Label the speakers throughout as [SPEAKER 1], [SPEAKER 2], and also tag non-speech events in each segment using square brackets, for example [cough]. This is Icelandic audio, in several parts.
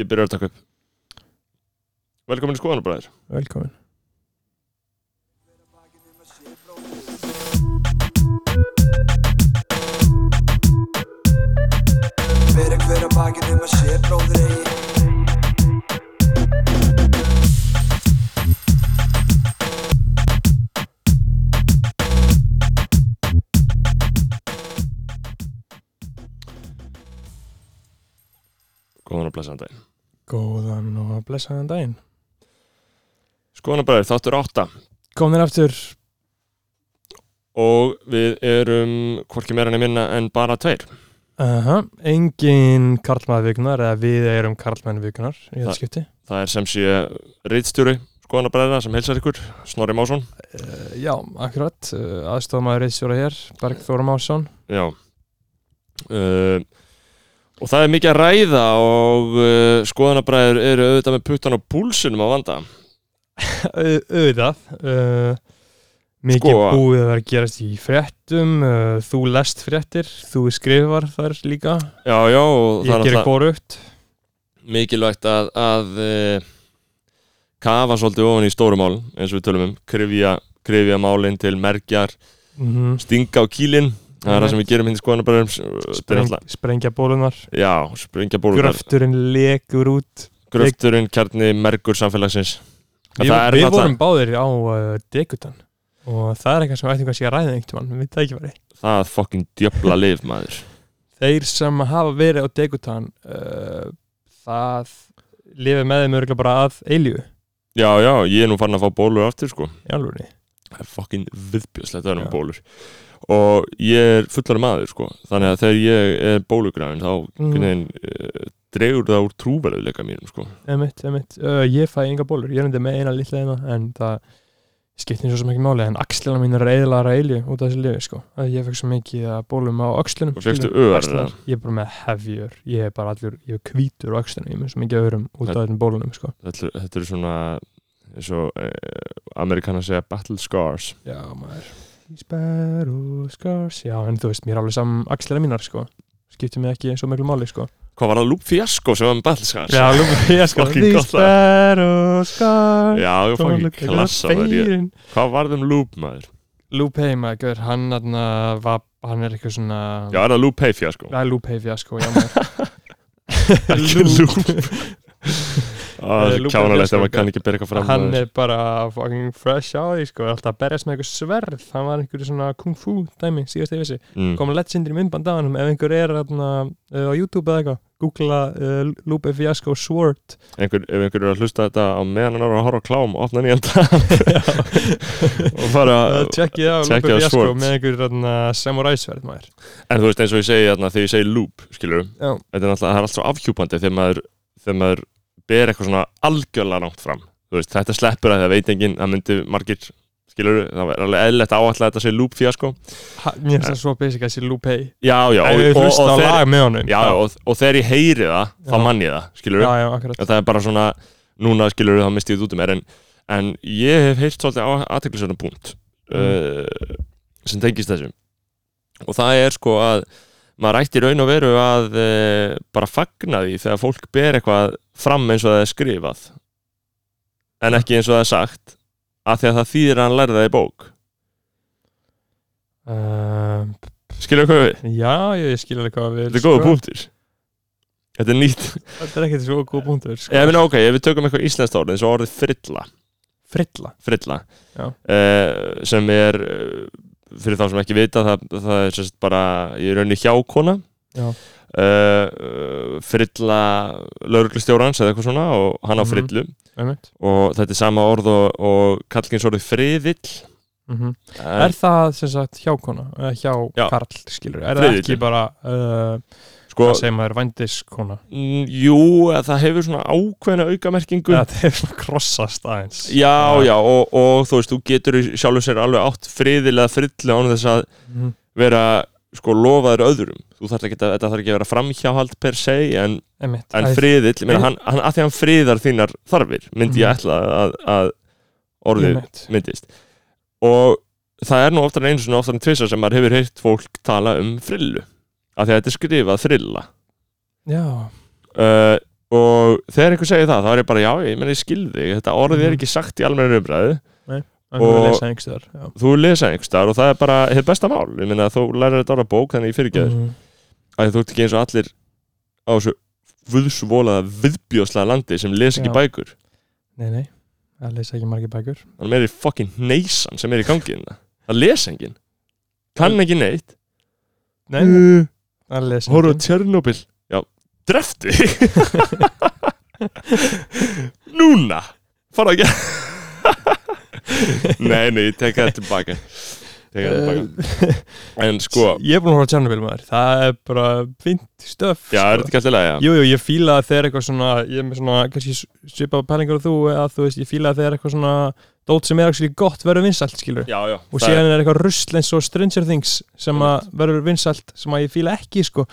[SPEAKER 1] Ég byrjar að taka upp Velkomin í skoðanabræðir
[SPEAKER 2] Velkomin
[SPEAKER 3] Hver er hver að bakið um að sé bróðir eigi
[SPEAKER 1] Góðan og blessaðan daginn
[SPEAKER 2] Góðan og blessaðan daginn
[SPEAKER 1] Skoðanabræðir, þáttur 8
[SPEAKER 2] Komin aftur
[SPEAKER 1] Og við erum hvorki meira enn minna en bara tveir
[SPEAKER 2] Aha, engin karlmaðvikunar eða við erum karlmennvikunar í
[SPEAKER 1] Það-
[SPEAKER 2] þetta skipti
[SPEAKER 1] Það er sem sé reitstjóri skoðanabræðina sem heilsar ykkur Snorri Másson
[SPEAKER 2] uh, Já, akkurat, uh, aðstofmaður reisjóra hér Bergþóra Másson
[SPEAKER 1] Já uh, Og það er mikið að ræða og uh, skoðanabræður eru auðvitað með puttan á púlsinum að vanda
[SPEAKER 2] Au- Auðvitað uh, Mikið
[SPEAKER 1] Sko-
[SPEAKER 2] búið að vera að gerast í fréttum uh, Þú lest fréttir, þú skrifar þar líka
[SPEAKER 1] Já, já, og það er
[SPEAKER 2] Ég gerir
[SPEAKER 1] náttúrulega
[SPEAKER 2] górugt
[SPEAKER 1] mikilvægt að, að uh, kafa svolítið ofan í stóru mál eins og við tölum um, krifja, krifja málinn til merkjar,
[SPEAKER 2] mm -hmm.
[SPEAKER 1] stinga á kýlinn það er það sem við gerum hérna hindi skoðanabræðum
[SPEAKER 2] Spreng, Sprengja bólunar
[SPEAKER 1] Já, springja bólurnar
[SPEAKER 2] Gröfturinn lekur út
[SPEAKER 1] Gröfturinn, kjarni, mergur samfélagsins
[SPEAKER 2] Við,
[SPEAKER 1] Það er
[SPEAKER 2] við
[SPEAKER 1] náttúrulega-
[SPEAKER 2] vorum báðir á uh, Degutan og það er eitthvað sem ætti eitthvað sé að ræða einhvern mann, við tækifæri.
[SPEAKER 1] Það fucking djöfla lif, maður
[SPEAKER 2] Þeir sem hafa verið á Degutan, uh, það lifið með þeim örgulega bara að eilífu,
[SPEAKER 1] Já, já, ég er nú farin að fá bólur aftur, sko
[SPEAKER 2] í alvöru.
[SPEAKER 1] Það er fucking viðbjöðslegt að vera með
[SPEAKER 2] Já.
[SPEAKER 1] bólur og ég er fullar maður sko þannig að þegar ég er bólugræðin þá
[SPEAKER 2] Mhm.
[SPEAKER 1] mm. uh, dregur það úr trúverðuleika mínum sko
[SPEAKER 2] Emitt, emitt. Uh, ég fæ enga bólur, ég er endur með eina litla eina en það skiptir svo sem ekki máli en axlina mín er eiginlega að eilífu út af þessu lifi sko. Að ég fekk svo mikið að bólum á axlinum.
[SPEAKER 1] og fegstu öðar
[SPEAKER 2] Axlirnar. Ég er bara með hefjur, ég er bara allur, ég er hvítur á axlinum, ég er með svo mikið öðrum út af þessum bólunum sko.
[SPEAKER 1] þetta, þetta er svona eins og uh, amerikanar segja battle scars
[SPEAKER 2] Já, maður Sparrow scars Já, en þú veist, mér er alveg saman axlera mínar, sko Skiptir mig ekki svo miklu máli, sko
[SPEAKER 1] hvað var það lúp fiasko sem var með battle scars
[SPEAKER 2] Já,
[SPEAKER 1] [laughs]
[SPEAKER 2] lúfum ég, sko
[SPEAKER 1] Fucking
[SPEAKER 2] These
[SPEAKER 1] gott lag.
[SPEAKER 2] Sparrow scars
[SPEAKER 1] já ég fann ekki klassa maður ég, hvað var þeim lúp maður
[SPEAKER 2] Lúp heima, gör, hann aðna Hann er eitthvað svona
[SPEAKER 1] já er það lúp hei
[SPEAKER 2] [laughs]
[SPEAKER 1] fiasko
[SPEAKER 2] Það er lúp heima, sko, já maður
[SPEAKER 1] [laughs] ekki lúp það
[SPEAKER 2] Eh,
[SPEAKER 1] er
[SPEAKER 2] Loop
[SPEAKER 1] kjánalegt
[SPEAKER 2] fiasco,
[SPEAKER 1] ef maður kann ekki berga fram
[SPEAKER 2] [laughs] Hann
[SPEAKER 1] maður.
[SPEAKER 2] er bara fucking fresh á því, sko er Alltaf að berjast með eitthvað sverð Hann var einhverju svona kung fu dæmi, síðast ég vissi
[SPEAKER 1] mm.
[SPEAKER 2] kom legendir í myndband af hann ef einhver er atna, uh, á YouTube eða eitthvað googla uh, Lupe Fiasco
[SPEAKER 1] [laughs]
[SPEAKER 2] Sword
[SPEAKER 1] einhver, ef einhver er að hlusta þetta á meðan hann er að horfa á klám, opna nýjan
[SPEAKER 2] [laughs]
[SPEAKER 1] dag og fara
[SPEAKER 2] uh, tjekkið á
[SPEAKER 1] checkið
[SPEAKER 2] Lupe
[SPEAKER 1] á
[SPEAKER 2] Fiasco
[SPEAKER 1] Sword.
[SPEAKER 2] með einhver atna, samurai sverð maður
[SPEAKER 1] en þú veist eins og ég segi þarna, þegar ég segi loop, skilur
[SPEAKER 2] Já.
[SPEAKER 1] þetta er náttúrulega, það er allt svo afhjúpandi þegar maður, þegar maður ber eitthvað svona algjörlega langt fram, þú veist, þetta sleppur að það veit enginn, það myndi margir skilur, það er alveg eðlilegt að áætla að þetta sé loop fíasko,
[SPEAKER 2] ha, mér finnst það svo basic að sé Lupe
[SPEAKER 1] já, já
[SPEAKER 2] ef
[SPEAKER 1] og,
[SPEAKER 2] við
[SPEAKER 1] og,
[SPEAKER 2] hlusta
[SPEAKER 1] og,
[SPEAKER 2] á
[SPEAKER 1] þegar,
[SPEAKER 2] lag með honum
[SPEAKER 1] já, og, og þegar ég heyri það
[SPEAKER 2] Já.
[SPEAKER 1] þá mann ég það, skilur
[SPEAKER 2] já, já, akkurat
[SPEAKER 1] það er bara svona, núna skilur það misti ég þetta út um mér, en, en ég hef heyrt svolítið aðteklisverðan punkt uh, sem tengist þessu og það er sko að maður ætti í raun og veru að uh, bara fagna því þegar fólk ber eitthvað fram eins og það er skrifað en ekki eins og það er sagt af því að það þýðir að hann lærði það í bók
[SPEAKER 2] uh,
[SPEAKER 1] skilur hvað við,
[SPEAKER 2] já, ég, ég skil alveg hvað við sko.
[SPEAKER 1] þetta er góða punktur þetta er nýtt,
[SPEAKER 2] þetta er ekkert svo góð punktur sko.
[SPEAKER 1] ég meina ok, ef við tökum eitthvað íslenskt orð eins og orðið frilla
[SPEAKER 2] frilla
[SPEAKER 1] frilla
[SPEAKER 2] Já.
[SPEAKER 1] Eh, sem er eh, fyrir þá sem ekki vita það, það er sérst bara í raunni hjákona
[SPEAKER 2] Já.
[SPEAKER 1] Eh, eh, frilla lauruglustjórans eða eitthvað svona og hann á
[SPEAKER 2] Mhm.
[SPEAKER 1] frillu
[SPEAKER 2] einmitt
[SPEAKER 1] og þetta er sama orð og, og kallkins orðið friðill Eh,
[SPEAKER 2] mm
[SPEAKER 1] en,
[SPEAKER 2] er það sem sagt hjá kona eða hjá
[SPEAKER 1] Já.
[SPEAKER 2] karl skilur er það
[SPEAKER 1] Friðillinn.
[SPEAKER 2] ekki bara uh,
[SPEAKER 1] sko,
[SPEAKER 2] hvað segir maður vandiskona
[SPEAKER 1] mm, jú, eh, það hefur svona ákveðna aukamerkingu
[SPEAKER 2] Já, það er svona krossast aðeins
[SPEAKER 1] já, já, og, og þú veist, þú getur í sjálfu sér alveg átt friðil eða frillu án þess að
[SPEAKER 2] Mhm.
[SPEAKER 1] vera sko lofaður öðrum þú þarf ekki að, þetta þarf ekki að vera framhjáhald per se en
[SPEAKER 2] Einmitt.
[SPEAKER 1] en
[SPEAKER 2] Æ,
[SPEAKER 1] friðill, menn,
[SPEAKER 2] Æ.
[SPEAKER 1] hann, hann, að því hann friðar þínar þarfir, myndi ég
[SPEAKER 2] Mhm.
[SPEAKER 1] ætla að, að orðið
[SPEAKER 2] einmitt.
[SPEAKER 1] myndist og það er nú oftar en einu svona oftar en tvisa sem maður hefur heyrt fólk tala um frillu, af því að þetta er skrifað frilla
[SPEAKER 2] Já,
[SPEAKER 1] uh, og þegar einhver segir það, þá er ég bara já, ég meina ég skilði þetta orðið
[SPEAKER 2] Mhm.
[SPEAKER 1] er ekki sagt í almennu umræðu
[SPEAKER 2] Það er
[SPEAKER 1] Og-
[SPEAKER 2] að lesa einhvers þar Já
[SPEAKER 1] þú lesa einhvers staðar og það er bara hefur besta mál, ég meina þú lærir þetta ára bók þannig ég fyrirgeður,
[SPEAKER 2] Mhm.
[SPEAKER 1] mm. að þú ert ekki eins og allir á þessu vöðsvólaða viðbjóðslega landi sem les ekki
[SPEAKER 2] Já.
[SPEAKER 1] bækur
[SPEAKER 2] Nei, nei, það lesa ekki margir bækur
[SPEAKER 1] þannig meiri fucking neysan sem er í gangi hérna. það les enginn kann ekki neitt
[SPEAKER 2] Nei, nei, það lesa
[SPEAKER 1] Uh, horfðu á
[SPEAKER 2] enginn.
[SPEAKER 1] Tjernobyl já, drefti [laughs] núna fara ekki [laughs] nei, nei, ég tek það tilbaka tek það tilbaka en sko,
[SPEAKER 2] Uh, Eh, Ég er búin að horfa á Tjernobyl maður það er bara fint stöf
[SPEAKER 1] já, er þetta ekki alltaf lega
[SPEAKER 2] Jú, jú, ég fíla að þeir eitthvað svona ég er með svona, kannski svipa pælingar og þú að þú veist, ég fíla að þeir eitthvað svona dót sem er actually gott verður vinsalt, skilur
[SPEAKER 1] já, já,
[SPEAKER 2] og
[SPEAKER 1] það er-
[SPEAKER 2] síðan er eitthvað rusl eins og Stranger Things sem að verður vinsalt, sem að ég fíla ekki, sko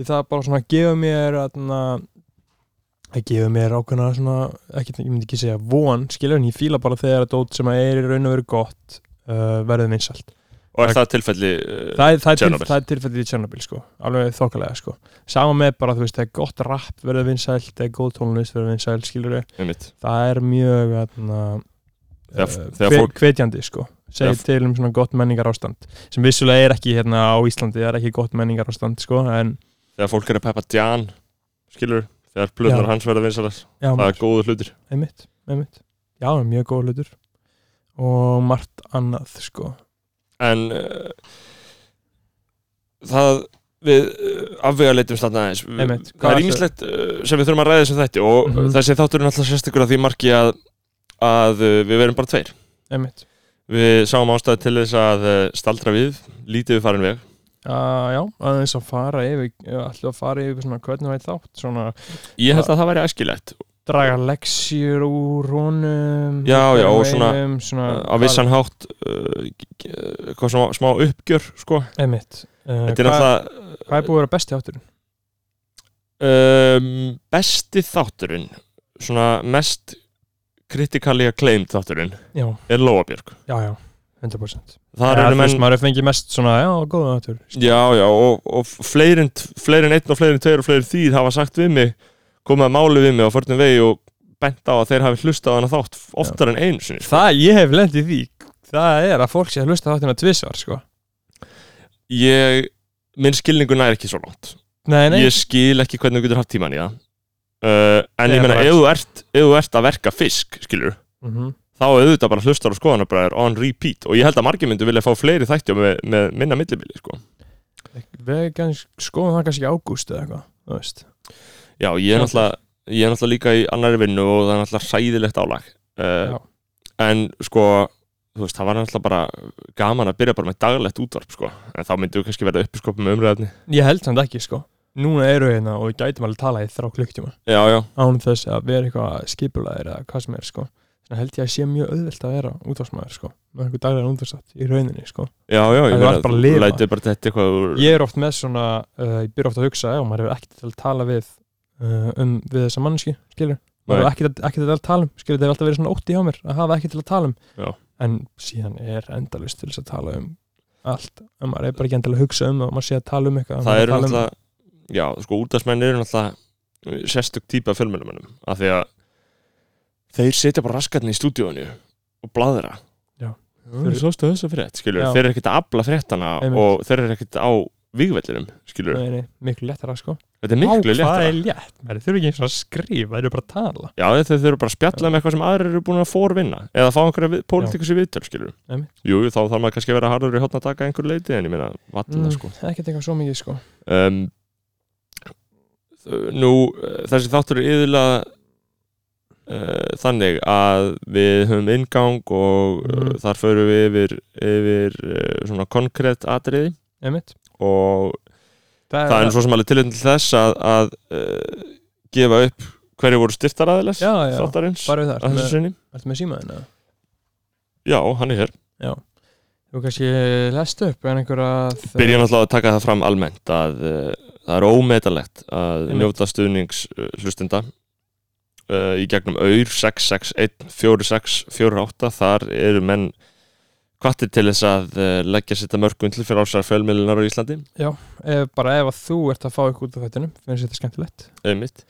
[SPEAKER 2] því það bara svona gefur mér atna, það gefur mér ákveðna svona, ekki, ég myndi ekki segja von, skilur, en ég fíla bara þegar að dót sem að er í raun og veru gott uh, verður vinsalt
[SPEAKER 1] og er það tilfelli uh,
[SPEAKER 2] það, er- það, er
[SPEAKER 1] Chernobyl.
[SPEAKER 2] til, það er tilfellið í Tjernobyl sko. alveg þokkalega sko. sama með bara þú veist það er gott rap verður vinsælt það er góð tónlist verður vinsælt skilur
[SPEAKER 1] einmitt,
[SPEAKER 2] það er mjög atna,
[SPEAKER 1] Þegar- þegar fólk-
[SPEAKER 2] hvetjandi sko. segir
[SPEAKER 1] Þegar-
[SPEAKER 2] til um svona gott menningar ástand sem vissulega er ekki hérna á Íslandi það er ekki gott menningar ástand sko, en
[SPEAKER 1] þegar fólk er að peppa Djan skilur, þegar plöðnar
[SPEAKER 2] Já.
[SPEAKER 1] hans verða vinsalar
[SPEAKER 2] já,
[SPEAKER 1] það er góðu hlutir
[SPEAKER 2] einmitt, einmitt. já mjög góð hlutur og margt annað sko.
[SPEAKER 1] en uh, það við uh, afvega leitum stanna aðeins Við-
[SPEAKER 2] Einmitt.
[SPEAKER 1] það
[SPEAKER 2] Hvað
[SPEAKER 1] er
[SPEAKER 2] ætlu-
[SPEAKER 1] ímislegt uh, sem við þurfum að ræða sem þetta og mm
[SPEAKER 2] Mhm.
[SPEAKER 1] þessi þáttur er náttúrulega sérstakur að því marki að, að uh, við verum bara tveir
[SPEAKER 2] einmitt
[SPEAKER 1] við sáum ástæði til þess að uh, staldra við lítið við farin veg
[SPEAKER 2] Uh, já, aðeins að fara yfir, allir að fara yfir svona hvernig væri þátt, svona
[SPEAKER 1] ég held að það væri æskilegt
[SPEAKER 2] draga leksjur úr honum
[SPEAKER 1] Já, já, og
[SPEAKER 2] einum, svona
[SPEAKER 1] uh, á vissan hátt uh, g- g- eitthvað svona smá uppgjör sko.
[SPEAKER 2] emitt uh,
[SPEAKER 1] þetta er
[SPEAKER 2] hvað,
[SPEAKER 1] náttúrulega
[SPEAKER 2] hvað er búið að vera besti átturinn?
[SPEAKER 1] um, besti þátturinn svona mest kritikali acclaimed þátturinn
[SPEAKER 2] Já,
[SPEAKER 1] er Lóabjörg
[SPEAKER 2] já, já, 100%
[SPEAKER 1] það
[SPEAKER 2] Já,
[SPEAKER 1] eru
[SPEAKER 2] þú veist,
[SPEAKER 1] menn
[SPEAKER 2] maður hefur fengið mest svona, já, góða áttur
[SPEAKER 1] já, já, og, og fleirin, fleirin einn og fleirin tveir og fleirin þýr hafa sagt við mig komið að máli við mig á förnum vegi og bent á að þeir hafi hlustað á hana þátt oftar en einu sinni sko.
[SPEAKER 2] Það, ég hef lendið því Það er að fólk sé að hlusta þáttina tvisvar, sko
[SPEAKER 1] ég, minn skilningu nær ekki svo langt
[SPEAKER 2] Nei, nei,
[SPEAKER 1] ég skil ekki hvernig þú getur haft tíman í það uh, en
[SPEAKER 2] Nei,
[SPEAKER 1] ég meina,
[SPEAKER 2] bara-
[SPEAKER 1] ef þú ert ef þú ert að verka fisk, skilur
[SPEAKER 2] mm -hmm.
[SPEAKER 1] þá auðvitað bara hlustar á skoðanabræður on repeat og ég held að margir myndu vilja fá fleiri þætti með, með minna millibili sko.
[SPEAKER 2] við kannski, skoðum það kannski í ágúst eða eitthvað, þú veist
[SPEAKER 1] Já, ég er
[SPEAKER 2] Já.
[SPEAKER 1] náttúrulega ég er náttúrulega líka í annari vinnu og það er náttúrulega sæðilegt álag uh,
[SPEAKER 2] Já.
[SPEAKER 1] en sko þú veist, það var náttúrulega bara gaman að byrja bara með daglegt útvarp sko. en þá myndu við kannski verða uppi sko með umræðinni
[SPEAKER 2] Ég held samt ekki, sko Núna eru við hérna og við gætum alveg tala í þrá klukktíma
[SPEAKER 1] Já, já,
[SPEAKER 2] án þess að vera eitthvað skipulaðir eða hvað sem er sko þannig held ég að sé mjög auðvelt að vera útvarsmaður sko með einhver daglega útvarsátt í rauninni sko
[SPEAKER 1] já, já
[SPEAKER 2] Það
[SPEAKER 1] ég
[SPEAKER 2] er allt bara að lifa.
[SPEAKER 1] lætið bara þetta eitthvað úr...
[SPEAKER 2] ég er oft með svona, uh, ég byrja oft að hugsa ef maður hefur ekkert til að tala við uh, um við þessa mannski, skilur maður hefur ekkert, ekkert til að tala um, skilur, það hefur alltaf verið svona ótti hjá mér að hafa ekkert til að tala um
[SPEAKER 1] Já.
[SPEAKER 2] en síðan er endalust til þess að tala um allt, en maður er bara ekki endilega að hugsa um og maður sé að tala um eitthvað
[SPEAKER 1] það
[SPEAKER 2] maður
[SPEAKER 1] eru
[SPEAKER 2] tala um-
[SPEAKER 1] náttúrulega já, sko, útastmenn eru náttúrulega sérstök típa fjölmjölumennum af því að þeir setja bara raskatni í stúdíónu og bladra
[SPEAKER 2] Já.
[SPEAKER 1] þeir eru sástu þess að frétt, skilur
[SPEAKER 2] Já.
[SPEAKER 1] þeir eru ekkert að abla fréttana
[SPEAKER 2] Einmitt.
[SPEAKER 1] og þeir eru ekkert á vígvellinum, skilur
[SPEAKER 2] Nei, nei, miklu léttara sko
[SPEAKER 1] þetta er miklu
[SPEAKER 2] Á, hvað
[SPEAKER 1] léttara
[SPEAKER 2] er létt, maður þurfi ekki eins og að skrifa það eru bara að tala
[SPEAKER 1] já, þeir þeir eru bara að spjalla með eitthvað sem aðrir eru búin að fórvinna eða fá einhverja við, pólitíkus í viðtöl, skilur
[SPEAKER 2] Einmitt.
[SPEAKER 1] jú, þá þarf maður kannski að vera harður í hotna að taka einhver leiti en ég meina, vatna,
[SPEAKER 2] Mm,
[SPEAKER 1] sko
[SPEAKER 2] ekkert eitthvað svo mikið sko
[SPEAKER 1] um, þ- Nú, eh, þessi þáttur er yðurlega uh, þannig að við höfum inngang og mm.
[SPEAKER 2] Mhm.
[SPEAKER 1] þar förum við yfir, yfir uh, svona konkrétt atriði
[SPEAKER 2] Einmitt.
[SPEAKER 1] og það er nú svo sem alveg tilhengið til þess að, að uh, gefa upp hverju voru styrtaraðilas
[SPEAKER 2] Já, já.
[SPEAKER 1] þáttarins
[SPEAKER 2] bara við
[SPEAKER 1] að
[SPEAKER 2] það,
[SPEAKER 1] þessu
[SPEAKER 2] ertu með,
[SPEAKER 1] sinni
[SPEAKER 2] ertu með símaðina
[SPEAKER 1] Já, hann er hér
[SPEAKER 2] þú kannski lest upp en einhverja þ-
[SPEAKER 1] Byrja náttúrulega að taka það fram almennt að uh, það er ómetalegt að
[SPEAKER 2] Einmitt.
[SPEAKER 1] njóta stuðnings uh, hlustenda uh, í gegnum auður 661 4648 þar eru menn kvattir til þess að uh, leggja sitt að mörgum til fyrir ásar fjölmiðlunar á Íslandi
[SPEAKER 2] ef, bara ef að þú ert að fá ykkur út af þættinum finnst þetta skemmtilegt
[SPEAKER 1] eða mitt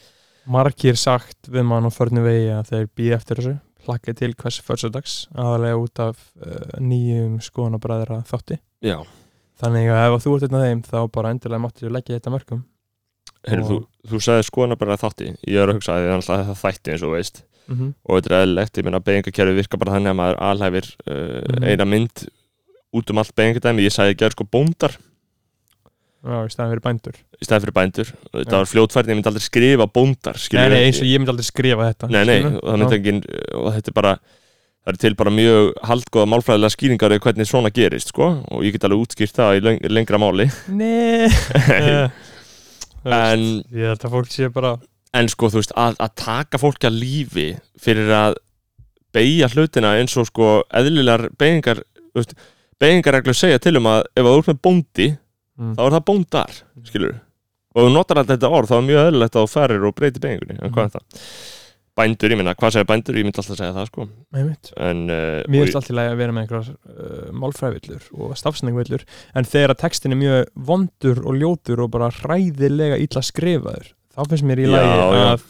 [SPEAKER 2] margir sagt við mann á förnum vegi að þeir býð eftir þessu hlakka til hvers försadags aðalega út af uh, nýjum skoðanabræðra þátti
[SPEAKER 1] Já,
[SPEAKER 2] þannig að ef þú ert einn af þeim þá bara endilega máttu þér leggja þetta mörgum
[SPEAKER 1] heyrðu, þú,
[SPEAKER 2] Og-
[SPEAKER 1] þú sagði skoðan bara þátti Ég er að hugsa að það er alltaf það þætti eins og þú veist
[SPEAKER 2] mm -hmm.
[SPEAKER 1] og þetta er eðlilegt, ég meina beigingakerfi virka bara þannig að maður alhæfir uh,
[SPEAKER 2] Mhm.
[SPEAKER 1] eina mynd út um allt beigingadæmi, ég sagði gerð sko bóndar
[SPEAKER 2] Já, í staðan fyrir bændur
[SPEAKER 1] í stæði fyrir bændur,
[SPEAKER 2] Já.
[SPEAKER 1] þetta var fljótfærni ég myndi aldrei skrifa bóndar skilur
[SPEAKER 2] Nei, nei,
[SPEAKER 1] við.
[SPEAKER 2] eins og ég myndi aldrei skrifa þetta
[SPEAKER 1] nei, nei,
[SPEAKER 2] skilurðu?
[SPEAKER 1] og það myndi
[SPEAKER 2] Já.
[SPEAKER 1] engin og þetta er bara, það er til bara mjög haldgóða málfræðilega skýringar eða hvernig svona gerist sko, og ég get alveg útskýrt það í leng lengra
[SPEAKER 2] [laughs]
[SPEAKER 1] máli
[SPEAKER 2] Nei Eh, þú
[SPEAKER 1] [laughs]
[SPEAKER 2] veist,
[SPEAKER 1] en,
[SPEAKER 2] [laughs] Ég held að fólk sé bara
[SPEAKER 1] en sko þú veist, að, að taka fólk að lífi fyrir að beigja hlutina eins og sko eðlilegar beigingar, þú veist beigingarreglur segja til um að ef þú ert með bóndi
[SPEAKER 2] mm.
[SPEAKER 1] þá er það bóndar, skilur og ef þú notar alltaf þetta orð, þá er mjög eðlilegt að þú ferir og breytir beigingunni, en hvað er það? Bændur, ég minna, hvað segja bændur? Ég myndi alltaf segja það, sko
[SPEAKER 2] Mm. einmitt.
[SPEAKER 1] en, uh,
[SPEAKER 2] Mér
[SPEAKER 1] og
[SPEAKER 2] finnst alltaf að vera með einhverjar uh, málfræðvillur og stafsningvillur en þegar að textin er mjög vondur og ljótur og bara hræðilega illa skrifaður þá finnst mér í
[SPEAKER 1] Já,
[SPEAKER 2] lagi
[SPEAKER 1] já.
[SPEAKER 2] að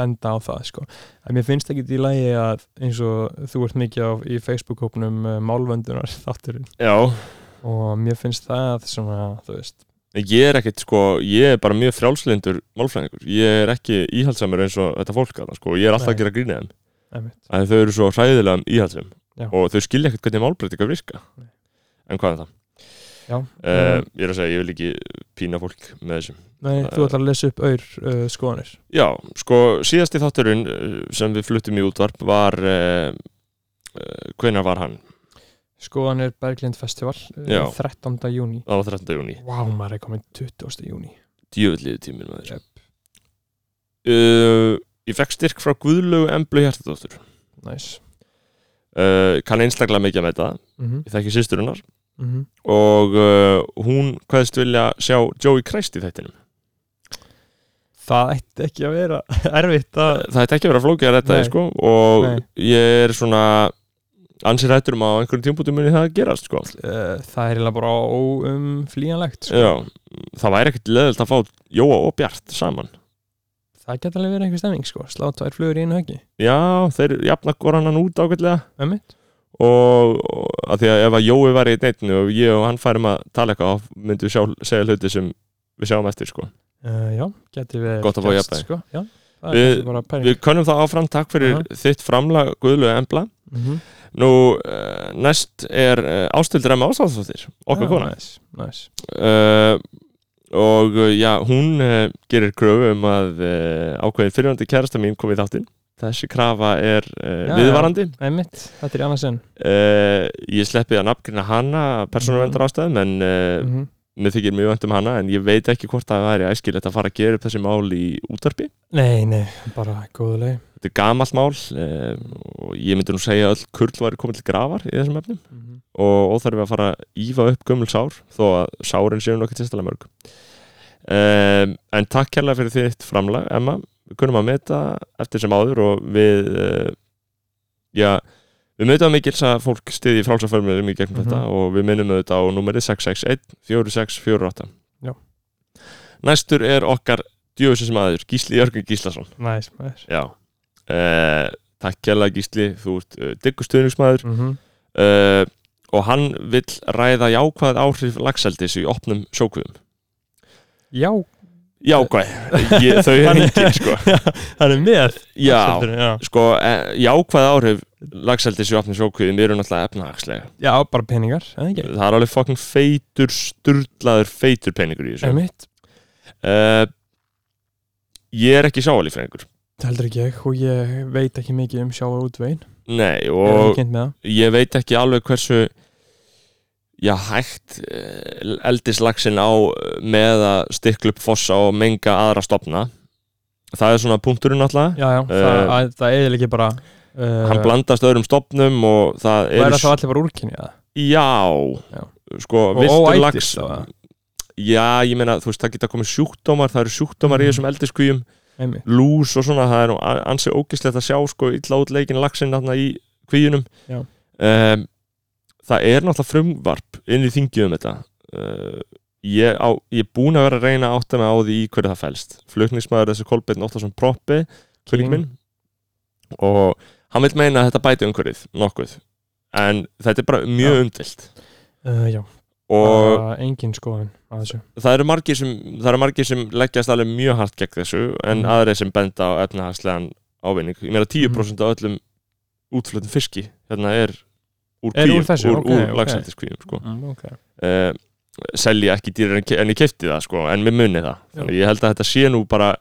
[SPEAKER 2] benda á það sko. en mér finnst ekki í lagi að eins og þú ert mikið á, í Facebook-hópnum uh, málvöndunar þátturinn
[SPEAKER 1] já,
[SPEAKER 2] og mér finnst það svona, þú veist
[SPEAKER 1] ég er ekkit, sko ég er bara mjög frjálslindur málfræðingur ég er ekki íhaldsamur eins og þetta fólk að, sko, ég er alltaf
[SPEAKER 2] Nei.
[SPEAKER 1] að gera grínið þeim
[SPEAKER 2] einmitt.
[SPEAKER 1] að þau eru svo hræðilega íhaldsum
[SPEAKER 2] Já.
[SPEAKER 1] og þau skilja ekkert hvernig málbreytingar virka
[SPEAKER 2] Nei.
[SPEAKER 1] en hvað er það?
[SPEAKER 2] Já,
[SPEAKER 1] Uh,
[SPEAKER 2] um,
[SPEAKER 1] ég er að segja, ég vil ekki pína fólk með þessum
[SPEAKER 2] nei, þú ætlar að lesa upp auður uh, skoðanir
[SPEAKER 1] Já, sko, síðasti þátturinn eh, sem við fluttum í útvarp var uh, uh, hvenar var hann?
[SPEAKER 2] skoðanir Berglind Festival uh,
[SPEAKER 1] Já.
[SPEAKER 2] 13. júni
[SPEAKER 1] Það var 13. júni,
[SPEAKER 2] Vá, maður er komin 20. júni
[SPEAKER 1] djöfulliðu tíminn maður
[SPEAKER 2] Jep.
[SPEAKER 1] uh, Ég fekk styrk frá Guðlaugu Emblu Hjartadóttur
[SPEAKER 2] Næs
[SPEAKER 1] uh, kann einstaklega mikið með þetta
[SPEAKER 2] Mhm,
[SPEAKER 1] ég þekki systur hennar
[SPEAKER 2] mhm.
[SPEAKER 1] og uh, hún hvaðist vilja sjá Joey Christ í þættinum
[SPEAKER 2] Það ætti ekki að vera [laughs] erfitt að
[SPEAKER 1] Eh, það ætti ekki að vera flókið að redda
[SPEAKER 2] Nei.
[SPEAKER 1] því sko og
[SPEAKER 2] Nei.
[SPEAKER 1] ég er svona ansið rættur um að á einhverjum tímpútum muni það gerast sko
[SPEAKER 2] uh, Það er eiginlega bara óumflýjanlegt sko.
[SPEAKER 1] Já, það væri ekkert leðilt að fá Jóa og Bjart saman
[SPEAKER 2] Það geta alveg verið einhver stemming sko. Slá tvær flugur í einu höggi Um
[SPEAKER 1] Já, þeir jafna korannan út ágætlega
[SPEAKER 2] Ömmit
[SPEAKER 1] og, og að því að ef að Jói væri í neittinu og ég og hann færum að tala eitthvað þá myndum við sjá, segja hluti sem við sjáum eftir sko
[SPEAKER 2] uh, Já, geti við
[SPEAKER 1] Gott að fá
[SPEAKER 2] gerst,
[SPEAKER 1] jafnvægi.
[SPEAKER 2] sko. Já, það
[SPEAKER 1] Við-
[SPEAKER 2] er kannski bara pæring
[SPEAKER 1] Við könnum það áfram, takk fyrir þitt framlag Guðlögu Embla
[SPEAKER 2] Mhm.
[SPEAKER 1] Nú, uh, næst er uh, ástöldur Emma Ástáðsdóttir, okkar
[SPEAKER 2] Já,
[SPEAKER 1] kona
[SPEAKER 2] Næs, næs
[SPEAKER 1] uh, og uh, já, hún uh, gerir kröfu um að uh, ákveðin fyrirvandi kærasta mín komið þáttinn þessi krafa er uh,
[SPEAKER 2] Já,
[SPEAKER 1] viðvarandi
[SPEAKER 2] Ömmit, Um þetta er í annarsinn
[SPEAKER 1] uh, ég sleppi að nafngrina hana persónuverndar ástæðum en uh,
[SPEAKER 2] mm
[SPEAKER 1] mér þykir mjög vant um hana en ég veit ekki hvort það væri æskilegt að fara að gera upp þessi mál í útarpi
[SPEAKER 2] Nei, nei, bara góðulegi
[SPEAKER 1] þetta er gamalt mál uh, og ég myndi nú segja að öll kurl væri komið til grafar í þessum efnum
[SPEAKER 2] mm -hmm.
[SPEAKER 1] og óþarf að fara að ífa upp gömul sár þó að sárin séu nokkið sérstælega mörg um, en takk kærlega fyrir þitt framlag Emma, við kunum að meta eftir sem áður og við uh, já, við metum mikils að fólk stiði frálsaförmjöðum í gegnum
[SPEAKER 2] Mhm.
[SPEAKER 1] þetta og við minnum þetta á númeri 661 4648
[SPEAKER 2] Já.
[SPEAKER 1] næstur er okkar djöfisins maður, Gísli Jörgur Gíslason
[SPEAKER 2] Næs, næs
[SPEAKER 1] já uh, takk kærlega Gísli, þú ert uh, diggur stuðningsmaður
[SPEAKER 2] mm
[SPEAKER 1] uh, og hann vill ræða jákvæð áhrif lagseldis í opnum sjókvöðum
[SPEAKER 2] Já,
[SPEAKER 1] Jákvæð, ég, þau er
[SPEAKER 2] Hann-
[SPEAKER 1] engin
[SPEAKER 2] [laughs]
[SPEAKER 1] sko.
[SPEAKER 2] hann er með
[SPEAKER 1] Já,
[SPEAKER 2] Svolítið, já.
[SPEAKER 1] sko, eh, jákvæð áhrif lagseldis í opnum sjókvöðum eru náttúrulega efnahagslega
[SPEAKER 2] já, bara peningar, eða ekki
[SPEAKER 1] Það er alveg fokkin feitur, sturlaður feitur peningur í þessu
[SPEAKER 2] Ömmit,
[SPEAKER 1] uh, Ég er ekki sjávalífræðingur
[SPEAKER 2] það heldur ekki ég og ég veit ekki mikið um sjávar útvegin
[SPEAKER 1] Nei,
[SPEAKER 2] Ég er ekki
[SPEAKER 1] og
[SPEAKER 2] kynnt með það
[SPEAKER 1] ég veit ekki alveg hversu já, hægt eh, eldislagsin á eh, með að stikla upp fossa og menga aðra stopna það er svona punkturinn alltaf
[SPEAKER 2] Já, já,
[SPEAKER 1] Eh,
[SPEAKER 2] það, að, það eðil ekki bara uh,
[SPEAKER 1] hann blandast öðrum stopnum og það
[SPEAKER 2] Og er
[SPEAKER 1] er
[SPEAKER 2] það þá allir bara úrkynni það?
[SPEAKER 1] já,
[SPEAKER 2] Já.
[SPEAKER 1] sko,
[SPEAKER 2] Og
[SPEAKER 1] viltur lags
[SPEAKER 2] óætist þá,
[SPEAKER 1] já, ég meina, þú veist, það geta komið sjúkdómar það eru sjúkdómar í
[SPEAKER 2] Mhm.
[SPEAKER 1] þessum eldiskvíum
[SPEAKER 2] Einmitt
[SPEAKER 1] lús og svona, það er nú a- ansi ógislegt að sjá sko illa út leikin laxinn þarna í kvíunum
[SPEAKER 2] Já.
[SPEAKER 1] um, það er náttúrulega frumvarp inn í þingið um þetta uh, ég, á, ég er búin að vera að reyna að átta mig á því í hverju það fælst flutningsmaður þessu Kolbeinn Óttarsson Proppi kvöling minn og hann vil meina að þetta bæti umhverfið nokkuð en þetta er bara mjög
[SPEAKER 2] Já.
[SPEAKER 1] umdilt
[SPEAKER 2] uh, Já,
[SPEAKER 1] og
[SPEAKER 2] bara engin skoðun að þessu
[SPEAKER 1] það eru margir sem, það eru margir sem leggjast alveg mjög hart gegn þessu en
[SPEAKER 2] Mhm.
[SPEAKER 1] aðrir sem benda á efnahagslegan ávinning ég meina
[SPEAKER 2] Mm.
[SPEAKER 1] 10% af öllum útflutum fiski hérna er úr
[SPEAKER 2] Er
[SPEAKER 1] kvíum,
[SPEAKER 2] úr þessu?
[SPEAKER 1] úr,
[SPEAKER 2] Ok,
[SPEAKER 1] úr
[SPEAKER 2] ok.
[SPEAKER 1] laxeldiskvíum sko.
[SPEAKER 2] mm, okay.
[SPEAKER 1] uh, selja ekki dýrar en, ke- en ég kefti það sko, en mér muni það
[SPEAKER 2] Já.
[SPEAKER 1] Þannig, ég held að þetta sé nú bara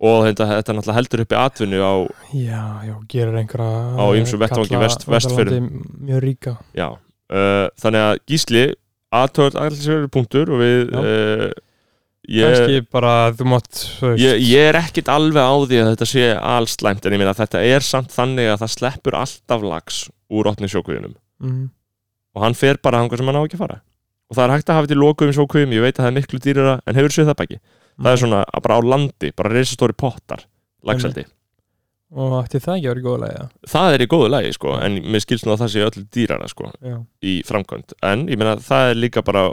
[SPEAKER 1] og þetta, þetta náttúrulega heldur uppi atvinnu á,
[SPEAKER 2] Já, já, gerir einhverja eh,
[SPEAKER 1] Á ýmsum vettvangi
[SPEAKER 2] kalla
[SPEAKER 1] vest-
[SPEAKER 2] úr þessu
[SPEAKER 1] Vestfjörðum.
[SPEAKER 2] landi Mjög ríka
[SPEAKER 1] já, uh, þannig að gísli aðtöld aðhalsverður punktur og við
[SPEAKER 2] Já.
[SPEAKER 1] uh, ég,
[SPEAKER 2] Kanski bara, þú mátt þú veist,
[SPEAKER 1] ég, ég er ekkit alveg á því að þetta sé allslæmt en ég meina að þetta er samt þannig að það sleppur alltaf lags úr opni sjókvíunum
[SPEAKER 2] mm,
[SPEAKER 1] og hann fer bara hangað sem hann á ekki að fara og það er hægt að hafa til lokuðum sjókvíum, ég veit að það er miklu dýrara en hefur séð það baki það
[SPEAKER 2] Mm.
[SPEAKER 1] er svona að bara á landi, bara reisastóri pottar lagseldi,
[SPEAKER 2] Og ætti það ekki að vera í góða leiða
[SPEAKER 1] það er í góðu lagi sko, en mér skilst nú að það sé öllu dýrara sko,
[SPEAKER 2] Já,
[SPEAKER 1] í framkvæmd, en ég meina það er líka bara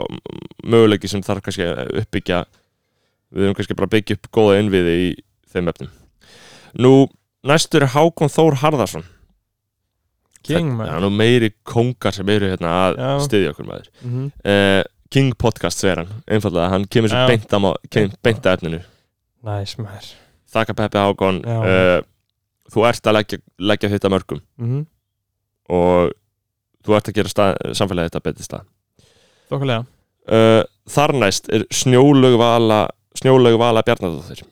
[SPEAKER 1] möguleiki sem þarf kannski að uppbyggja við höfum kannski bara að byggja upp góða innviði í þeim efnum Nú, næstur er Hákon Þór Harðarsson
[SPEAKER 2] King
[SPEAKER 1] Það
[SPEAKER 2] man
[SPEAKER 1] er nú meiri kongar sem eru hérna að
[SPEAKER 2] Já.
[SPEAKER 1] styðja okkur maður
[SPEAKER 2] Mhm.
[SPEAKER 1] uh, King Podcast segir hann, einfallega hann kemur
[SPEAKER 2] Já.
[SPEAKER 1] svo beint að má- kemur beint að efninu
[SPEAKER 2] Næs maður
[SPEAKER 1] Þakka Peppi Hákon
[SPEAKER 2] Já.
[SPEAKER 1] uh, Þú ert að leggja, leggja þetta mörgum
[SPEAKER 2] Mhm.
[SPEAKER 1] og þú ert að gera stað, samfélagið þetta betið stað
[SPEAKER 2] Þokkulega
[SPEAKER 1] uh, Þarnæst er Snjólaug Vala Snjólaug Vala Bjarnadóttir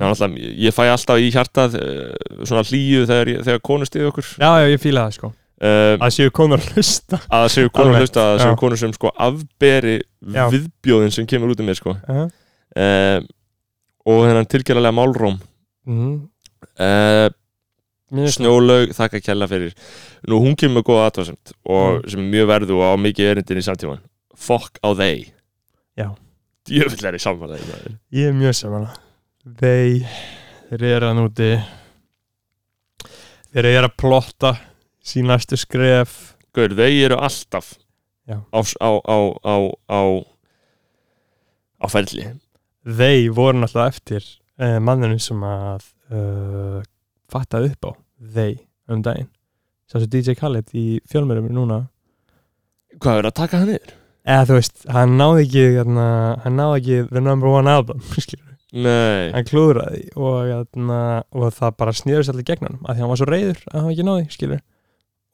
[SPEAKER 1] Já,
[SPEAKER 2] Mm.
[SPEAKER 1] náttúrulega, ég- ég fæ alltaf í hjartað uh, svona hlýju þegar, ég- þegar konu stiði okkur
[SPEAKER 2] Já, já, ég fíla það sko
[SPEAKER 1] uh,
[SPEAKER 2] Að séu konar að hlusta
[SPEAKER 1] að það séu konur
[SPEAKER 2] Almennt,
[SPEAKER 1] hlusta, að það séu
[SPEAKER 2] já.
[SPEAKER 1] konur sem sko afberi
[SPEAKER 2] Já.
[SPEAKER 1] viðbjóðin sem kemur út um mér sko
[SPEAKER 2] uh
[SPEAKER 1] uh, og þennan tilgjörlega málróm
[SPEAKER 2] -huh.
[SPEAKER 1] uh,
[SPEAKER 2] Mhm. Mér finnst
[SPEAKER 1] Snjólaug, þakka kjalla fyrir Nú, hún kemur með góða aðtvarsend og
[SPEAKER 2] Mm.
[SPEAKER 1] sem er mjög verðu og á mikið erindin í samtíman Fuck á þeir
[SPEAKER 2] Já.
[SPEAKER 1] Djöfull er í samfélagið maður.
[SPEAKER 2] Ég er mjög samanlega Þeir, þeir eru að núti Þeir eru að plotta sín næstu skref
[SPEAKER 1] Gaur, þeir eru alltaf
[SPEAKER 2] Já.
[SPEAKER 1] á, á, á, á, á, á ferli
[SPEAKER 2] Þeir voru náttúrulega eftir uh, manninu sem að uh, fatta upp á Þeir um daginn Sá svo DJ Khaled í fjölmjörnum núna
[SPEAKER 1] Hvað er að taka hann yfir?
[SPEAKER 2] Eða þú veist, hann náði ekki hérna, hann náði ekki The Number One Album [laughs] skilur.
[SPEAKER 1] Nei,
[SPEAKER 2] hann klúðraði og, hérna, og það bara snýðurst allir gegn hann að því hann var svo reyður að hann ekki náði skilur.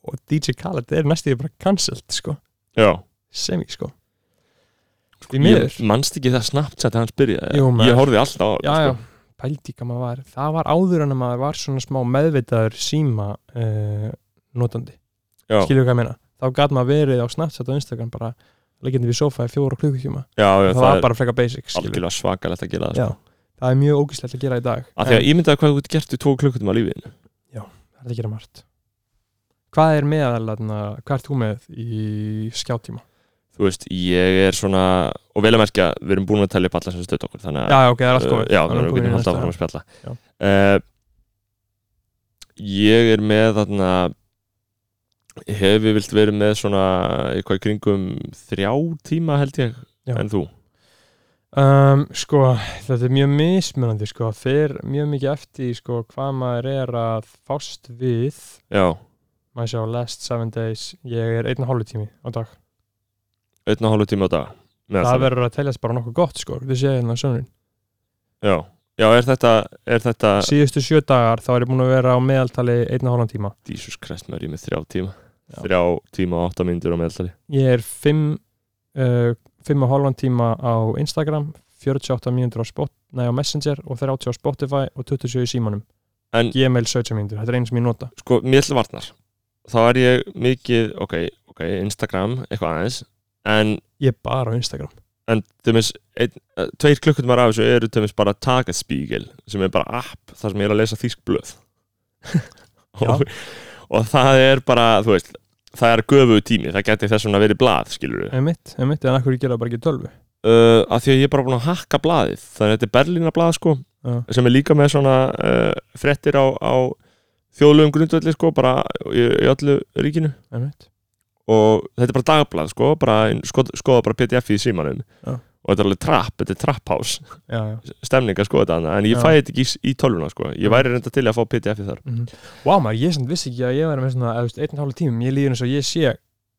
[SPEAKER 2] og DJ Khaled er næstu bara cancelled sko
[SPEAKER 1] já
[SPEAKER 2] semi sko Því miður.
[SPEAKER 1] Ég manst ekki það Snapchat að hans byrjaði
[SPEAKER 2] Jú, maður.
[SPEAKER 1] Ég horfði alltaf á sko. þetta,
[SPEAKER 2] já, já, pældi hvað Sko, maður var það var áður en að maður var svona smá meðvitaður síma uh, notandi,
[SPEAKER 1] Já.
[SPEAKER 2] skilur hvað ég meina þá gat maður verið á Snapchat og Instagram bara leggjandi við sofa í fjóra klukkukjúma
[SPEAKER 1] já, já,
[SPEAKER 2] það,
[SPEAKER 1] það,
[SPEAKER 2] var
[SPEAKER 1] er
[SPEAKER 2] bara frekar basic skilur
[SPEAKER 1] algjörlega svakalegt að gera það sko.
[SPEAKER 2] já, það er mjög ógislegt að gera í dag
[SPEAKER 1] Af því að
[SPEAKER 2] en
[SPEAKER 1] ímyndaði hvað þú getur gert í tvo klukkutum á lífiðinu
[SPEAKER 2] það er að gera margt hvað er meðal, þarna, hvað ert þú með í skjáttíma?
[SPEAKER 1] Þú veist, ég er svona Og vel að merkja, við erum búin að tala upp alla sem stöðt okkur Þannig að
[SPEAKER 2] Já, já, ok, það er allt komið
[SPEAKER 1] Uh, Já,
[SPEAKER 2] Þannig
[SPEAKER 1] þannig að við
[SPEAKER 2] komið í
[SPEAKER 1] getum
[SPEAKER 2] næsta.
[SPEAKER 1] alltaf fram að spjalla uh, Ég er með þarna hef ég vilt verið með svona eitthvað í kringum þrjá tíma held ég
[SPEAKER 2] Já.
[SPEAKER 1] en þú
[SPEAKER 2] Um, sko, þetta er mjög mismunandi sko, fyrr mjög mikið eftir í, sko, hvað maður er að fást við
[SPEAKER 1] Já,
[SPEAKER 2] maður sjá last seven days ég er einn og hálfu tími á dag
[SPEAKER 1] einn og hálfu tíma á dag með
[SPEAKER 2] það
[SPEAKER 1] það.
[SPEAKER 2] verður að teljast bara nokkuð gott sko, þið séu hérna sömurinn
[SPEAKER 1] Já, já er þetta, er þetta
[SPEAKER 2] síðustu sjö dagar þá er ég búin að vera á meðaltali einn og hálfan tíma
[SPEAKER 1] Jesus Christ, maður ég er með þrjá tíma
[SPEAKER 2] Já.
[SPEAKER 1] þrjá tíma og átta myndir á meðaltali
[SPEAKER 2] ég er fimm uh, fimm og hálfan tíma á Instagram 48 mínútur á, spot, nei, á Messenger og 30 á Spotify og 27 í símanum
[SPEAKER 1] En-
[SPEAKER 2] Gmail 17 mínútur, þetta er einu sem ég nota
[SPEAKER 1] Sko, mér til varnar þá er ég mikið, ok, ok Instagram, eitthvað aðeins en
[SPEAKER 2] ég er bara á Instagram
[SPEAKER 1] en tumis, ein, eh, tveir klukkutumar af þessu eru tumis bara Tagesspiegel sem er bara app þar sem ég er að lesa þýsk blöð [laughs] og, og það er bara þú veist, það er göfu tími það geti þess vegna verið blað, skilur við
[SPEAKER 2] emitt, emitt, en akkur ég gera það bara ekki í tölvu
[SPEAKER 1] uh, af því að ég er bara búin að hakka blaðið þannig að þetta er Berlína blað sko
[SPEAKER 2] Já.
[SPEAKER 1] sem er líka með svona uh, frettir á, á þjóðlegum grundvöldi sko bara í, í öllu ríkinu
[SPEAKER 2] emitt,
[SPEAKER 1] sko, og þetta er bara dagblað sko, bara, skoða, skoða bara pdf í símanum
[SPEAKER 2] Já.
[SPEAKER 1] og þetta er alveg trap, þetta er trap house
[SPEAKER 2] já, já.
[SPEAKER 1] stemning að skoða þetta annað, en ég
[SPEAKER 2] Já.
[SPEAKER 1] fæ þetta ekki í, í tölvuna sko, ég væri reynda til að fá pdf í þar
[SPEAKER 2] Mm Vá maður, ég samt vissi ekki að ég væri með svona eða, þú veist, einn og hálf tímum, ég líður eins og ég sé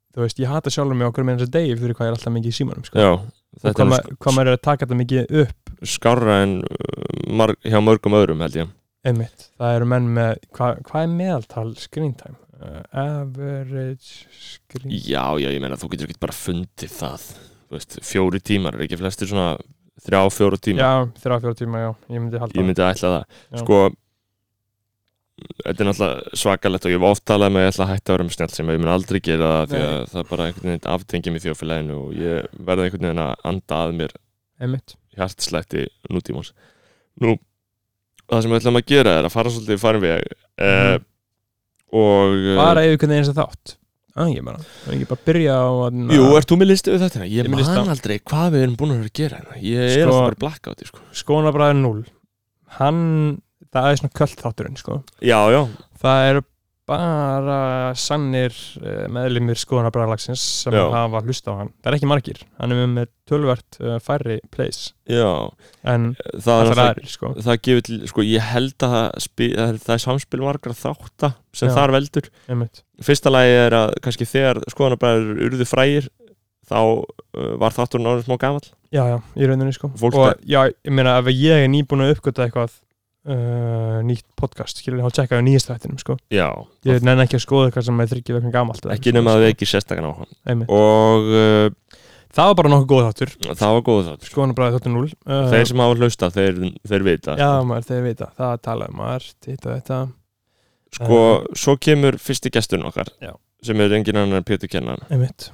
[SPEAKER 2] þú veist, ég hata sjálfur mig okkur með þessu degi fyrir hvað ég er alltaf mikið í símanum sko.
[SPEAKER 1] já,
[SPEAKER 2] og
[SPEAKER 1] þetta
[SPEAKER 2] hvað,
[SPEAKER 1] er
[SPEAKER 2] ma hvað maður er að taka þetta mikið upp
[SPEAKER 1] sk- skárra en uh, marg, hjá mörgum öðrum held
[SPEAKER 2] Mm.
[SPEAKER 1] ég
[SPEAKER 2] einmitt, það eru menn með hvað, hvað er meðaltal screen time? Uh, average screen
[SPEAKER 1] já, já, ég meina þú getur ekki bara fundið það þú veist, fjóri tímar er ekki flestir svona þrjá, fjóru tímar
[SPEAKER 2] Já, þrjá fjóra tíma, já, ég myndi halda
[SPEAKER 1] ég myndi að ætla það
[SPEAKER 2] Já.
[SPEAKER 1] sko þetta er náttúrulega svakalegt og ég var oft talað með að ég ætla að hætta að vera með snjall sem ég mun aldrei gera það því að það bara einhvern veginn aftengjum í þjófélaginu og ég verða einhvern veginn að anda að mér
[SPEAKER 2] einmitt
[SPEAKER 1] hjartslætti nútímans nú, það sem við ætlum að gera er að fara svolítið í farin við eh,
[SPEAKER 2] Mhm.
[SPEAKER 1] og eh,
[SPEAKER 2] bara ef einhvern veginn sem þátt að ég bara, það er ekki bara að byrja á að
[SPEAKER 1] Jú, ert þú með listu við þetta? Ég,
[SPEAKER 2] Ég er
[SPEAKER 1] ég
[SPEAKER 2] með lista.
[SPEAKER 1] man aldrei hvað við erum búin að vera að gera hérna. Ég er
[SPEAKER 2] Sko-
[SPEAKER 1] alltaf bara blackout sko.
[SPEAKER 2] skónabræður 0 hann, það er svona kvöld þátturinn sko.
[SPEAKER 1] Já, já,
[SPEAKER 2] það eru bara sannir eh, meðlimir skoðanabræðalagsins sem
[SPEAKER 1] Já.
[SPEAKER 2] hafa hlusta á hann það er ekki margir, hann er með tölvert eh, færri plays
[SPEAKER 1] já
[SPEAKER 2] en
[SPEAKER 1] Það er
[SPEAKER 2] allar
[SPEAKER 1] alltaf
[SPEAKER 2] aðrir sko.
[SPEAKER 1] það gefur til, sko, ég held að það, spi, það, er, það er samspil margra þátta sem
[SPEAKER 2] Já.
[SPEAKER 1] þar veldur.
[SPEAKER 2] einmitt,
[SPEAKER 1] Fyrsta lagi er að kannski þegar skoðanabræður urðu frægir þá uh, var þátturinn árið smá gamall.
[SPEAKER 2] já já, í rauninni sko
[SPEAKER 1] Fólk
[SPEAKER 2] og já, ég meina ef ég er nýbúin að uppgöta eitthvað uh, nýtt podcast, skilur ég að tjekka á nýjast þættinum sko,
[SPEAKER 1] Já,
[SPEAKER 2] ég nenni ekki að skoða eitthvað sem er þryggja vegna gamalt eða
[SPEAKER 1] ekki
[SPEAKER 2] eitthvað,
[SPEAKER 1] nema að
[SPEAKER 2] sko.
[SPEAKER 1] við ekki sérstakann á hann.
[SPEAKER 2] Einmitt.
[SPEAKER 1] Og uh,
[SPEAKER 2] það var bara nokkuð góð þáttur
[SPEAKER 1] það var góð þáttur.
[SPEAKER 2] skoðanabræði þáttur 0 uh,
[SPEAKER 1] Þeir sem hafa hlusta, þeir, þeir vita.
[SPEAKER 2] já maður, þeir vita, það um talaði maður þetta, þetta,
[SPEAKER 1] Sko, svo kemur fyrsti gesturinn okkar
[SPEAKER 2] Já.
[SPEAKER 1] sem er engin annar en Pétur Kennan.
[SPEAKER 2] Eh, einmitt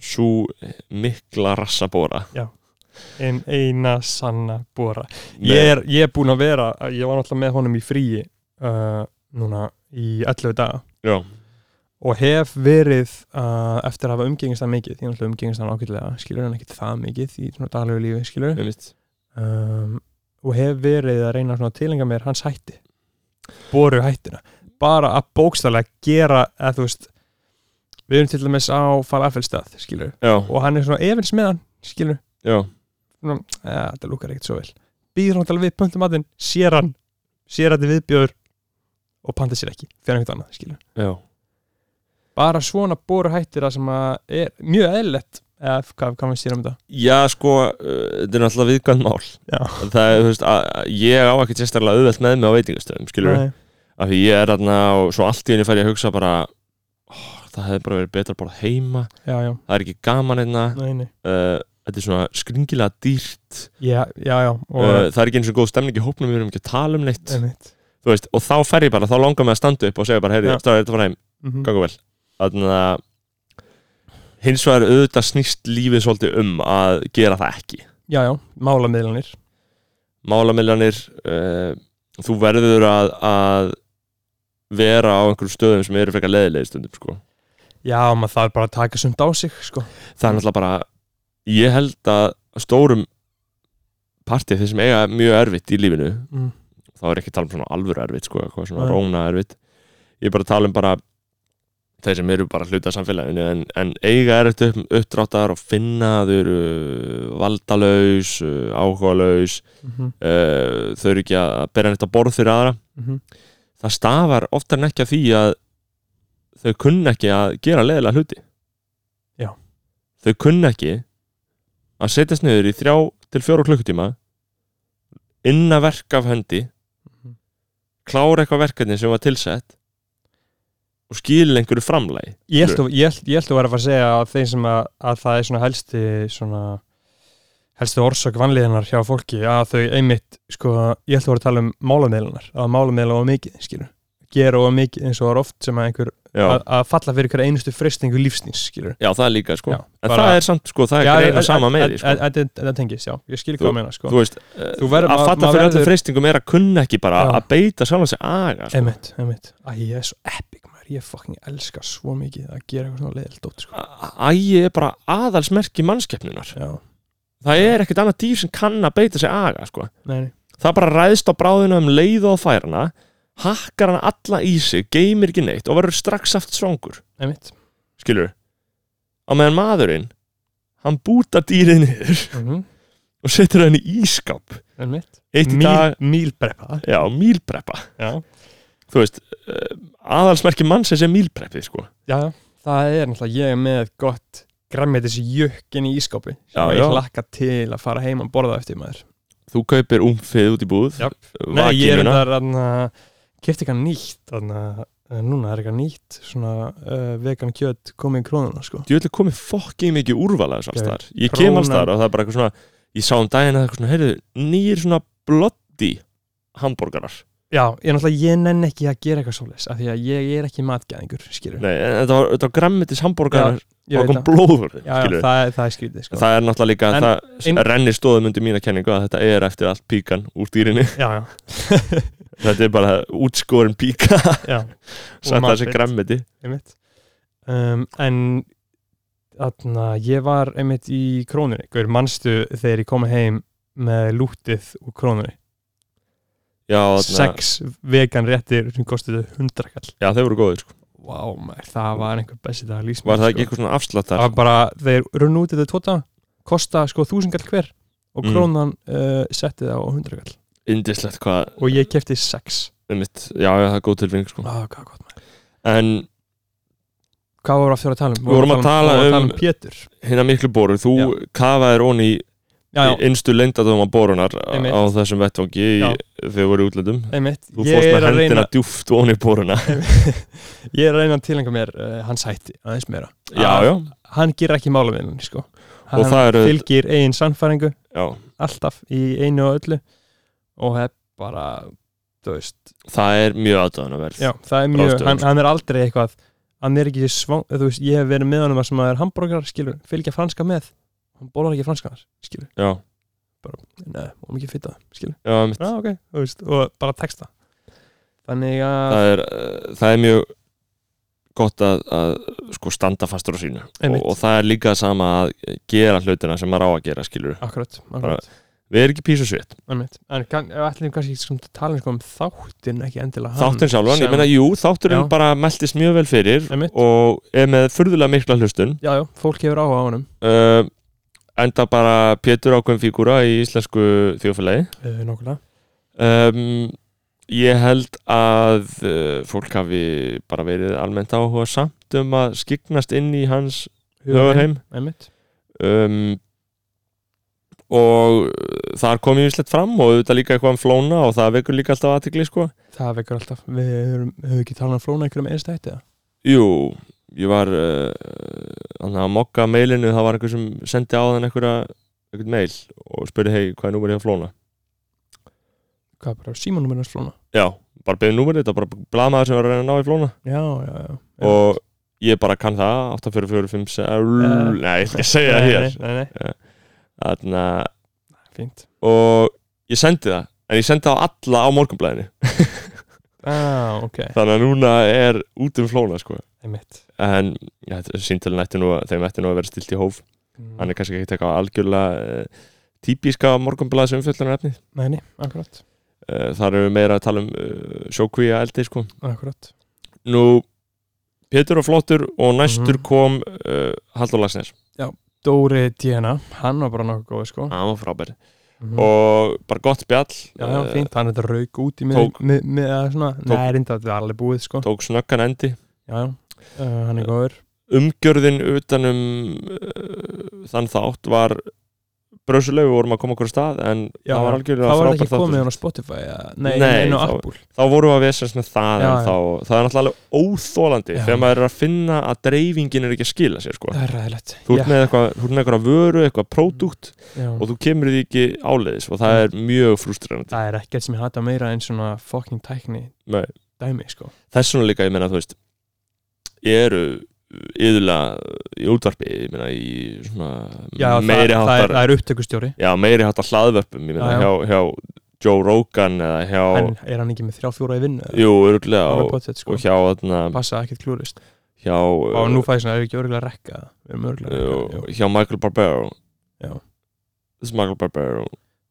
[SPEAKER 1] Sú mikla rassabóra.
[SPEAKER 2] En eina sanna bóra ég er, ég er búin að vera Ég var náttúrulega með honum í fríi uh, Núna í 11 daga
[SPEAKER 1] Já,
[SPEAKER 2] Og hef verið uh, Eftir að hafa umgengist það mikið Því náttúrulega umgengist hann ágætlega Skilur hann ekkit það mikið Í svona daglegu lífi skilur
[SPEAKER 1] einmitt.
[SPEAKER 2] um, Og hef verið að reyna svona að tilenga mér Hans hætti Bóru hættina Bara að bókstælega gera Eða þú veist Við erum til dæmis á falafelstað skilur
[SPEAKER 1] Já,
[SPEAKER 2] Og hann er svona efins með hann skilur
[SPEAKER 1] já,
[SPEAKER 2] svona, ja, þetta lúkar ekkert svo vel býður hann til að við pöntum matinn, sér hann sér að þetta viðbjöður og panta sér ekki, fyrir einhvern annað skilur
[SPEAKER 1] já.
[SPEAKER 2] bara svona boru hættir að sem að er mjög eðlilegt eða hvað, hvað maður sér um þetta
[SPEAKER 1] Já, sko, uh, þetta er náttúrulega viðkvæmt mál
[SPEAKER 2] Já.
[SPEAKER 1] Það er, þú veist, að, að ég á ekkert sérstaklega auðvelt með mig á veitingastöðum, skilur við
[SPEAKER 2] Nei,
[SPEAKER 1] Af því ég er þarna og svo allt í henni fær ég að hugsa bara ó, Það hefði bara verið betra að borða heima
[SPEAKER 2] já, já,
[SPEAKER 1] Það er ekki gaman einna uh,
[SPEAKER 2] nei, nei
[SPEAKER 1] Þetta er svona skringilega dýrt
[SPEAKER 2] já, já, já, og
[SPEAKER 1] uh, Það er ekki eins og góð stemning í hópnum Við erum ekki að tala um neitt
[SPEAKER 2] einmitt
[SPEAKER 1] Þú veist, og þá fer ég bara, þá langar mig að standa upp og segja bara Heyri,
[SPEAKER 2] Já.
[SPEAKER 1] stráður, þetta var heim,
[SPEAKER 2] Mhm.
[SPEAKER 1] gangu vel Þannig að hins vegar auðvitað snýst lífið svolítið um að gera það ekki
[SPEAKER 2] já, já, málamiðlanir
[SPEAKER 1] málamiljanir uh, þú verður að, að vera á einhverjum stöðum sem eru frekar leðilegi stundum sko.
[SPEAKER 2] já, maður þarf bara að taka sumt á sig sko.
[SPEAKER 1] það er náttúrulega bara ég held að stórum partið þeir sem eiga mjög erfitt í lífinu
[SPEAKER 2] mm.
[SPEAKER 1] þá er ekki að tala um svona alvöru erfitt sko, eitthvað svona
[SPEAKER 2] Nei.
[SPEAKER 1] róna erfitt ég er bara að tala um bara þeir sem eru bara hluta af samfélaginu en, en eiga er upp, uppdráttar og finna þau eru uh, valdalaus uh, áhugalaus
[SPEAKER 2] Mm -hmm.
[SPEAKER 1] uh, þau eru ekki að bera neitt að borð fyrir aðra það stafar oftar en ekki af því að þau kunna ekki að gera leðilega hluti
[SPEAKER 2] Já.
[SPEAKER 1] þau kunna ekki að setjast niður í þrjá til fjóra klukkutíma inna verk af hendi
[SPEAKER 2] Mhm.
[SPEAKER 1] klára eitthvað verkefni sem var tilsett og skilja einhverju framlægi
[SPEAKER 2] Ég held að- ég held- ég held að vera að fara að segja að þeim sem að, að það er svona helsti svona helsti orsök vanlíðanar hjá fólki að þau einmitt, sko, ég held að vera að tala um málameðlunar, að málameðla og mikið skilur, gera og mikið eins og var oft sem að einhver,
[SPEAKER 1] já.
[SPEAKER 2] að, að falla fyrir hverja einustu fristingu lífsnins, skilur
[SPEAKER 1] já, það er líka sko
[SPEAKER 2] Já,
[SPEAKER 1] en
[SPEAKER 2] bara-
[SPEAKER 1] það er samt sko, það er ekki reyna sama meði sko.
[SPEAKER 2] Það tengist, já, ég skil hvað að meina, sko
[SPEAKER 1] þú veist,
[SPEAKER 2] Þú
[SPEAKER 1] þú að
[SPEAKER 2] verður- ma-
[SPEAKER 1] fatta
[SPEAKER 2] maður
[SPEAKER 1] fyrir öllum
[SPEAKER 2] verður-
[SPEAKER 1] freystingum er að kunna ekki bara
[SPEAKER 2] Já.
[SPEAKER 1] að beita sjálf sig aga sko.
[SPEAKER 2] Einmitt, einmitt, æ, ég er svo epic maður, ég fucking elska svo mikið að gera eitthvað svona leðilt dót, sko
[SPEAKER 1] ægi er bara aðalsmerki mannskeppnunar
[SPEAKER 2] Já,
[SPEAKER 1] það er ekkert annað dýr sem kann að beita sig aga sko.
[SPEAKER 2] nei, nei,
[SPEAKER 1] það bara ræðst á bráðina um leið og færana hakkar hann alla í sig geymir ekki neitt og verður strax aft svangur
[SPEAKER 2] einmitt
[SPEAKER 1] skilur á meðan maðurinn hann bútar dýrið niður [laughs]
[SPEAKER 2] mm -hmm.
[SPEAKER 1] og setur hann í ískáp
[SPEAKER 2] en mitt
[SPEAKER 1] eitt í dag,
[SPEAKER 2] Mílbrepa
[SPEAKER 1] já, mílpreppa
[SPEAKER 2] já.
[SPEAKER 1] þú veist, uh, aðalsmerki mannsins er mílpreppið sko
[SPEAKER 2] já, það er náttúrulega ég er með gott græmmetis jökkin í ískopi
[SPEAKER 1] Já,
[SPEAKER 2] sem ég
[SPEAKER 1] já.
[SPEAKER 2] hlakka til að fara heim að borða eftir maður
[SPEAKER 1] þú kaupir umfið út í búð
[SPEAKER 2] Japp. Nei, ég er
[SPEAKER 1] vakinuna,
[SPEAKER 2] þar að kipta eitthvað nýtt þarna, eh, núna er eitthvað nýtt svona uh, vegan kjöt komið í krónuna sko.
[SPEAKER 1] ég vil komið fokkið mikið úrvalega alls
[SPEAKER 2] Geðveikt.
[SPEAKER 1] þar, ég kem alls
[SPEAKER 2] Krónan.
[SPEAKER 1] þar og það er bara eitthvað svona, ég sá um daginn að eitthvað svona, heyrðu, nýjir svona blotti hambúrgarar,
[SPEAKER 2] Já, ég náttúrulega, ég nenn ekki að gera eitthvað svoleiðis af því að ég er ekki matgæðingur, skilur
[SPEAKER 1] nei, en þetta var, þetta var grammetis hambúrgarar
[SPEAKER 2] ég
[SPEAKER 1] og
[SPEAKER 2] veit
[SPEAKER 1] kom
[SPEAKER 2] það
[SPEAKER 1] blóður
[SPEAKER 2] Já, já,
[SPEAKER 1] skilurðu.
[SPEAKER 2] það, er- það er skrítið sko.
[SPEAKER 1] það er náttúrulega líka,
[SPEAKER 2] En
[SPEAKER 1] það
[SPEAKER 2] ein-
[SPEAKER 1] rennir stóðum undir mína kenningu að þetta er eftir allt píkan úr dýrinni,
[SPEAKER 2] Já, já,
[SPEAKER 1] [laughs] þetta er bara útskorin píka [laughs]
[SPEAKER 2] já,
[SPEAKER 1] satt
[SPEAKER 2] matfett.
[SPEAKER 1] þessi grammiti
[SPEAKER 2] einmitt um, En þarna, ég var einmitt í krónunni Hver manstu þegar ég kom heim með lútið úr krónunni
[SPEAKER 1] já, þarna-
[SPEAKER 2] Sex vegan réttir sem kostiði hundrakall
[SPEAKER 1] já, þeir voru góðir sko.
[SPEAKER 2] Vá, maður, það var einhver besti dag líst
[SPEAKER 1] var það ekki eitthvað svona afslátt
[SPEAKER 2] sko. Það
[SPEAKER 1] þar
[SPEAKER 2] var bara, þeir runnu út í þetta tóta kosta sko þúsingall hver og
[SPEAKER 1] Mm.
[SPEAKER 2] krónan uh, setti það á hundrakall
[SPEAKER 1] indislegt hvað,
[SPEAKER 2] og ég kefti sex
[SPEAKER 1] um mitt, já, já, það er góð tilfinning sko.
[SPEAKER 2] ah, hvað, gott, maður.
[SPEAKER 1] en
[SPEAKER 2] hvað voru aftur að tala um?
[SPEAKER 1] Við vorum að tala
[SPEAKER 2] vorum að tala
[SPEAKER 1] um-
[SPEAKER 2] um Pétur
[SPEAKER 1] hérna miklu boru, þú já. kafaðir ón í
[SPEAKER 2] Já, já,
[SPEAKER 1] innstu lendadóma borunar
[SPEAKER 2] Einmitt.
[SPEAKER 1] á þessum vettvangi í,
[SPEAKER 2] Já.
[SPEAKER 1] þegar voru í útlöndum
[SPEAKER 2] einmitt
[SPEAKER 1] þú
[SPEAKER 2] ég
[SPEAKER 1] fórst
[SPEAKER 2] er,
[SPEAKER 1] með
[SPEAKER 2] að
[SPEAKER 1] hendina
[SPEAKER 2] reyna,
[SPEAKER 1] djúft ón í
[SPEAKER 2] [laughs]
[SPEAKER 1] boruna
[SPEAKER 2] ég er að reyna að tilhenga mér uh, hans hætti aðeins meira
[SPEAKER 1] já,
[SPEAKER 2] Að
[SPEAKER 1] já,
[SPEAKER 2] Hann ger ekki mála við henni sko
[SPEAKER 1] og
[SPEAKER 2] Hann
[SPEAKER 1] það eru
[SPEAKER 2] fylgir eigin sannfæringu
[SPEAKER 1] já,
[SPEAKER 2] alltaf í einu og öllu og það er bara, þú veist
[SPEAKER 1] það er mjög aðdöðanverð
[SPEAKER 2] Já, það er mjög,
[SPEAKER 1] Ráðstöfun.
[SPEAKER 2] hann, hann er aldrei eitthvað hann er ekki svang, þú veist, ég hef verið með honum að sem að er hambúrgar, skilur, fylgja franska með hann bólar ekki franskanar, skilur
[SPEAKER 1] já,
[SPEAKER 2] neða, og mikið fitta, skilur
[SPEAKER 1] já, einmitt.
[SPEAKER 2] já, ok, þú veist, og bara texta þannig að,
[SPEAKER 1] það er, uh, það er mjög gott að, að sko standa fastur á sínu og,
[SPEAKER 2] Einmitt.
[SPEAKER 1] og það er líka sama að gera hlutina sem maður á að gera skilur
[SPEAKER 2] akkurat, akkurat
[SPEAKER 1] við erum ekki písu sveit,
[SPEAKER 2] einmitt. en kann, ef ætlum kannski sem tala um þáttin, ekki endilega hann
[SPEAKER 1] þáttin sjálfan ég
[SPEAKER 2] sem-
[SPEAKER 1] meina jú, þátturinn
[SPEAKER 2] Ah, Já.
[SPEAKER 1] bara meldist mjög vel fyrir
[SPEAKER 2] Einmitt.
[SPEAKER 1] og er með furðulega mikla hlustun
[SPEAKER 2] já, já, fólk hefur áhuga á honum
[SPEAKER 1] uh, enda bara Pétur ákveðin fígúra í íslensku þjófélagi
[SPEAKER 2] uh, nokkulega,
[SPEAKER 1] um, ég held að uh, fólk hafi bara verið almennt áhuga samt um að skiknast inn í hans höfurheim
[SPEAKER 2] einmitt,
[SPEAKER 1] um, og eh, þar kom ég vislegt fram og auðvitað líka eitthvað um flóna og það vekur líka alltaf aðtikli sko
[SPEAKER 2] það vekur alltaf við höfum, höfum ekki talað um flóna einhverjum einstætti eða?
[SPEAKER 1] Jú, ég var uh, þannig að mokka mailinu það var einhver sem sendi á þann einhverja einhvern mail og spurði hei hvað er númerið hjá flóna
[SPEAKER 2] hvað bara símanúmerið hans flóna
[SPEAKER 1] Já, bara beðið númerið, þetta var bara blamaður sem var að reyna að ná í flóna
[SPEAKER 2] já, já, já, já.
[SPEAKER 1] og ég bara kann það 8445
[SPEAKER 2] Já.
[SPEAKER 1] Nei, ég skal segja það
[SPEAKER 2] Nei,
[SPEAKER 1] hér
[SPEAKER 2] nei, nei, nei.
[SPEAKER 1] Þarna,
[SPEAKER 2] fínt
[SPEAKER 1] og ég sendi það en ég sendi það á alla á morgunblæðinu
[SPEAKER 2] [laughs] ah, ok,
[SPEAKER 1] þannig að núna er út um flóna sko.
[SPEAKER 2] einmitt
[SPEAKER 1] en ja, síntalinn ætti nú að- þeim ætti nú að vera stilt í hóf hann er kannski ekki tekað á algjörlega uh, típiska morgunblæðis umfjöllunar efni
[SPEAKER 2] nei, nei, akkurat,
[SPEAKER 1] uh, þar erum við meira að tala um uh, sjókvíja eldi sko.
[SPEAKER 2] akkurat
[SPEAKER 1] nú Pétur og Flottur og næstur
[SPEAKER 2] Mhm.
[SPEAKER 1] kom uh, Haldur Lagsnes
[SPEAKER 2] Dóri Diana, hann var bara nokkuð góð sko
[SPEAKER 1] hann var frábær
[SPEAKER 2] Mhm.
[SPEAKER 1] og bara gott spjall
[SPEAKER 2] já, já,
[SPEAKER 1] eh,
[SPEAKER 2] fínt, hann er þetta rauk út í
[SPEAKER 1] tók-
[SPEAKER 2] mið, mið, mið að svona,
[SPEAKER 1] tók-
[SPEAKER 2] nei, reynda þetta er alveg búið sko
[SPEAKER 1] tók snöggan endi
[SPEAKER 2] já, já, uh,
[SPEAKER 1] Eh,
[SPEAKER 2] hann er góður
[SPEAKER 1] umgjörðin utanum uh, þann þátt var brösuleg, við vorum að koma okkur af stað en
[SPEAKER 2] já,
[SPEAKER 1] það var algjörlega
[SPEAKER 2] það var
[SPEAKER 1] frábær
[SPEAKER 2] ekki komið
[SPEAKER 1] þáttur
[SPEAKER 2] hann á Spotify ja. nei,
[SPEAKER 1] Nei,
[SPEAKER 2] nei, nei, á
[SPEAKER 1] þá-
[SPEAKER 2] Apple
[SPEAKER 1] þá vorum við að vesens með það
[SPEAKER 2] Já,
[SPEAKER 1] en þá, það er náttúrulega alveg óþólandi
[SPEAKER 2] Já.
[SPEAKER 1] þegar maður er að finna að dreifingin er ekki að skila sér sko.
[SPEAKER 2] það er ræðilegt
[SPEAKER 1] þú ert með eitthvað, þú ert með eitthvað vöru, eitthvað pródúkt og
[SPEAKER 2] já,
[SPEAKER 1] þú kemur því ekki áleiðis og
[SPEAKER 2] Mhm.
[SPEAKER 1] það er mjög frustrerandi
[SPEAKER 2] það er ekkert sem ég hata meira en svona fucking tækni
[SPEAKER 1] Nei.
[SPEAKER 2] dæmi sko
[SPEAKER 1] þess vegna líka, ég meina, þú veist ég eru yðurlega í útvarpi, ég meina í svona
[SPEAKER 2] já,
[SPEAKER 1] meiri
[SPEAKER 2] það, það, er,
[SPEAKER 1] háttar
[SPEAKER 2] það er upptökustjóri
[SPEAKER 1] já, meiri háttar hlaðvörpum, ég meina
[SPEAKER 2] Já, já.
[SPEAKER 1] hjá, hjá Joe Rogan eða hjá,
[SPEAKER 2] en er hann ekki með þrjá fjóra í vinnu eða?
[SPEAKER 1] jú,
[SPEAKER 2] Það
[SPEAKER 1] örgulega
[SPEAKER 2] var
[SPEAKER 1] og,
[SPEAKER 2] pottet, sko.
[SPEAKER 1] og hérna- hjá, þarna,
[SPEAKER 2] passa ekkert klúrist
[SPEAKER 1] hjá
[SPEAKER 2] og nú fæði svona, er ekki örgulega rekka við erum
[SPEAKER 1] uh,
[SPEAKER 2] örgulega rekka
[SPEAKER 1] hjá Michael Barbero
[SPEAKER 2] Já.
[SPEAKER 1] This is Michael Barbero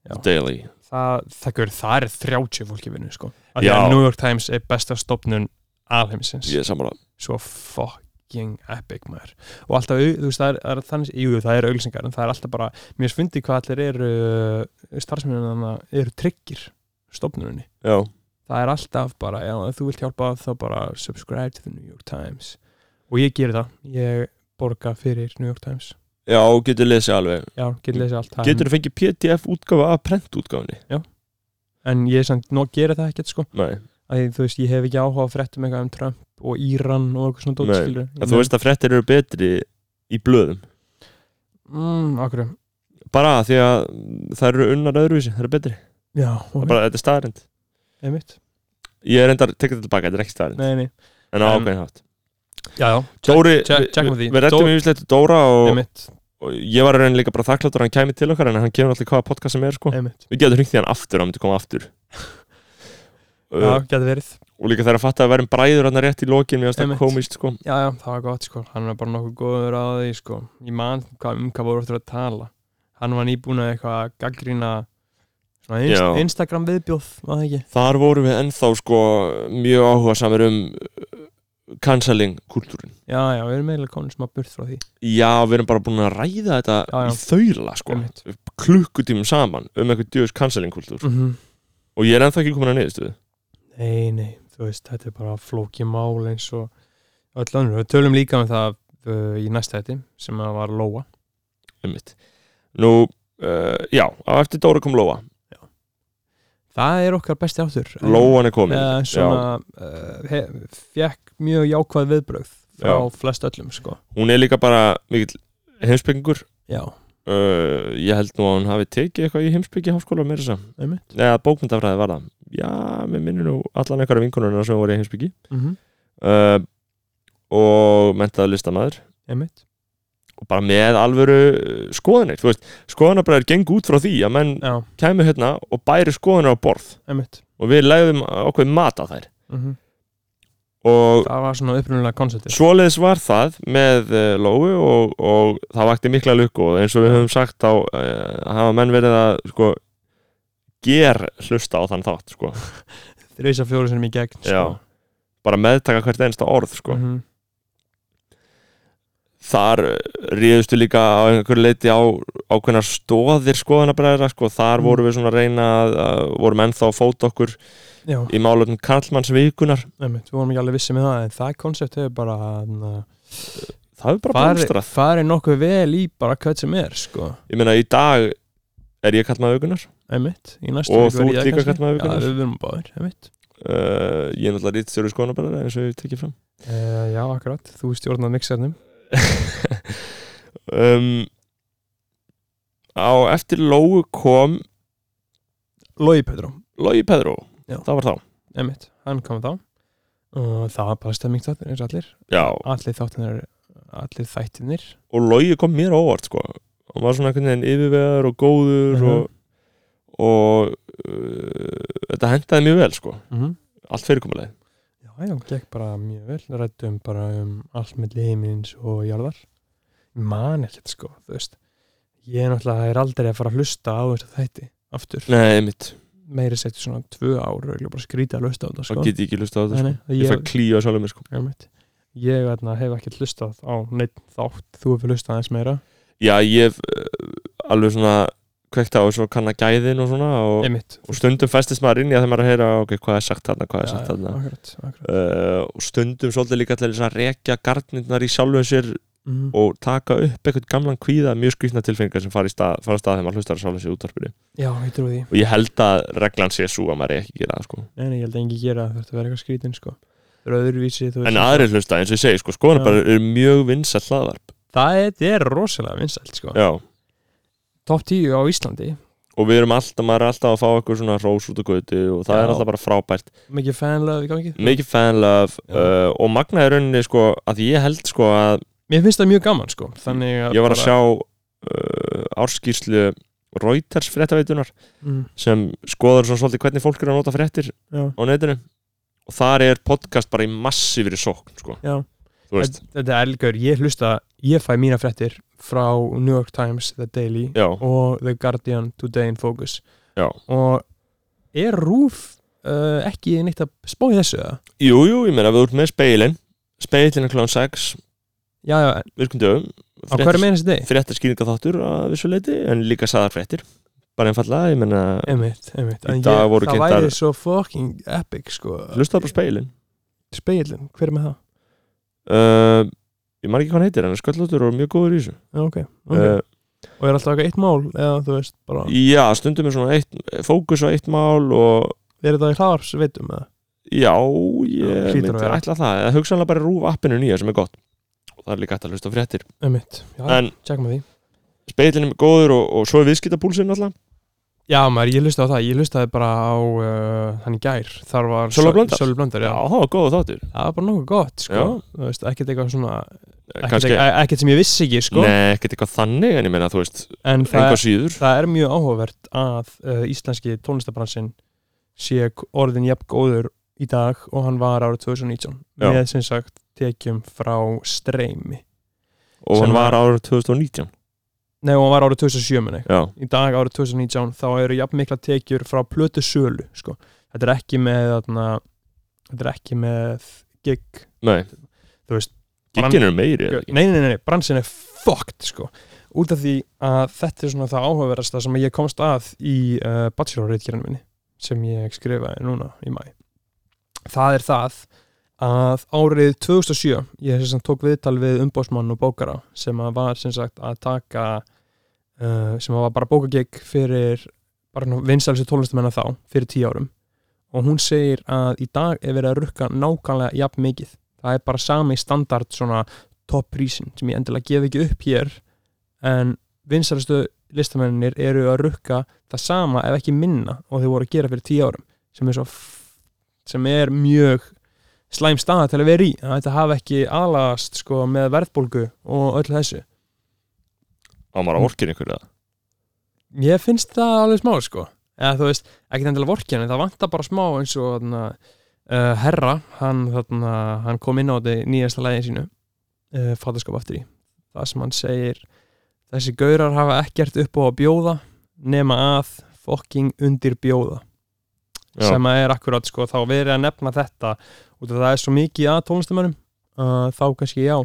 [SPEAKER 2] Já.
[SPEAKER 1] Daily
[SPEAKER 2] það, það, það, það er 30 fólki vinnu sko. Af því
[SPEAKER 1] Já.
[SPEAKER 2] að New York Times er besta stopnun alheimsins
[SPEAKER 1] ég er sammála
[SPEAKER 2] svo fuck fucking epic maður og alltaf, au- þú veist, það er, það er þannig, jú, jú, það er auglýsingar en það er alltaf bara, mér finnst hvað allir eru starfsmennina þarna eru tryggir stofnuninni
[SPEAKER 1] já,
[SPEAKER 2] það er alltaf bara, já, ef þú vilt hjálpa þá bara subscribe to the New York Times og ég gerir það, ég borga fyrir New York Times,
[SPEAKER 1] já, getur lesið alveg
[SPEAKER 2] já, getur lesið allt það,
[SPEAKER 1] getur þú fengið pdf útgáfa af prentútgáfinni
[SPEAKER 2] en ég samt, nó, gera það ekkert sko,
[SPEAKER 1] nei,
[SPEAKER 2] að því, þú veist, ég hef ekki áhuga að fréttum eitthvað um Trump og Íran og eitthvað svona
[SPEAKER 1] Nei,
[SPEAKER 2] dótskilur
[SPEAKER 1] en þú veist að frettir eru betri í blöðum
[SPEAKER 2] mm, akkur,
[SPEAKER 1] bara af því að það eru unnar öðruvísi, það eru betri
[SPEAKER 2] já,
[SPEAKER 1] það
[SPEAKER 2] ok,
[SPEAKER 1] er bara, þetta er staðarind
[SPEAKER 2] einmitt
[SPEAKER 1] ég er endar, tekur þetta tilbaka, þetta er ekki staðarind
[SPEAKER 2] nei, nei,
[SPEAKER 1] en á
[SPEAKER 2] En-
[SPEAKER 1] ákveðin hátt
[SPEAKER 2] já, já,
[SPEAKER 1] Dóri,
[SPEAKER 2] check- checkum
[SPEAKER 1] við-
[SPEAKER 2] á því.
[SPEAKER 1] við rettum
[SPEAKER 2] Dó-
[SPEAKER 1] yfirleitt Dóra og,
[SPEAKER 2] einmitt,
[SPEAKER 1] og ég var reynilega líka bara þakkláttur að hann kæmi til okkar en hann kemur alltaf í hvaða podcast sem er sko.
[SPEAKER 2] einmitt
[SPEAKER 1] við getum hringt í hann aftur, hann myndi koma aftur
[SPEAKER 2] [laughs] já,
[SPEAKER 1] uh,
[SPEAKER 2] getur verið,
[SPEAKER 1] og líka þegar að fatta að verðum bræður hann rétt í lokin, við erum
[SPEAKER 2] Einmitt.
[SPEAKER 1] komist sko.
[SPEAKER 2] já, já, það var gott sko hann var bara nokkuð góður á því sko ég man hvað, um hvað voru eftir að tala hann var nýbúin að eitthvað að gaggrína svona inst
[SPEAKER 1] Já.
[SPEAKER 2] Instagram viðbjóð, var það ekki
[SPEAKER 1] þar vorum við ennþá sko, mjög áhuga samir um uh, cancelling kultúrin
[SPEAKER 2] já, já, við erum eiginlega komin smá burt frá því
[SPEAKER 1] já, við erum bara búin að ræða þetta
[SPEAKER 2] Já, já.
[SPEAKER 1] í þaula sko.
[SPEAKER 2] einmitt
[SPEAKER 1] klukkutímum saman um eitthvað djöðs cancelling kultúr
[SPEAKER 2] mm
[SPEAKER 1] og ég er ennþá ekki komin að niðurstöðu
[SPEAKER 2] Nei, nei, þú veist, þetta er bara flókið mál eins og öll önnur. Við tölum líka um það uh, í næsta hætti sem að var Lóa.
[SPEAKER 1] einmitt. Nú, uh, já, á eftir Dóra kom Lóa
[SPEAKER 2] Það er okkar besti áttur. eh,
[SPEAKER 1] Lóan er komin
[SPEAKER 2] Eða svona, uh, fekk mjög jákvæð viðbrögð frá
[SPEAKER 1] Já.
[SPEAKER 2] flest öllum, sko.
[SPEAKER 1] Hún er líka bara mikill heimsbyggingur
[SPEAKER 2] Já,
[SPEAKER 1] uh, Ég held nú að hún hafi tekið eitthvað í heimsbyggi háskóla meira þess að
[SPEAKER 2] einmitt.
[SPEAKER 1] Eða bókmyndafræði var það Já, mér minnir nú allan einhverja vinkunarna sem voru í heimsbyggi
[SPEAKER 2] Mm
[SPEAKER 1] uh, Og mentaði listamaður
[SPEAKER 2] Einmitt.
[SPEAKER 1] Og bara með alvöru uh, skoðanir Þú veist, skoðanabræður gengu út frá því að menn
[SPEAKER 2] Já,
[SPEAKER 1] kæmu hérna og bæri skoðanir á borð
[SPEAKER 2] einmitt.
[SPEAKER 1] Og við legðum okkur mat á þær
[SPEAKER 2] Mm
[SPEAKER 1] Og
[SPEAKER 2] Það var svona upprunulega konceptið.
[SPEAKER 1] Svoleiðis var það með uh, Lóu og, og það vakti mikla lukku og eins og við höfum sagt þá uh, hafa menn verið að sko, ger hlusta á þann þátt sko.
[SPEAKER 2] Þreisa fjóru sem í gegn, sko.
[SPEAKER 1] Já. bara meðtaka hvert einsta orð sko.
[SPEAKER 2] Mhm.
[SPEAKER 1] þar ríðustu líka á einhverju leiti á ákveðnar stóðir skoðanabræðra sko. þar
[SPEAKER 2] Mm.
[SPEAKER 1] voru við svona að reyna að, að vorum ennþá að fóta okkur
[SPEAKER 2] Já,
[SPEAKER 1] í málöfnum Karlmanns vikunar
[SPEAKER 2] einmitt. Við vorum ekki alveg vissi með það, en það koncept hefur bara... Na,
[SPEAKER 1] það er bara
[SPEAKER 2] fari,
[SPEAKER 1] blómstrað
[SPEAKER 2] fari nokkuð vel í bara hvað sem er sko.
[SPEAKER 1] ég meina í dag er ég Karlmann vikunar
[SPEAKER 2] einmitt, í næstu
[SPEAKER 1] Og
[SPEAKER 2] viku
[SPEAKER 1] þú
[SPEAKER 2] verð ég
[SPEAKER 1] ert líka
[SPEAKER 2] kannski.
[SPEAKER 1] karlmaður vikunnar.
[SPEAKER 2] já, við verum báðir, einmitt
[SPEAKER 1] uh, ég er náttúrulega rít stjóri skoðanabræðra eins og ég tekið
[SPEAKER 2] [laughs]
[SPEAKER 1] fram
[SPEAKER 2] uh, já, akkurat, þú stjórnað mixarnum
[SPEAKER 1] um, á eftir Lóu kom
[SPEAKER 2] Lói Pedro,
[SPEAKER 1] Lói Pedro,
[SPEAKER 2] Já.
[SPEAKER 1] það var þá
[SPEAKER 2] einmitt, hann kom þá og það var bara stemming þáttir eins og allir
[SPEAKER 1] Já.
[SPEAKER 2] allir þáttinir, allir þættinir
[SPEAKER 1] og Lói kom mér á óvart sko. hann var svona einhvern veginn yfirvegar og góður
[SPEAKER 2] Mhm.
[SPEAKER 1] og, og uh, þetta hendaði mjög vel sko.
[SPEAKER 2] mm -hmm.
[SPEAKER 1] allt fyrirkomuleg
[SPEAKER 2] já, já, gekk bara mjög vel rættum bara um allt milli heimins og jarðar man ekkert sko, þú veist ég er náttúrulega, er aldrei að fara að hlusta á þess þætti aftur,
[SPEAKER 1] Nei, mitt,
[SPEAKER 2] meiri setjum svona tvö ár og ég bara skrýta að hlusta á þetta sko
[SPEAKER 1] það get ég ekki hlusta á þetta
[SPEAKER 2] Nei,
[SPEAKER 1] sko.
[SPEAKER 2] nei,
[SPEAKER 1] Ég fæ klíu á sjálfum mér sko.
[SPEAKER 2] Einmitt. Ég þarna, hef ekki hlustað á neitt þátt, þú hefur hlustað aðeins meira
[SPEAKER 1] Já, ég hef uh, alveg svona kveikt á þessu og kanna gæðin og svona og,
[SPEAKER 2] Einmitt
[SPEAKER 1] og stundum festist maður inn í að þegar maður er að heyra ok, hvað er sagt þarna, hvað er
[SPEAKER 2] Já,
[SPEAKER 1] sagt
[SPEAKER 2] já,
[SPEAKER 1] þarna
[SPEAKER 2] akkurat, akkurat.
[SPEAKER 1] uh, og stundum svolítið líka til þess að rekja gardnirnar í sjálfum sér
[SPEAKER 2] Mm.
[SPEAKER 1] og taka upp eitthvað gamlan kvíða mjög skrýtna tilfengar sem fara, í stað, fara að stað þegar maður hlustar á sjálfum sér í útvarpinu
[SPEAKER 2] Já, ég trúi því
[SPEAKER 1] og ég held að reglan sé svo að maður eigi ekki að gera það sko.
[SPEAKER 2] Nei, nei, ég held að engi gera það, þetta verður eitthvað skrítin sko. Það er öðruvísi þú veist.
[SPEAKER 1] en aðrir hlusta eins og ég segi sko, skoðan bara er mjög vinsætt hlaðvarp
[SPEAKER 2] Það er, þetta er rosalega vinsælt sko.
[SPEAKER 1] Já.
[SPEAKER 2] Top 10 á Íslandi
[SPEAKER 1] og við erum alltaf, maður er alltaf að fá eitthvað svona rós út og götu og það
[SPEAKER 2] Já.
[SPEAKER 1] er alltaf bara frábært
[SPEAKER 2] Mikið fanlöf í gangi
[SPEAKER 1] mikið fanlove
[SPEAKER 2] Mm. Já.
[SPEAKER 1] uh, og magnaði rauninni sko, að ég held sko að
[SPEAKER 2] Mér finnst það mjög gaman sko. Þannig að
[SPEAKER 1] ég var að sjá uh, árskýrslu Reuters fréttaveitunar
[SPEAKER 2] mm,
[SPEAKER 1] sem skoðar svona svolítið hvernig fólk eru að nota fréttir
[SPEAKER 2] Já,
[SPEAKER 1] á netinu og þar er podcast bara í massífri sókn sko,
[SPEAKER 2] já
[SPEAKER 1] þú veist
[SPEAKER 2] Þetta- Þetta er elgur, ég hlusta Ég fæ mína fréttir frá New York Times, The Daily
[SPEAKER 1] já,
[SPEAKER 2] og The Guardian, Today in Focus
[SPEAKER 1] Já.
[SPEAKER 2] og er Rúf uh, ekki neitt að spá í þessu eða?
[SPEAKER 1] jú, jú, ég meina við erum með speilin speilin er kláðan 6
[SPEAKER 2] já, já, en
[SPEAKER 1] virkum dögum
[SPEAKER 2] á hverju meina þessi deg?
[SPEAKER 1] fréttaskýringa þáttur að vissu leiti en líka saðar fréttir bara einfallega, ég menna
[SPEAKER 2] Einmitt, einmitt
[SPEAKER 1] Í
[SPEAKER 2] En
[SPEAKER 1] dag
[SPEAKER 2] ég-
[SPEAKER 1] voru
[SPEAKER 2] Það
[SPEAKER 1] kynntar-
[SPEAKER 2] væri svo fucking epic sko
[SPEAKER 1] hlustaðu bara speilin
[SPEAKER 2] Speilin, hver er með það?
[SPEAKER 1] uh, ég maður ekki hvað hann heitir, en sköllóttur og mjög góður í þessu
[SPEAKER 2] Já, Ok, okay.
[SPEAKER 1] Uh,
[SPEAKER 2] Og er alltaf eitthvað eitt mál eða þú veist bara
[SPEAKER 1] Eh, já, stundum er svona eitt, fókus á eitt mál og
[SPEAKER 2] Er þetta í hraðarsveitum eða?
[SPEAKER 1] já,
[SPEAKER 2] Já,
[SPEAKER 1] ég
[SPEAKER 2] hlýtur að
[SPEAKER 1] myndi
[SPEAKER 2] vera.
[SPEAKER 1] ætla það eða hugsanlega bara rúf appinu nýja sem er gott og það er líka hægt að hlusta á fréttir
[SPEAKER 2] Einmitt, já,
[SPEAKER 1] en
[SPEAKER 2] tjekkum við því
[SPEAKER 1] speilin er góður og, og svo er viðskiptabúlsinn alltaf
[SPEAKER 2] Já maður, ég hlustaði á það, ég hlustaði bara á uh, hann í gær, þar var
[SPEAKER 1] Sölva Blöndal?
[SPEAKER 2] Sölva Blöndar,
[SPEAKER 1] já,
[SPEAKER 2] já.
[SPEAKER 1] það var góð þáttur
[SPEAKER 2] Það var bara nokkuð gott, sko
[SPEAKER 1] Já.
[SPEAKER 2] Þú veist, ekkert eitthvað svona ekkert,
[SPEAKER 1] Eh, kannski,
[SPEAKER 2] eitthvað, ekkert sem ég vissi ekki, sko
[SPEAKER 1] nei, ekkert eitthvað þannig en ég meina, þú veist,
[SPEAKER 2] En það,
[SPEAKER 1] einhvað síður
[SPEAKER 2] það er mjög áhugavert að uh, íslenski tónlistabransinn sé k- orðin jafn góður í dag og hann var árið 2019
[SPEAKER 1] Já.
[SPEAKER 2] með sem sagt tekjum frá streymi
[SPEAKER 1] og
[SPEAKER 2] sem
[SPEAKER 1] hann var
[SPEAKER 2] að-
[SPEAKER 1] árið 2019
[SPEAKER 2] Nei, og hann var árið 2007 minni
[SPEAKER 1] já,
[SPEAKER 2] í dag árið 2019 þá eru jafn mikla tekjur frá plötu sölu sko. þetta er ekki með þarna, þetta er ekki með gig
[SPEAKER 1] nei,
[SPEAKER 2] þú veist,
[SPEAKER 1] giggin eru meiri eða ekki?
[SPEAKER 2] nei, nei, nei, nei, bransin er fucked sko. út af því að þetta er svona það áhugaverasta sem ég komst að í uh, bachelorreitgerinu minni sem ég skrifaði núna í mæ það er það að árið 2007 ég sem sagt tók viðtal við umbósmann og bókara sem að var sem sagt að taka uh, sem að var bara bókagegg fyrir bara vinsælstu tónlistamennar þá fyrir tíu árum og hún segir að í dag er verið að rukka nákvæmlega jafn mikið það er bara sami standard svona top prísin sem ég endilega gef ekki upp hér en vinsælstu listamennir eru að rukka það sama ef ekki minna og þau voru að gera fyrir tíu árum sem er svo f- sem er mjög slæm staða til að vera í að þetta hafi ekki aðlagast sko með verðbólgu og öllu þessu
[SPEAKER 1] á maður að orkir einhverja
[SPEAKER 2] Ég finnst það alveg smá sko eða þú veist, ekkert endilega vorkjan en það vantar bara smá eins og þarna, uh, herra, hann, þarna, hann kom inn á þetta nýjasta lægin sínu uh, fattaskap aftur í það sem hann segir þessi gaurar hafa ekkert upp á að bjóða nema að fokking undir bjóða
[SPEAKER 1] Já.
[SPEAKER 2] sem að er akkurat sko þá verið að nefna þetta út af það er svo mikið að tónlistamönnum uh, þá kannski já,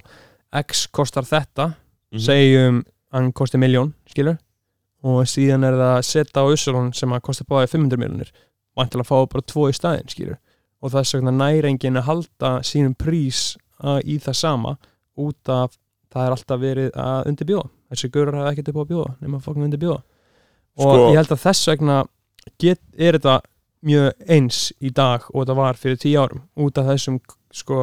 [SPEAKER 2] X kostar þetta
[SPEAKER 1] Mhm.
[SPEAKER 2] segjum hann kosti miljón skilur og síðan er það seta á Ussalón sem að kosti báði 500 miljónir vantilega að fá bara tvo í staðinn skilur og þess vegna næringin að halda sínum prís uh, í það sama út af það er alltaf verið að undirbjóða þessi gaurar hafa ekkert upp á að bjóða nema að fokkin undirbjóða og
[SPEAKER 1] Sko-
[SPEAKER 2] ég held að þess vegna get, er þetta mjög eins í dag og þetta var fyrir tíu árum út af þessum sko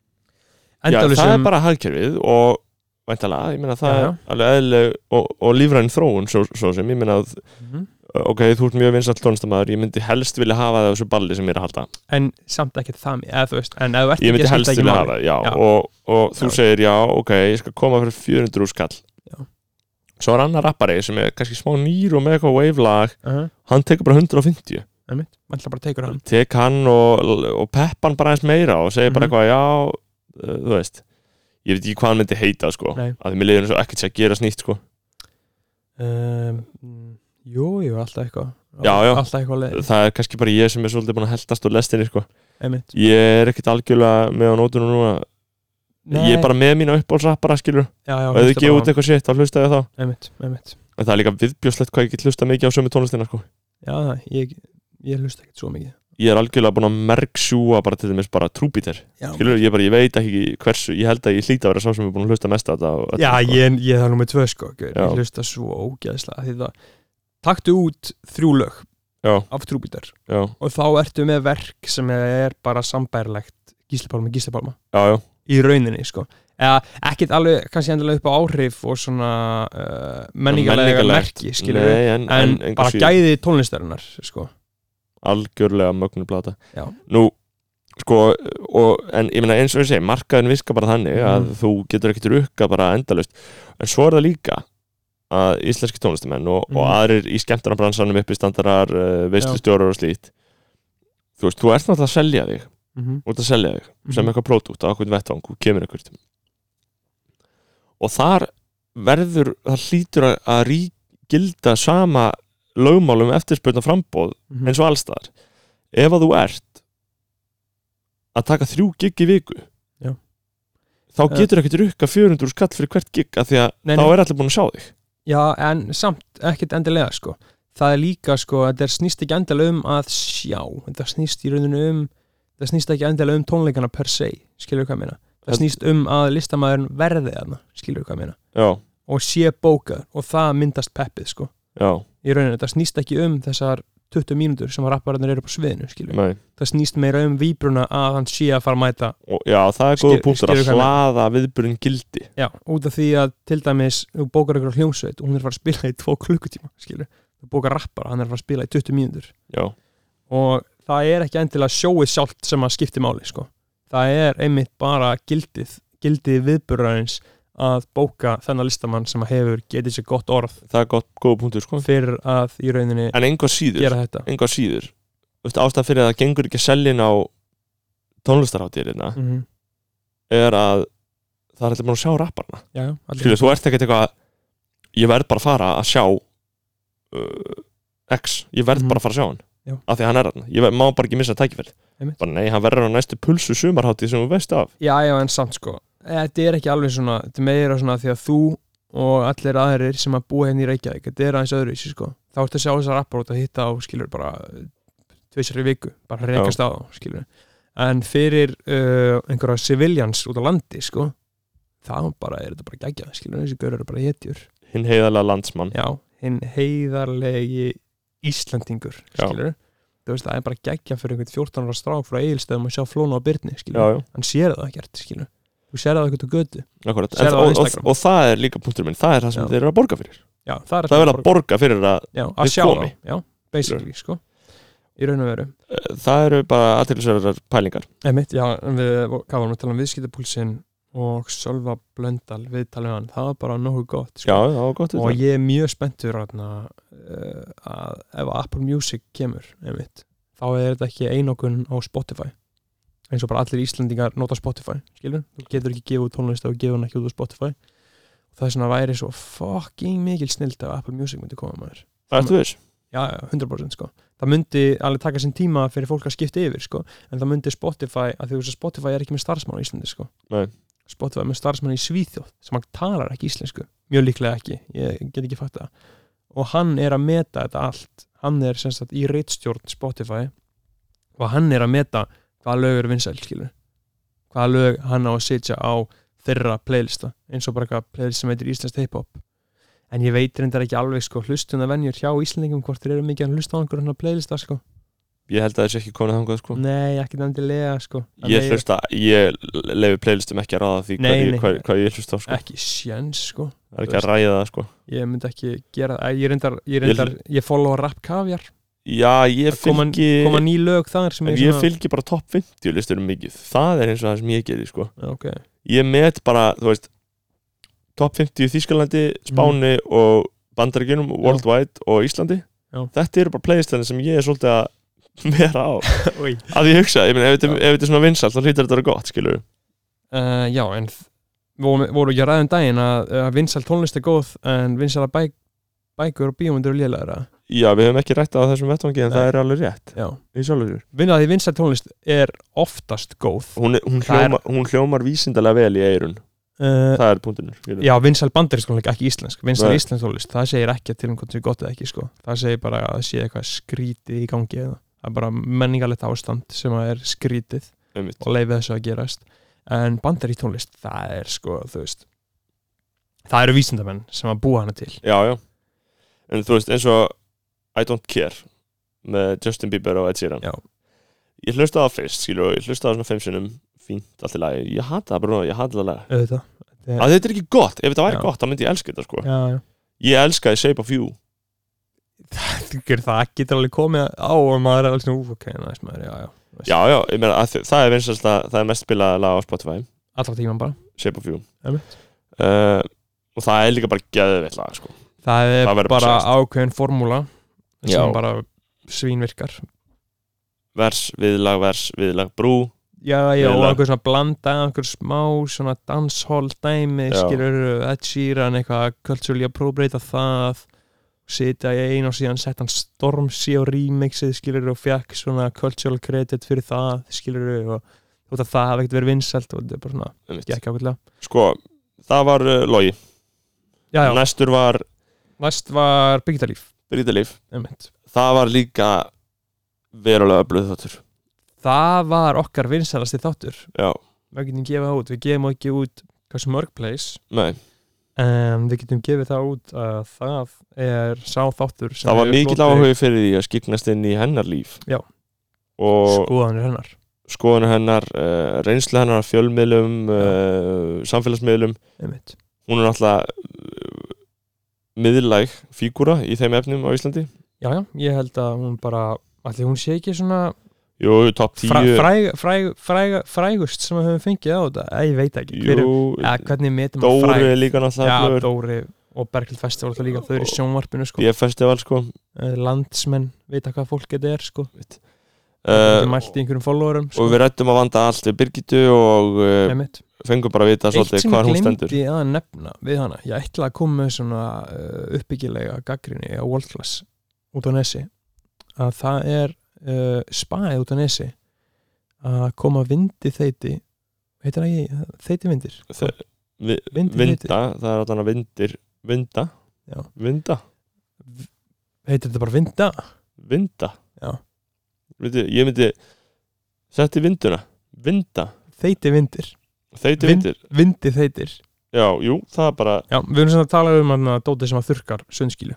[SPEAKER 1] já,
[SPEAKER 2] endalusum
[SPEAKER 1] það er bara hagkerfið og væntalega, ég meina það
[SPEAKER 2] Já, já.
[SPEAKER 1] er alveg eðlileg og, og lífræn þróun svo, svo sem, ég meina að
[SPEAKER 2] Mhm.
[SPEAKER 1] ok, þú ert mjög vinsall tónlistamæður, ég myndi helst vilja hafa það á þessu balli sem ég er að halda
[SPEAKER 2] en samt ekkert það mér, eða þú veist en ef þú ert
[SPEAKER 1] ég
[SPEAKER 2] ekki
[SPEAKER 1] myndi
[SPEAKER 2] að
[SPEAKER 1] helst
[SPEAKER 2] skipta ekki
[SPEAKER 1] vilja
[SPEAKER 2] máli
[SPEAKER 1] hafa það, já,
[SPEAKER 2] Já.
[SPEAKER 1] Og, og þú
[SPEAKER 2] Já.
[SPEAKER 1] segir já, ok, ég skal koma fyrir 400 skall
[SPEAKER 2] Já.
[SPEAKER 1] svo er annar rappari sem er kannski smá nýr og með eitthvað wave-lag,
[SPEAKER 2] uh
[SPEAKER 1] hann tekur bara 150
[SPEAKER 2] -huh. ætla bara tekur hann
[SPEAKER 1] tek hann og, og peppan bara eins meira og segir bara
[SPEAKER 2] Mhm.
[SPEAKER 1] eitthvað, já uh, þú veist, ég veit ekki hvað hann myndi heita sko,
[SPEAKER 2] Nei.
[SPEAKER 1] að því mér leiðin svo ekkert sé að gera snýtt sko,
[SPEAKER 2] um, mm, jú, jú, alltaf eitthvað
[SPEAKER 1] Já, já.
[SPEAKER 2] alltaf eitthvað leið
[SPEAKER 1] það er kannski bara ég sem er svolítið búin að heldast og lestinni sko,
[SPEAKER 2] einmitt
[SPEAKER 1] ég er ekkert algjörlega með á nótunum núna, ég er bara með mína uppbólsrappara skilur
[SPEAKER 2] já, já,
[SPEAKER 1] og ef þið
[SPEAKER 2] hlusta
[SPEAKER 1] gefið út
[SPEAKER 2] bara á hann.
[SPEAKER 1] eitthvað shit þá hlusta ég á þá
[SPEAKER 2] einmitt, einmitt
[SPEAKER 1] en það er líka viðbjóslegt hvað ég get hlusta mikið á sömu tónlistina sko.
[SPEAKER 2] já, það, ég, ég hlusta ekkert svo mikið
[SPEAKER 1] ég er algjörlega búin að merksjúa bara til dæmis bara trúbítir
[SPEAKER 2] já,
[SPEAKER 1] skilur ég bara, ég veit ekki hversu ég held að ég hlýta að vera sá sem er búin að hlusta mest að þetta og öllu,
[SPEAKER 2] já
[SPEAKER 1] sko.
[SPEAKER 2] ég, ég það er nummer tvö sko gaur.
[SPEAKER 1] Já.
[SPEAKER 2] ég hlusta svo ógeðslega því það taktu út þrjú lög
[SPEAKER 1] Já.
[SPEAKER 2] af trúbítar
[SPEAKER 1] já,
[SPEAKER 2] og þá ertu með verk sem er bara sambærilegt gíslipálma, gíslipálma
[SPEAKER 1] já, já,
[SPEAKER 2] í rauninni sko eða ekkert alveg kannski endilega upp á áhrif og svona uh, menningarlega
[SPEAKER 1] Menningarlegt.
[SPEAKER 2] merki
[SPEAKER 1] Nei,
[SPEAKER 2] skilur við
[SPEAKER 1] en,
[SPEAKER 2] en, bara
[SPEAKER 1] síður,
[SPEAKER 2] gæði tónlistarinnar sko
[SPEAKER 1] algjörlega mögnu plata
[SPEAKER 2] Já.
[SPEAKER 1] nú, sko og, en ég meina eins og ég segi, markaðin virka bara þannig að
[SPEAKER 2] Mhm.
[SPEAKER 1] þú getur ekkert rukka bara endalaust, en svo er það líka að íslenski tónlistamenn og, og
[SPEAKER 2] Mhm.
[SPEAKER 1] aðrir í skemmtarnabransanum uppi standarar, uh, veistlustjórar og slíkt þú veist, þú ert náttúrulega að selja þig
[SPEAKER 2] mm -hmm.
[SPEAKER 1] þú ert að selja þig sem eitthvað pródúkt á okkur vettvang og kemur eitthvað og þar verður, það hlýtur að, að rík, gilda sama um lögmálum eftirspurna frambóð eins og allstaðar ef að þú ert að taka þrjú gig í viku
[SPEAKER 2] Já.
[SPEAKER 1] þá
[SPEAKER 2] Já.
[SPEAKER 1] getur ekki rukka 400 skall fyrir hvert gig af því að
[SPEAKER 2] Nei,
[SPEAKER 1] þá
[SPEAKER 2] nei.
[SPEAKER 1] er allir búin að sjá þig
[SPEAKER 2] Já, en samt ekkert endilega sko það er líka sko, þetta er snýst ekki endilega um að sjá, þetta snýst í rauninu um það snýst ekki endilega um tónleikana per se, skilur hvað ég meina það
[SPEAKER 1] En-
[SPEAKER 2] snýst um að listamæðurinn verði þarna skilur hvað ég meina,
[SPEAKER 1] já,
[SPEAKER 2] og sé bókað og það myndast peppið sko
[SPEAKER 1] já,
[SPEAKER 2] í rauninu, það snýst ekki um þessar 20 mínútur sem að rappararnir eru på sviðinu skilur,
[SPEAKER 1] nei
[SPEAKER 2] það snýst meira um víbruna að hann sé að fara að mæta
[SPEAKER 1] og, já, það er góða
[SPEAKER 2] Skil-
[SPEAKER 1] punktur að
[SPEAKER 2] skilur hvað ég
[SPEAKER 1] hlaða viðburinn gildi
[SPEAKER 2] Já, út af því að til dæmis þú bókar ykkur á hljómsveit og hún er að fara að spila í tvo klukkutíma, skilur þú bókar rappara, hann er að fara að spila í 20 mínútur
[SPEAKER 1] já,
[SPEAKER 2] og það er ekki endilega sjóið sjálft sem að skipti máli, sko það er einmitt bara gildið gildið viðburðarins að bóka þennan listamann sem að hefur getið sér gott orð
[SPEAKER 1] það er gott, góða punktur sko
[SPEAKER 2] fyrir að í rauninni
[SPEAKER 1] en einhvað síður,
[SPEAKER 2] gera þetta
[SPEAKER 1] einhvað síður Vist, ástæð fyrir að það gengur ekki að selja inn á tónlistarháttirina
[SPEAKER 2] mm -hmm.
[SPEAKER 1] er að það er allir búin að sjá rapparna
[SPEAKER 2] Já, já, allir-
[SPEAKER 1] skilur, þú ert ekkert eitthvað ég verð bara að fara að sjá uh, X, ég verð
[SPEAKER 2] Mhm.
[SPEAKER 1] bara að fara að sjá hann
[SPEAKER 2] Já.
[SPEAKER 1] af því að hann er hann, ég ver- má bara ekki missa tækifæri
[SPEAKER 2] Einmitt.
[SPEAKER 1] bara nei, hann verður á næstu pulsu sumarhátti sem þú veist af
[SPEAKER 2] Já, já, en samt sko Þetta er ekki alveg svona, þetta er meira svona því að þú og allir aðrir sem að búa henni í Reykjavík, þetta er aðeins öðruvísi sko þá ertu að sjá þessar rappar út að hitta á skilur bara tvisar í viku, bara reykast á þá, skilur en fyrir uh, einhverja civilians út á landi sko þá bara er þetta bara geggjað, skilur þessi gaur eru bara hetjur,
[SPEAKER 1] hinn heiðalega landsmann
[SPEAKER 2] já, hinn heiðarlegi Íslandingur
[SPEAKER 1] Já.
[SPEAKER 2] skilur, þú veist það er bara geggjað fyrir einhvern 14 ára strák frá eigilstöðum að sjá flóna á byrni, skilur,
[SPEAKER 1] já, já,
[SPEAKER 2] hann sér það ekkert skilur. þú sér það ekkert á götu
[SPEAKER 1] akkurat
[SPEAKER 2] Sérðu
[SPEAKER 1] en,
[SPEAKER 2] á
[SPEAKER 1] og, og,
[SPEAKER 2] Instagram.
[SPEAKER 1] og það er líka punktur minn, það er það sem
[SPEAKER 2] Já.
[SPEAKER 1] þeir eru að borga fyrir
[SPEAKER 2] já, það er
[SPEAKER 1] það er að borga fyrir að
[SPEAKER 2] já, að
[SPEAKER 1] við
[SPEAKER 2] sjá
[SPEAKER 1] komi.
[SPEAKER 2] það já, basically sko í raun og veru
[SPEAKER 1] uh, það eru bara aðtilsverðar pælingar sko.
[SPEAKER 2] Einmitt, já, en við hvað varum að tala um viðskiptapúlsinn og Sölva Blöndal viðtalið hann það var bara nokkuð gott
[SPEAKER 1] já,
[SPEAKER 2] sko.
[SPEAKER 1] það var gott
[SPEAKER 2] og
[SPEAKER 1] ég...
[SPEAKER 2] ég er mjög spenntur atna, uh, að ef Apple Music kemur einmitt, þá er þetta ekki einokun á Spotify eins og bara allir Íslendingar nota Spotify skilur, þú getur ekki gefið út tónlist og gefið hann ekki út á Spotify það er svona væri svo fucking mikil snilt ef Apple Music myndi koma maður
[SPEAKER 1] það ertu þess
[SPEAKER 2] já, já, 100% sko það myndi alveg taka sinn tíma fyrir fólk að skipta yfir sko, en það myndi Spotify að því að Spotify er ekki með starfsmann á Íslandi sko
[SPEAKER 1] Nei.
[SPEAKER 2] Spotify er með starfsmann í Svíþjóð sem hann talar ekki íslensku, mjög líklega ekki ég get ekki fatt það og hann er að meta þetta allt hann er sem sagt í reitstjórn Spotify og hann er að meta hvaða lög eru vinsæl skilur hvaða lög hann á að sitja á þeirra playlista, eins og bara eitthvað playlist sem heitir Íslands hip-hop en ég veit reyndar ekki alveg sko hlustuna venjur hjá Íslandingum hvort þeir eru mikið að hlusta á einhverjum hann playlista sko
[SPEAKER 1] ég held að þessi ekki komin þangað sko
[SPEAKER 2] nei, ekki endilega sko Það
[SPEAKER 1] ég
[SPEAKER 2] meira-
[SPEAKER 1] hlusta, ég lefi playlistum ekki að ráða því
[SPEAKER 2] Nei,
[SPEAKER 1] hvað,
[SPEAKER 2] nei.
[SPEAKER 1] ég, hvað, hvað ég hlusta á sko
[SPEAKER 2] ekki sjens sko
[SPEAKER 1] það er ekki að ræða það sko
[SPEAKER 2] ég myndi ekki gera það, ég reyndar ég, reyndar, ég followa rap kavjar
[SPEAKER 1] Já, ég
[SPEAKER 2] Það koma-
[SPEAKER 1] fylgi
[SPEAKER 2] koma ný lög þar sem
[SPEAKER 1] En
[SPEAKER 2] ég,
[SPEAKER 1] ég fylgi bara topp 50 listurum mikið Það er eins og það sem ég geri sko
[SPEAKER 2] Já,
[SPEAKER 1] [laughs]
[SPEAKER 2] ok,
[SPEAKER 1] Ég met bara, þú veist Topp 50 í Þískalandi,
[SPEAKER 2] Mhm.
[SPEAKER 1] Spáni og Bandaríkjunum, Worldwide og Íslandi
[SPEAKER 2] Já.
[SPEAKER 1] Þetta eru bara playlistana sem ég er svolítið að vera á
[SPEAKER 2] Oj.
[SPEAKER 1] Að ég hugsa, ég meina, ef þetta ef þetta er svona vinsalt þá hlýtur þetta að vera gott, skilur
[SPEAKER 2] uh, já en þ- voru, voru ekki að ræða um daginn að, að vinsal tónlist er góð en vinsal bæk, bækur og bíómyndur er lélæra
[SPEAKER 1] Já, við höfum ekki rætt á þessum vettvangi en
[SPEAKER 2] Nei.
[SPEAKER 1] það er alveg rétt
[SPEAKER 2] já,
[SPEAKER 1] í sjálfur sér.
[SPEAKER 2] vinna því vinsal tónlist er oftast góð
[SPEAKER 1] Hún, er- hún,
[SPEAKER 2] Það er-
[SPEAKER 1] hljómar, hún hljómar vísindalega vel í eirun
[SPEAKER 2] uh,
[SPEAKER 1] Það er punktinur, skilur
[SPEAKER 2] Já, vinsæl bandarísk tónleik, ekki íslensk Vinsæl
[SPEAKER 1] Nei.
[SPEAKER 2] íslensk tónlist, það segir ekki til um hvort þau gott eða ekki sko. Það segir bara að það sé eitthvað skrítið í gangi eða. Það er bara menningarlegt ástand sem að er skrítið og leifið þessu að gerast En bandarísk tónlist, það er sko, þú veist Það eru vísindamenn sem að búa hana til
[SPEAKER 1] Já, já En þú veist, eins og I Don't Care með Justin Bieber og Ed Sheeran
[SPEAKER 2] Já.
[SPEAKER 1] Ég hlusta það fyrst, skilur og ég hlusta það svona fimm sinnum fínt allt í lagi, ég hata það bara núna, ég hata það lag
[SPEAKER 2] Auðvitað Já.
[SPEAKER 1] að þetta er ekki gott, ef þetta væri
[SPEAKER 2] Já.
[SPEAKER 1] gott þá myndi ég elska þetta sko
[SPEAKER 2] Já, já
[SPEAKER 1] Ég elskaði Shape of You
[SPEAKER 2] Þú gerir það, getur alveg komið á og maður er alveg svona, "Ú, ok, næst maður, já, já
[SPEAKER 1] Já, já, ég meina að þi- það er vinsast að það er mest spilaða lag á Spotify
[SPEAKER 2] Allra tíman bara
[SPEAKER 1] Shape of You
[SPEAKER 2] Einmitt.
[SPEAKER 1] uh, Og það er líka bara geðveitt lag sko
[SPEAKER 2] Það er
[SPEAKER 1] Það verður bara
[SPEAKER 2] bara
[SPEAKER 1] að
[SPEAKER 2] ákveðin formúla sem
[SPEAKER 1] Já.
[SPEAKER 2] bara svínvirkar
[SPEAKER 1] Vers, viðlag, vers, viðlag, brú
[SPEAKER 2] Já, já, og
[SPEAKER 1] Eiginlega.
[SPEAKER 2] einhver svona blanda einhver smá svona dancehall dæmi,
[SPEAKER 1] Já.
[SPEAKER 2] skilur, Ed Sheeran eitthvað, culturally appropriate það sitja í einu og síðan sett hann Stormzy á remixið, skilur, og fekk svona cultural credit fyrir það, skilur, og þótt að það hafi ekkert verið vinsælt og þetta er bara svona,
[SPEAKER 1] einmitt.
[SPEAKER 2] gekk ákveðlega
[SPEAKER 1] sko, það var uh, logi,
[SPEAKER 2] já, já,
[SPEAKER 1] næstur var
[SPEAKER 2] næst var Byggitalíf
[SPEAKER 1] Brítalíf,
[SPEAKER 2] einmitt.
[SPEAKER 1] það var líka verulega blöð þáttur
[SPEAKER 2] það var okkar vinsælasti þáttur
[SPEAKER 1] já,
[SPEAKER 2] við getum gefið það út, við gefum ekki út hversu mörg place
[SPEAKER 1] nei,
[SPEAKER 2] en við getum gefið það út að það er sá þáttur sem
[SPEAKER 1] það var
[SPEAKER 2] hefur
[SPEAKER 1] mikill
[SPEAKER 2] hlotið
[SPEAKER 1] áhug fyrir því að skiknast inn í hennar líf
[SPEAKER 2] Já. Sko-
[SPEAKER 1] og
[SPEAKER 2] skoðanir hennar
[SPEAKER 1] skoðan hennar, uh, reynslu hennar af fjölmiðlum, uh, samfélagsmiðlum
[SPEAKER 2] einmitt.
[SPEAKER 1] hún er náttúrulega uh, miðlæg fígúra í þeim efnum á Íslandi
[SPEAKER 2] já, já, ég held að hún bara allir hún sé ekki svona
[SPEAKER 1] Jú, topp 10
[SPEAKER 2] fræ, fræg, fræg, fræg, frægust sem við höfum fengið á þetta Æ, ég veit ekki, hver,
[SPEAKER 1] Jú,
[SPEAKER 2] eða, hvernig metum að
[SPEAKER 1] Dóri
[SPEAKER 2] fræg
[SPEAKER 1] er líka náttúrulega
[SPEAKER 2] já,
[SPEAKER 1] blöður
[SPEAKER 2] Dóri og Berglind Festival alltaf líka, þau eru í sjónvarpinu sko.
[SPEAKER 1] B-festival sko
[SPEAKER 2] Eh, landsmenn, vita hvað fólk þetta er sko.
[SPEAKER 1] uh,
[SPEAKER 2] uh, mælt í einhverjum followerum sko.
[SPEAKER 1] Eh, og við rættum að vanda allt við Birgitu og uh,
[SPEAKER 2] Einmitt.
[SPEAKER 1] fengum bara að vita
[SPEAKER 2] Eitt
[SPEAKER 1] svolítið
[SPEAKER 2] sem
[SPEAKER 1] hvað
[SPEAKER 2] ég
[SPEAKER 1] hún stendur
[SPEAKER 2] glemdi að nefna við hana Ég ætla að koma með svona uh, uppbyggilega gaggrinni á World Class út á Nesi að það er uh, spaðið út á Nesi að koma vindi þeiti heitir það ekki, þeiti vindir
[SPEAKER 1] Þe- vi,
[SPEAKER 2] Vindi
[SPEAKER 1] Vinda, það er alltaf vindir Vinda,
[SPEAKER 2] Já.
[SPEAKER 1] vinda,
[SPEAKER 2] heitir þetta bara vinda
[SPEAKER 1] vinda
[SPEAKER 2] Já.
[SPEAKER 1] Veitu, Ég myndi setti vinduna, vinda
[SPEAKER 2] þeiti vindir,
[SPEAKER 1] Þeiti
[SPEAKER 2] Vind-
[SPEAKER 1] vindir,
[SPEAKER 2] vindi þeitir
[SPEAKER 1] já, jú, það er bara
[SPEAKER 2] Já, við erum svona að tala um hann að Dóti sem að þurkar sundskilu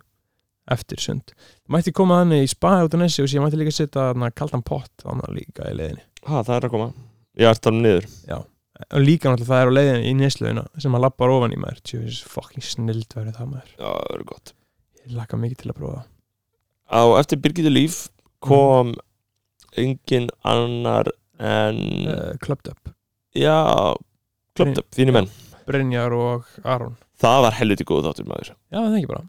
[SPEAKER 2] eftir sund mætti koma hann í spaðið út á Nesi og síðan mætti líka setja hann kaldan pott hann líka í leiðinni
[SPEAKER 1] Ha, það er að koma Ég er þar niður
[SPEAKER 2] og líka náttúrulega það er á leiðinni í neslauna sem maður lappar ofan í maður tjóðis fucking snild verið það maður
[SPEAKER 1] Já, það er gott
[SPEAKER 2] ég laka mikið til að prófa það.
[SPEAKER 1] Á eftir Birgitu líf kom engin annar en
[SPEAKER 2] uh, Clubbed Up,
[SPEAKER 1] Já, klöpt upp, þínu menn
[SPEAKER 2] Brynjar og Aron
[SPEAKER 1] Það var helviti góð þáttur maður
[SPEAKER 2] já það er ekki bara,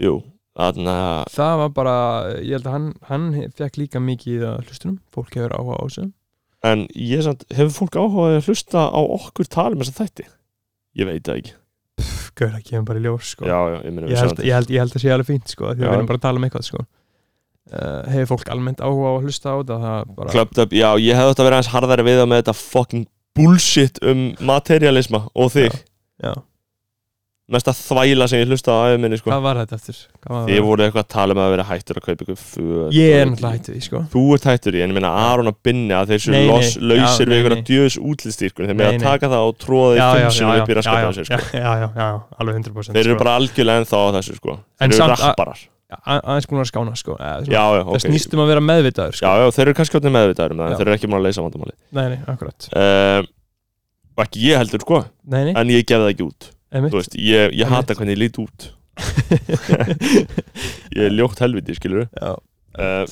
[SPEAKER 1] Jú, þarna
[SPEAKER 2] það var bara ég held að hann, hann fekk líka mikið að hlustunum, fólk hefur áhuga á þessu
[SPEAKER 1] En ég samt, hefur fólk áhugað að hlusta á okkur tala um þess að þætti? Ég veit það ekki
[SPEAKER 2] pff, gauð að kemur bara í ljós sko
[SPEAKER 1] Já, já, ég meina
[SPEAKER 2] ég,
[SPEAKER 1] við
[SPEAKER 2] held,
[SPEAKER 1] samt
[SPEAKER 2] ég, held, ég held að sé alveg fínt sko, því
[SPEAKER 1] Já.
[SPEAKER 2] að við erum bara að tala um eitthvað sko. uh, hefur fólk almennt áhuga á að hlusta á þetta það er bara,
[SPEAKER 1] Klöpt upp, já, ég hefði þetta verið aðeins harðari við það með þetta fucking bullshit um materialisma og þig
[SPEAKER 2] já,
[SPEAKER 1] Mesta þvæla sem ég hlusta á aðeins minni, sko
[SPEAKER 2] hvað var þetta eftir Hvað var
[SPEAKER 1] Þið
[SPEAKER 2] það?
[SPEAKER 1] voru eitthvað að tala um að vera hættur að kaupa ykkur föt
[SPEAKER 2] ég er
[SPEAKER 1] og-
[SPEAKER 2] náttúrulega hættu því sko.
[SPEAKER 1] Þú ert hættur í, en ég meina Aron að binni að þeir
[SPEAKER 2] Nei,
[SPEAKER 1] séu
[SPEAKER 2] nei,
[SPEAKER 1] los-
[SPEAKER 2] já,
[SPEAKER 1] lausir
[SPEAKER 2] nei,
[SPEAKER 1] við ykkur
[SPEAKER 2] nei.
[SPEAKER 1] að djöðs útlistýrkun Þeir meina
[SPEAKER 2] Nei,
[SPEAKER 1] að
[SPEAKER 2] nei.
[SPEAKER 1] taka það og tróða því
[SPEAKER 2] já, já,
[SPEAKER 1] fimm
[SPEAKER 2] já,
[SPEAKER 1] sinni upp í
[SPEAKER 2] já, já,
[SPEAKER 1] raskatið á sér,
[SPEAKER 2] já,
[SPEAKER 1] sko
[SPEAKER 2] já, já, já, alveg 100%
[SPEAKER 1] Þeir eru
[SPEAKER 2] sko.
[SPEAKER 1] bara algjörlega ennþá á þessu, sko
[SPEAKER 2] En
[SPEAKER 1] Þeir eru
[SPEAKER 2] samt að-
[SPEAKER 1] rapparar
[SPEAKER 2] A- aðeins búin að skána sko. eh, svona,
[SPEAKER 1] Já, já,
[SPEAKER 2] það
[SPEAKER 1] ok
[SPEAKER 2] snýst um að vera meðvitaður
[SPEAKER 1] Já,
[SPEAKER 2] sko.
[SPEAKER 1] já, þeir eru kannski hvernig meðvitaður um það en
[SPEAKER 2] Já.
[SPEAKER 1] Þeir eru ekki múin að leysa vandamáli
[SPEAKER 2] nei, nei, akkurat
[SPEAKER 1] uh, Og ekki ég heldur, sko
[SPEAKER 2] nei, nei,
[SPEAKER 1] En ég gef það ekki út
[SPEAKER 2] einmitt
[SPEAKER 1] Þú veist, ég, ég
[SPEAKER 2] Einmitt.
[SPEAKER 1] hata hvernig ég lít út Ég er ljótt helviti, skilur
[SPEAKER 2] [laughs]
[SPEAKER 1] [laughs]
[SPEAKER 2] já,
[SPEAKER 1] uh,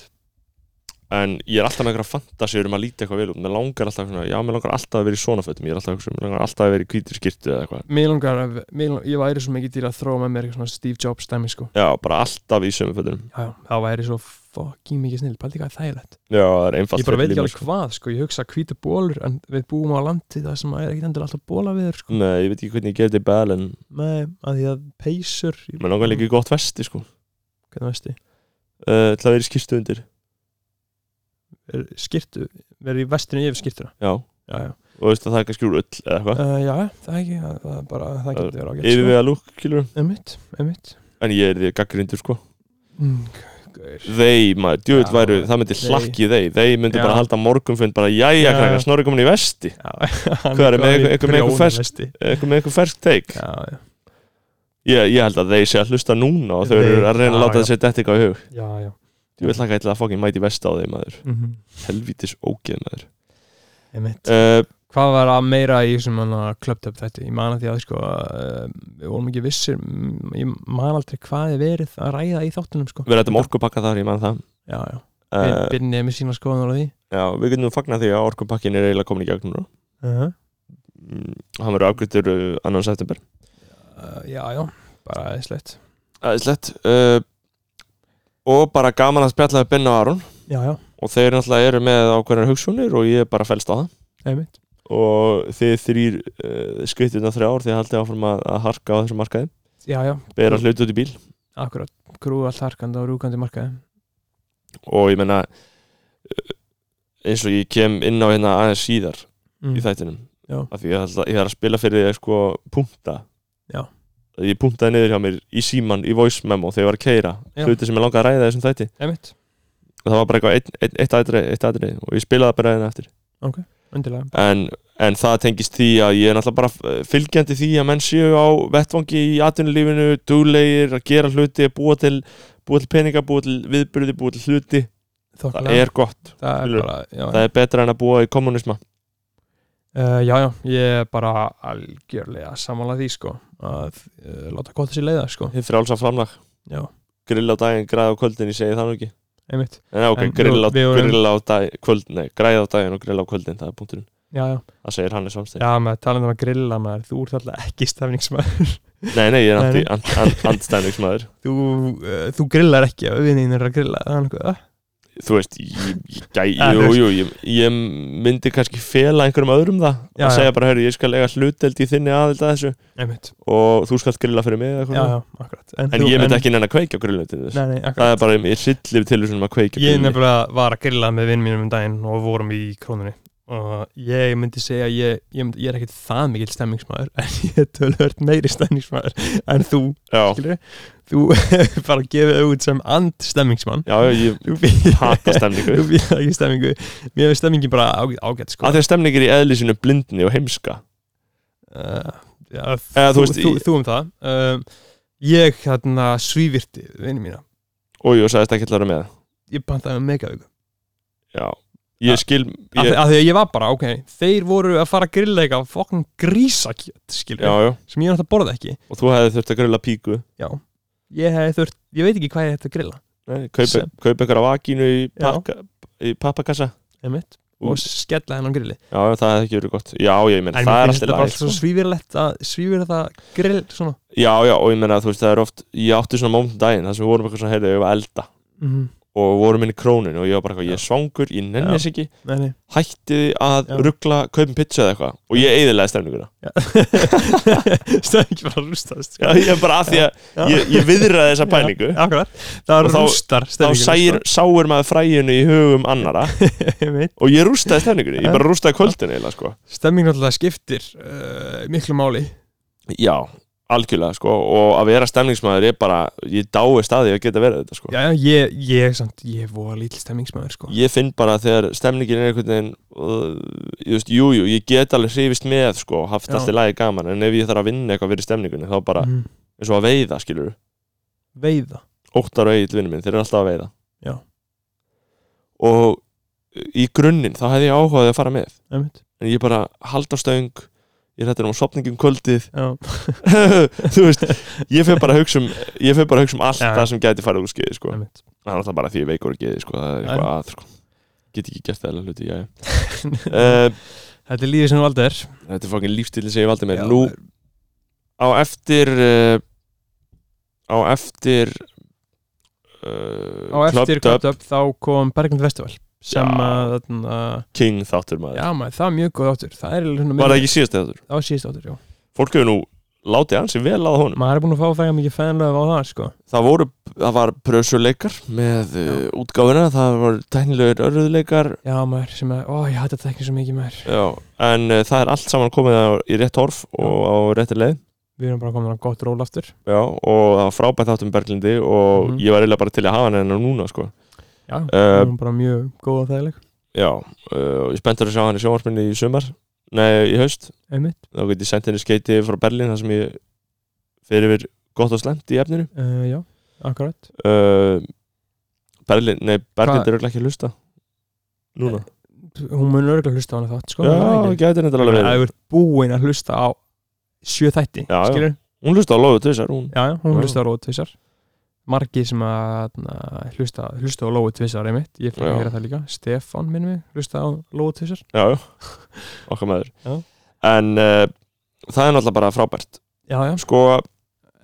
[SPEAKER 1] en ég er alltaf með einhverja fantasíur um að líta eitthvað vel út mér langar alltaf svona, já, mér langar alltaf að vera í svona fötum ég er alltaf, að hugsa um, mér langar alltaf að vera í hvítri skyrtu eða eitthvað
[SPEAKER 2] mér langar að mér langar, ég væri svo mikið til að þróa með mér eitthvað svona Steve Jobs dæmi sko.
[SPEAKER 1] já, bara alltaf í sömu fötum
[SPEAKER 2] já, já, það væri svo fucking mikið snill paldi hvað er þægilegt
[SPEAKER 1] já, það er einfalt
[SPEAKER 2] ég bara
[SPEAKER 1] fyrir
[SPEAKER 2] veit ekki
[SPEAKER 1] lífið,
[SPEAKER 2] alveg hvað sko, ég hugsa hvítu bólur en við búum á landi það sem er ekkit endur alltaf bóla við sko.
[SPEAKER 1] sko. nei, ég veit ekki hvernig ég gef þetta í bæl en
[SPEAKER 2] með að því að peysur í-
[SPEAKER 1] mér langar líka í gott vesti, sko
[SPEAKER 2] hvernig veist ég,
[SPEAKER 1] uh, til að vera í skyrtu undir
[SPEAKER 2] er skirtu verið í vestinu yfir skirtuna
[SPEAKER 1] já,
[SPEAKER 2] já, já,
[SPEAKER 1] og veist að það er kannski úr öll eða eitthvað
[SPEAKER 2] uh, já, það er ekki það, það er bara, það getur verið ágætt
[SPEAKER 1] yfir
[SPEAKER 2] sko.
[SPEAKER 1] við að lúk, kilur
[SPEAKER 2] einmitt, einmitt
[SPEAKER 1] en ég er því gaggrindur, sko
[SPEAKER 2] Mm, gaur.
[SPEAKER 1] þeir, maður, djúvill
[SPEAKER 2] Já,
[SPEAKER 1] væru, það myndi
[SPEAKER 2] þeir-
[SPEAKER 1] hlakki í þeir þeir myndi
[SPEAKER 2] Já.
[SPEAKER 1] bara halda morgunfund bara, jæja,
[SPEAKER 2] Já.
[SPEAKER 1] krakkar, snorri komin í vesti
[SPEAKER 2] Já, hann
[SPEAKER 1] Hvað er
[SPEAKER 2] kominn
[SPEAKER 1] með
[SPEAKER 2] í
[SPEAKER 1] eitthvað- eitthvað með eitthvað
[SPEAKER 2] prjónavesti.
[SPEAKER 1] eitthvað með eitthvað fersk teik
[SPEAKER 2] já, já,
[SPEAKER 1] Ég, ég held að þeir sé að hlusta núna og þau
[SPEAKER 2] Þeir-
[SPEAKER 1] eru að reyna að
[SPEAKER 2] já,
[SPEAKER 1] láta
[SPEAKER 2] já.
[SPEAKER 1] þessi þetta eitthvað í hug
[SPEAKER 2] já, já.
[SPEAKER 1] Ég vil hlaka eitthvað að fokkin mæti vest á þeim maður
[SPEAKER 2] Mm
[SPEAKER 1] Helvítis ógeð maður
[SPEAKER 2] einmitt
[SPEAKER 1] uh,
[SPEAKER 2] hvað var að meira í hérna sem hann að klöpt upp þetta ég man að því að sko uh, við vorum ekki vissir, mm, ég man aldrei hvað er verið að ræða í þáttunum sko.
[SPEAKER 1] Við rættum orkupakka þar, ég man það
[SPEAKER 2] já, já, uh,
[SPEAKER 1] uh,
[SPEAKER 2] byrnið með sína skoðan á því
[SPEAKER 1] Já, við getum fagnað því að orkupakkin er eiginlega komin í gegn núna
[SPEAKER 2] uh
[SPEAKER 1] Mm, Hann verður afgriður uh, annan september
[SPEAKER 2] Eh, já, já, bara aðeinslegt
[SPEAKER 1] Æðislegt uh, Og bara gaman að spjalla við Benna og Aron
[SPEAKER 2] já, já,
[SPEAKER 1] og þeir náttúrulega eru með ákveðnar hugsunir og ég er bara fælst á það
[SPEAKER 2] einmitt
[SPEAKER 1] og þið þrýr uh, skrittirna þrjár þið haldið áfram að, að harka á þessum markaði
[SPEAKER 2] já, já,
[SPEAKER 1] bera hluti út í bíl
[SPEAKER 2] akkurat, krú allt harkandi og rúkandi markaði
[SPEAKER 1] eh, og ég menna eins og ég kem inn á hérna aðeins síðar
[SPEAKER 2] Mm.
[SPEAKER 1] í þættinum
[SPEAKER 2] Já.
[SPEAKER 1] af því ég ætla, ég er að spila fyrir þig sko punta
[SPEAKER 2] Já.
[SPEAKER 1] ég puntaði niður hjá mér í síman í voice memo þegar ég var að keira
[SPEAKER 2] Já.
[SPEAKER 1] hluti sem ég langaði að ræða í þessum þætti
[SPEAKER 2] Emitt,
[SPEAKER 1] og það var bara eitthvað eitt, eitt, eitt, atriði, eitt atriði og ég spilaði bara hérna eftir
[SPEAKER 2] undilega
[SPEAKER 1] en, en það tengist því að ég er náttúrulega bara eh, fylgjandi því að menn séu á vettvangi í atvinnulífinu, duglegir að gera hluti, búa til, búa til peninga búa til viðbyrði, búa til hluti það
[SPEAKER 2] Þokkalega.
[SPEAKER 1] er gott,
[SPEAKER 2] það er
[SPEAKER 1] skilur.
[SPEAKER 2] bara, já,
[SPEAKER 1] það er betra en að búa í kommunisma
[SPEAKER 2] Uh, já, já, ég er bara algjörlega samanlega því sko að uh, láta gott þessi leiða sko
[SPEAKER 1] hið frálsa framlag,
[SPEAKER 2] Já,
[SPEAKER 1] grill á daginn, græða á kvöldin ég segi það nú ekki
[SPEAKER 2] einmitt
[SPEAKER 1] En já, ok,
[SPEAKER 2] En
[SPEAKER 1] grill á,
[SPEAKER 2] við vorum-
[SPEAKER 1] grill á dag, kvöld, nei, græð á daginn og grill á kvöldin, það er punkturinn.
[SPEAKER 2] Já, já,
[SPEAKER 1] Það segir Hannes Holmstein.
[SPEAKER 2] já, með talandi um að grilla maður þú ert alltaf ekki stafningsmaður
[SPEAKER 1] Nei, nei, ég er
[SPEAKER 2] Nei,
[SPEAKER 1] anti,
[SPEAKER 2] nei.
[SPEAKER 1] ant, ant, andstæðningsmaður.
[SPEAKER 2] þú, uh, þú grillar ekki að viðin er að grilla það er nokkuð,
[SPEAKER 1] Þú veist, ég, ég, gæ-
[SPEAKER 2] Ja, Ah, þú
[SPEAKER 1] jú,
[SPEAKER 2] veist.
[SPEAKER 1] jú, ég, ég myndi kannski fela einhverjum öðrum það. að
[SPEAKER 2] Já, já.
[SPEAKER 1] segja bara, herru, ég skal eiga hluteld í þinni aðild að þessu
[SPEAKER 2] eh, einmitt
[SPEAKER 1] og þú skalt grilla fyrir mig eða
[SPEAKER 2] Já,
[SPEAKER 1] eitthvað.
[SPEAKER 2] já, akkurat En,
[SPEAKER 1] En ég myndi ekki nenn að kveikja grillinu til þess.
[SPEAKER 2] Nei, nei, akkurat
[SPEAKER 1] Það er bara, ég sillir til þessum að kveikja
[SPEAKER 2] Ég
[SPEAKER 1] grillinu.
[SPEAKER 2] nefnilega var að grilla með vinn mínum um daginn og vorum í krónunni og ég myndi segja að ég, ég, myndi, ég er ekkit það mikill stemmingsmaður en ég er tölvöld meiri stemmingsmaður en þú,
[SPEAKER 1] Já,
[SPEAKER 2] skilur þú [laughs] hefur bara gefið þau út sem and stemmingsmann
[SPEAKER 1] já, já, ég
[SPEAKER 2] þú býr
[SPEAKER 1] hata
[SPEAKER 2] þú [laughs]
[SPEAKER 1] stemningu.
[SPEAKER 2] býr ekki stemmingu mér hefur stemmingi bara ágætt, ágætt sko
[SPEAKER 1] Af því að stemning er í eðlisinu blindni og heimska.
[SPEAKER 2] uh, já,
[SPEAKER 1] Eða, þú
[SPEAKER 2] þú,
[SPEAKER 1] veist,
[SPEAKER 2] þú,
[SPEAKER 1] í-
[SPEAKER 2] þú um það um, ég hérna svívirti vinni mína
[SPEAKER 1] Og jú, sagðist ekki að vera með.
[SPEAKER 2] ég pantaði með megavíku
[SPEAKER 1] Já, ég
[SPEAKER 2] Að-
[SPEAKER 1] skil
[SPEAKER 2] af,
[SPEAKER 1] ég,
[SPEAKER 2] því- af því að ég var bara, ok, þeir voru að fara að grilla eitthvað fokkin grísakjöt
[SPEAKER 1] Já,
[SPEAKER 2] skilur,
[SPEAKER 1] já,
[SPEAKER 2] sem ég náttúrulega borða ekki
[SPEAKER 1] og þú hefði þurft að grilla píku
[SPEAKER 2] já, ég hefði þurft ég veit ekki hvað ég hefði að grilla
[SPEAKER 1] Nei, kaupa,
[SPEAKER 2] Sem-
[SPEAKER 1] kaupa einhverja vakínu í, pakka, í pappakassa
[SPEAKER 2] einmitt,
[SPEAKER 1] Ú.
[SPEAKER 2] og skella hennan grilli
[SPEAKER 1] Já, já, það hefði ekki verið gott Já, já, ég meina,
[SPEAKER 2] en
[SPEAKER 1] það er
[SPEAKER 2] mér finnst
[SPEAKER 1] alltaf
[SPEAKER 2] þetta bara
[SPEAKER 1] læg
[SPEAKER 2] svo
[SPEAKER 1] sko.
[SPEAKER 2] svífirlegt að svífir þetta grill svona
[SPEAKER 1] Já, já, og ég meina, þú veist, það er oft Ég átti svona mómtum daginn, þar sem við vorum eitthvað svona heyrðu, ég var að elda
[SPEAKER 2] mm,
[SPEAKER 1] og vorum inn í króninu og ég var bara eitthvað, ég er svangur ég nenni
[SPEAKER 2] Já.
[SPEAKER 1] þess ekki,
[SPEAKER 2] nei, nei.
[SPEAKER 1] hættiði að
[SPEAKER 2] Já.
[SPEAKER 1] ruggla kaupin pizza eða eitthvað og ég eiðilega stemninguna [laughs]
[SPEAKER 2] stæði ekki bara að rústast
[SPEAKER 1] Já, [laughs] ég er bara að því að sko. ég, ég viðraði þessa pælingu
[SPEAKER 2] akkurat, það
[SPEAKER 1] Og þá-
[SPEAKER 2] rústar
[SPEAKER 1] þá [laughs] sæir,
[SPEAKER 2] sko.
[SPEAKER 1] sáir maður fræjunu í hugum
[SPEAKER 2] [laughs]
[SPEAKER 1] annara
[SPEAKER 2] sæir
[SPEAKER 1] og ég rústaði stemningunni, ég bara rústaði kvöldinu eiginlega, sko.
[SPEAKER 2] stemming náttúrulega skiptir uh, miklu máli
[SPEAKER 1] Já, algjörlega sko og að vera stemningsmaður er bara ég dái staði að geta verið þetta sko
[SPEAKER 2] já, já, ég, ég, samt, ég er voða lítil stemmingsmaður sko.
[SPEAKER 1] Ég finn bara þegar stemningin er einhvern veginn uh, ég veist, jú, jú, ég get alveg hrifist með sko, haft
[SPEAKER 2] Já.
[SPEAKER 1] allt í lagi gaman en ef ég þarf að vinna eitthvað fyrir stemningunni þá bara,
[SPEAKER 2] Mhm.
[SPEAKER 1] eins og að veiða skilur
[SPEAKER 2] veiða
[SPEAKER 1] óttar og eigið vinnum minn, þeir eru alltaf að veiða
[SPEAKER 2] Já.
[SPEAKER 1] og í grunninn, þá hefði ég áhugaði að fara með
[SPEAKER 2] einmitt.
[SPEAKER 1] en ég bara hald á stöng ég er hættur um sopningum kvöldið [laughs]
[SPEAKER 2] Já.
[SPEAKER 1] þú veist, ég fer bara að hugsa um ég fer bara að hugsa um allt
[SPEAKER 2] Já.
[SPEAKER 1] það sem gæti farið úr skeiði sko.
[SPEAKER 2] einmitt. [laughs]
[SPEAKER 1] það er alltaf bara því ég er veikur að geði sko. það er
[SPEAKER 2] Já.
[SPEAKER 1] eitthvað að sko. get ekki gert það hluti, já, já.
[SPEAKER 2] [laughs]
[SPEAKER 1] Uh,
[SPEAKER 2] þetta er lífið sem þú aldrei er
[SPEAKER 1] þetta er fokkin lífstíli sem ég valdi mér
[SPEAKER 2] Já,
[SPEAKER 1] nú á eftir uh, á eftir uh,
[SPEAKER 2] á eftir
[SPEAKER 1] Clubbed
[SPEAKER 2] kvöpt upp þá kom Berglind Festival sem
[SPEAKER 1] Já.
[SPEAKER 2] að þarna,
[SPEAKER 1] King þáttur maður
[SPEAKER 2] já maður, það er mjög góð áttur það er
[SPEAKER 1] var
[SPEAKER 2] svona
[SPEAKER 1] það
[SPEAKER 2] mjög-
[SPEAKER 1] ekki síðast þáttur
[SPEAKER 2] það var síðast áttur, já
[SPEAKER 1] fólk hefur nú látið hans sem vel að honum
[SPEAKER 2] maður er búin að fá þegar mikið fænlega á það sko
[SPEAKER 1] það voru, það var prösuleikar með uh, útgáfuna, það var tæknilegur örðuleikar
[SPEAKER 2] já maður, sem að, ó ég hætti þetta ekki svo mikið maður
[SPEAKER 1] Já, en uh, það er allt saman komið á- í rétt horf og á rétti leið
[SPEAKER 2] við erum bara komin á gott ról aftur
[SPEAKER 1] Já, og það var frábært áttum Berglindi og
[SPEAKER 2] Mhm.
[SPEAKER 1] ég var eiginlega bara til að hafa hann hennar núna sko.
[SPEAKER 2] já, uh,
[SPEAKER 1] Eh,
[SPEAKER 2] við erum bara mjög góð og þægileg
[SPEAKER 1] Já, uh, og ég spenntur að sjá hann í sjónvarpinni í sumar Nei, í haust
[SPEAKER 2] einmitt,
[SPEAKER 1] Þá get ég sendt henni skeiti frá Berlín þar sem ég fyrir við gott og slemt í efninu
[SPEAKER 2] uh, já, akkurat
[SPEAKER 1] uh, Berlín, nei, Berglind
[SPEAKER 2] Hvað-
[SPEAKER 1] er örugglega ekki að hlusta Núna
[SPEAKER 2] hún mun örgulega hlusta á hana þátt sko er það
[SPEAKER 1] Já,
[SPEAKER 2] ekki?
[SPEAKER 1] gæti henni alveg verið
[SPEAKER 2] að þú ert búin að hlusta á sjö þætti,
[SPEAKER 1] Já, já.
[SPEAKER 2] skilur
[SPEAKER 1] Hún hlusta á lofu tvisar, hún
[SPEAKER 2] Já, já, hún
[SPEAKER 1] Já.
[SPEAKER 2] hlusta á Lóu Tvissar Margi sem að na, hlusta, hlusta á Lóu Tvissar einmitt Ég fyrir
[SPEAKER 1] Já.
[SPEAKER 2] að heyra það líka Stefan minnum við hlusta á Lóu Tvissar
[SPEAKER 1] Já, já, okkar maður
[SPEAKER 2] Já.
[SPEAKER 1] En uh, það er náttúrulega bara frábært
[SPEAKER 2] Já, já
[SPEAKER 1] sko,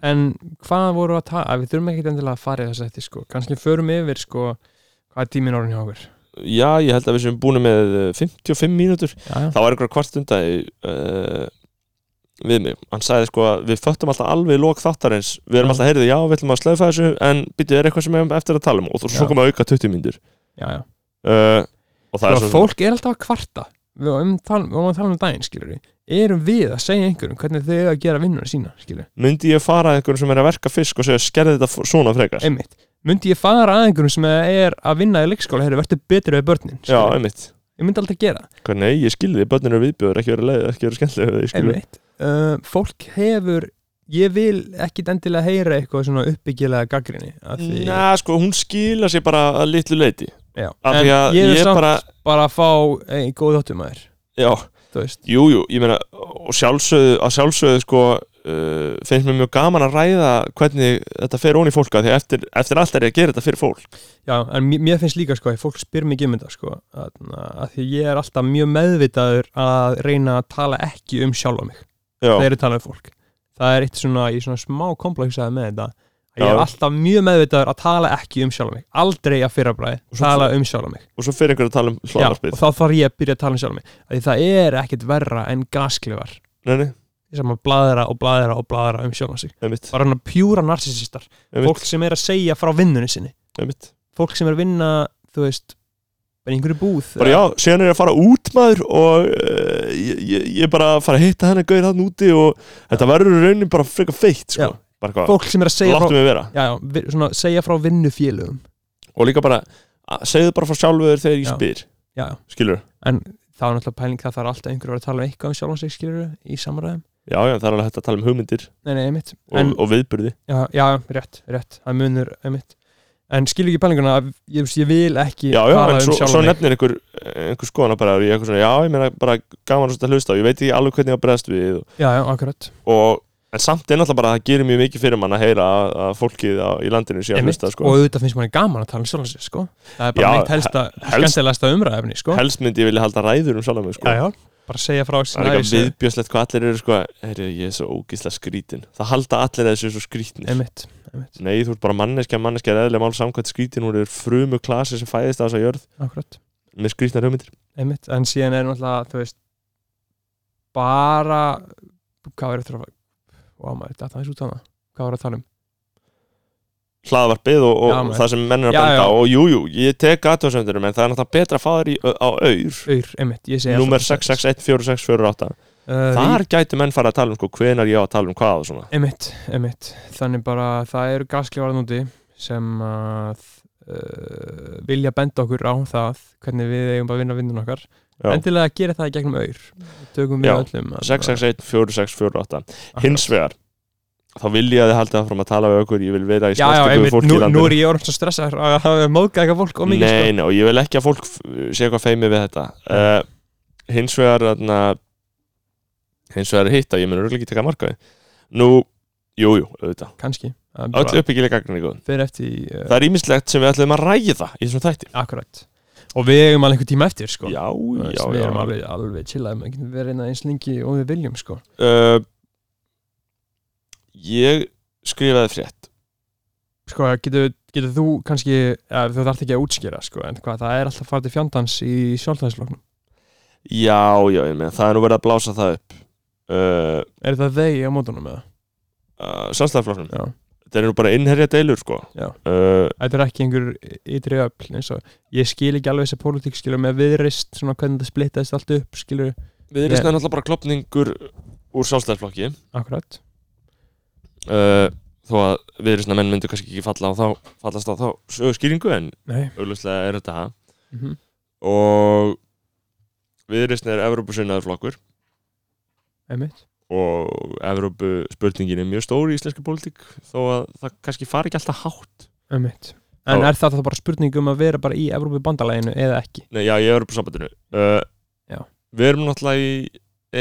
[SPEAKER 2] En hvað voru að taða? Við þurfum ekkert endilega að fara í þess að þetta sko Kannski förum yfir sko Hvað er tíminn orðin hjá okkur?
[SPEAKER 1] já, ég held að við séum búin með eh, 55 mínútur
[SPEAKER 2] Já, já
[SPEAKER 1] það var einhver kvart stundagi uh, við mig, hann sagði sko að við föttum alltaf alveg í lok þáttarins við erum
[SPEAKER 2] Já.
[SPEAKER 1] alltaf heyrðið, já, við ætlum að slöfa þessu en býttu, er eitthvað sem við erum eftir að tala um og þú- svo
[SPEAKER 2] Já.
[SPEAKER 1] komum við að auka 20 mínútur
[SPEAKER 2] Já, já
[SPEAKER 1] uh, og það
[SPEAKER 2] Það
[SPEAKER 1] er svo
[SPEAKER 2] fólk er alltaf að kvarta við varum að tala- við varum að tala um daginn skilur erum við að segja einhverjum hvernig þau eiga að gera vinnuna sína skilur
[SPEAKER 1] myndi ég fara að einhverjum sem er að verka fisk og segja skerði þetta f- svona frekar
[SPEAKER 2] einmitt myndi ég fara að einhverjum sem er að vinna í leikskóla hefur verið betur við börnin
[SPEAKER 1] já,
[SPEAKER 2] skilurðu?
[SPEAKER 1] einmitt
[SPEAKER 2] ég myndi alltaf gera það,
[SPEAKER 1] hvernig, ég skilði, börnin eru viðbjöður ekki verið leið, ekki verið skemmtilega ég skilði,
[SPEAKER 2] einmitt uh, fólk hefur ég vil ekkit endilega heyra eitthvað svona uppbyggilega gaggrinni af því-
[SPEAKER 1] næ, sko, hún skila sér bara að litlu leiti
[SPEAKER 2] Já.
[SPEAKER 1] af
[SPEAKER 2] en
[SPEAKER 1] því að
[SPEAKER 2] ég er samt
[SPEAKER 1] bara
[SPEAKER 2] bara að fá ein, góð þáttum að þér
[SPEAKER 1] já,
[SPEAKER 2] þú veist
[SPEAKER 1] jú, jú, ég meina og sjálfsögðu, að sjálfsögðu sko uh, finnst mér mjög gaman að ræða hvernig þetta fer ón í fólka því að eftir, eftir allt er ég að gera þetta fyrir fólk
[SPEAKER 2] Já, en mér- mér finnst líka sko að fólk spyr mikið um þetta sko að, að því ég er alltaf mjög meðvitaður að reyna að tala ekki um sjálfa mig
[SPEAKER 1] já,
[SPEAKER 2] þegar ég tala um fólk það er eitt svona, ég er svona smá komplexaði með þetta að ég
[SPEAKER 1] Já.
[SPEAKER 2] er alltaf mjög meðvitaður að tala ekki um sjálfa mig aldrei að fyrrabræði,
[SPEAKER 1] Og svo-
[SPEAKER 2] tala um sjálfa mig
[SPEAKER 1] og svo fyrir einhver að tala um
[SPEAKER 2] Já, og
[SPEAKER 1] hlaðarpið
[SPEAKER 2] þá þarf ég að byrja að tala um sjálfa mig að því það er ekkit verra en gasklifar
[SPEAKER 1] nei, nei,
[SPEAKER 2] sem að bladra og bladra og bladra um sjálfa sig
[SPEAKER 1] einmitt,
[SPEAKER 2] bara hann að pjúra narsisistar, fólk
[SPEAKER 1] einmitt,
[SPEAKER 2] sem er að segja frá vinnunni sinni
[SPEAKER 1] einmitt.
[SPEAKER 2] fólk sem er að vinna, þú veist bara í einhverju búð
[SPEAKER 1] bara já, síðan er ég að fara út maður og uh, ég, ég- ég er bara að fara að hitta henni gauðir hann úti og þetta verður í raunin bara frekar feitt sko.
[SPEAKER 2] Já.
[SPEAKER 1] bara hvað,
[SPEAKER 2] fólk sem er að segja frá,
[SPEAKER 1] láttu mig vera
[SPEAKER 2] já, já, vi- svona, segja frá vinnufélögum
[SPEAKER 1] og líka bara, að- segðu bara frá sjálfur þegar ég
[SPEAKER 2] Já.
[SPEAKER 1] spyr,
[SPEAKER 2] já, já.
[SPEAKER 1] skilur
[SPEAKER 2] en það er náttúrulega pæling það þarf alltaf einhver að vera að tala um eitthvað um sjálfan sig skilur í samræðum,
[SPEAKER 1] já, já, það er alveg hægt að tala um hugmyndir
[SPEAKER 2] nei, nei, einmitt
[SPEAKER 1] og,
[SPEAKER 2] en,
[SPEAKER 1] og viðburði
[SPEAKER 2] já, já, rétt, rétt, það munur einmitt, en skilur ekki pælinguna að ég, ég vil ekki
[SPEAKER 1] já, já,
[SPEAKER 2] tala
[SPEAKER 1] en
[SPEAKER 2] um
[SPEAKER 1] svo, svo
[SPEAKER 2] sjálfan mig
[SPEAKER 1] nefnir einhver, eh, einhver skoðana bara, ég er eitthvað svona, já, ég meina bara gaman svolítið að hlusta á, ég veit ekki alveg hvernig ég á að bregðast við
[SPEAKER 2] já, já, akkurat,
[SPEAKER 1] og, en samt er náttúrulega bara að það gerir mjög mikið fyrir mann að heyra að, að fólkið á, í landinu sé að
[SPEAKER 2] einmitt
[SPEAKER 1] hlusta, sko.
[SPEAKER 2] og auðvitað finnst manni gaman að tala um sjálfan sig, sko það er bara
[SPEAKER 1] Já,
[SPEAKER 2] já, mitt helsta,
[SPEAKER 1] helst-
[SPEAKER 2] skemmtilegasta umræðefni, sko
[SPEAKER 1] helst myndi ég vilja halda ræður um sjálf mig, sko.
[SPEAKER 2] já, já, bara segja frá
[SPEAKER 1] Það er eitthvað viðbjöðslegt hvað allir eru sko Herri, ég er svo ógíslega skrítin Það halda allir þessu svo skrítin
[SPEAKER 2] einmitt, einmitt,
[SPEAKER 1] Nei, þú ert bara manneskja, manneskja er eðlega mál samkvæmt skrítin Hún er frumu klasi sem fæðist á þessa jörð
[SPEAKER 2] akkurat
[SPEAKER 1] Með skrítnar hugmyndir
[SPEAKER 2] einmitt, en síðan er náttúrulega þú veist bara hvað verður þetta að wow, maður, þetta er út hana hvað verður að tala um
[SPEAKER 1] Hlaðvarpið og, og
[SPEAKER 2] Já, maður.
[SPEAKER 1] það sem menn er að
[SPEAKER 2] Já,
[SPEAKER 1] benda
[SPEAKER 2] já.
[SPEAKER 1] á Og jú, jú, ég tek aðtöðsöndurum En það er náttúrulega betra að fá þér í, á auður
[SPEAKER 2] auður, einmitt, ég segi
[SPEAKER 1] Númer
[SPEAKER 2] alltaf-
[SPEAKER 1] 6614648
[SPEAKER 2] uh,
[SPEAKER 1] Þar gætu menn fara að tala um sko Hvenar ég á að tala um hvað og svona
[SPEAKER 2] einmitt, einmitt, þannig bara það eru gasklifar núti sem að uh, vilja benda okkur á það hvernig við eigum bara að vinna vinnun okkar
[SPEAKER 1] Já.
[SPEAKER 2] endilega að gera það í gegnum auður tökum við
[SPEAKER 1] Já.
[SPEAKER 2] öllum að-
[SPEAKER 1] 6614648
[SPEAKER 2] Akkurat.
[SPEAKER 1] Hins vegar Þá vil ég að þið halda það frá að tala við okkur Ég vil vera í
[SPEAKER 2] já, já,
[SPEAKER 1] snertingu við
[SPEAKER 2] einmitt,
[SPEAKER 1] fólk
[SPEAKER 2] nú,
[SPEAKER 1] í landinu
[SPEAKER 2] nú er ég orðin svo stressaður að hafa móðgað eitthvað fólk og mikið
[SPEAKER 1] Nei,
[SPEAKER 2] sko.
[SPEAKER 1] nei, og ég vil ekki að fólk f- sé eitthvað feimið við þetta uh, Hins vegar þarna, hins vegar er hitt að ég mun örugglega ekki taka markaði Nú, jú, jú, auðvitað
[SPEAKER 2] kannski, Það
[SPEAKER 1] Öll
[SPEAKER 2] er bara
[SPEAKER 1] uppbyggilega gagnrýni góð
[SPEAKER 2] fyrir eftir í, uh,
[SPEAKER 1] Það er ímislegt sem við ætlum að ræða í þessum þætti
[SPEAKER 2] Akkurat Og við eigum alveg einhver tíma eftir sko
[SPEAKER 1] Já,
[SPEAKER 2] Þú veist,
[SPEAKER 1] já,
[SPEAKER 2] Við
[SPEAKER 1] já
[SPEAKER 2] erum alveg, alveg chillað Við getum verið einn eins lengi og við viljum sko
[SPEAKER 1] uh, Ég skrifaði frétt
[SPEAKER 2] Sko, getur, getur þú kannski ja, Þú þarft ekki að útskýra sko En hvað, það er alltaf farið til fjandans í sjálfstæðisfloknum
[SPEAKER 1] Já, já, ég meina, það er nú verið að blása það upp uh,
[SPEAKER 2] Er það þeir á mótunum eða?
[SPEAKER 1] uh, Sannstæðarflokknum
[SPEAKER 2] Já
[SPEAKER 1] Þetta er nú bara innherja deilur, sko
[SPEAKER 2] Já.
[SPEAKER 1] uh,
[SPEAKER 2] Þetta er ekki einhver ytri öfl eins og Ég skil ekki alveg þessa pólitík skilur með viðrist Svona hvernig þetta splittaðist allt upp skilur
[SPEAKER 1] Við erum náttúrulega bara klopningur úr sálstæðarflokki
[SPEAKER 2] Akkurat
[SPEAKER 1] uh, þó að viðrýsna menn myndu kannski ekki falla á þá, fallast á þá sögurskýringu en
[SPEAKER 2] Nei
[SPEAKER 1] auðvitað er þetta það.
[SPEAKER 2] mm
[SPEAKER 1] og viðrýsna er Evrópusinnaður flokkur
[SPEAKER 2] Einmitt
[SPEAKER 1] og Evrópu spurningin er mjög stór í íslenska pólitík þó að það kannski fari ekki alltaf hátt
[SPEAKER 2] Einmitt En
[SPEAKER 1] Já.
[SPEAKER 2] er það þá bara spurning um að vera bara í Evrópi bandalæginu eða ekki?
[SPEAKER 1] Nei, já, í Evrópu sambandinu uh,
[SPEAKER 2] Já.
[SPEAKER 1] Við erum náttúrulega í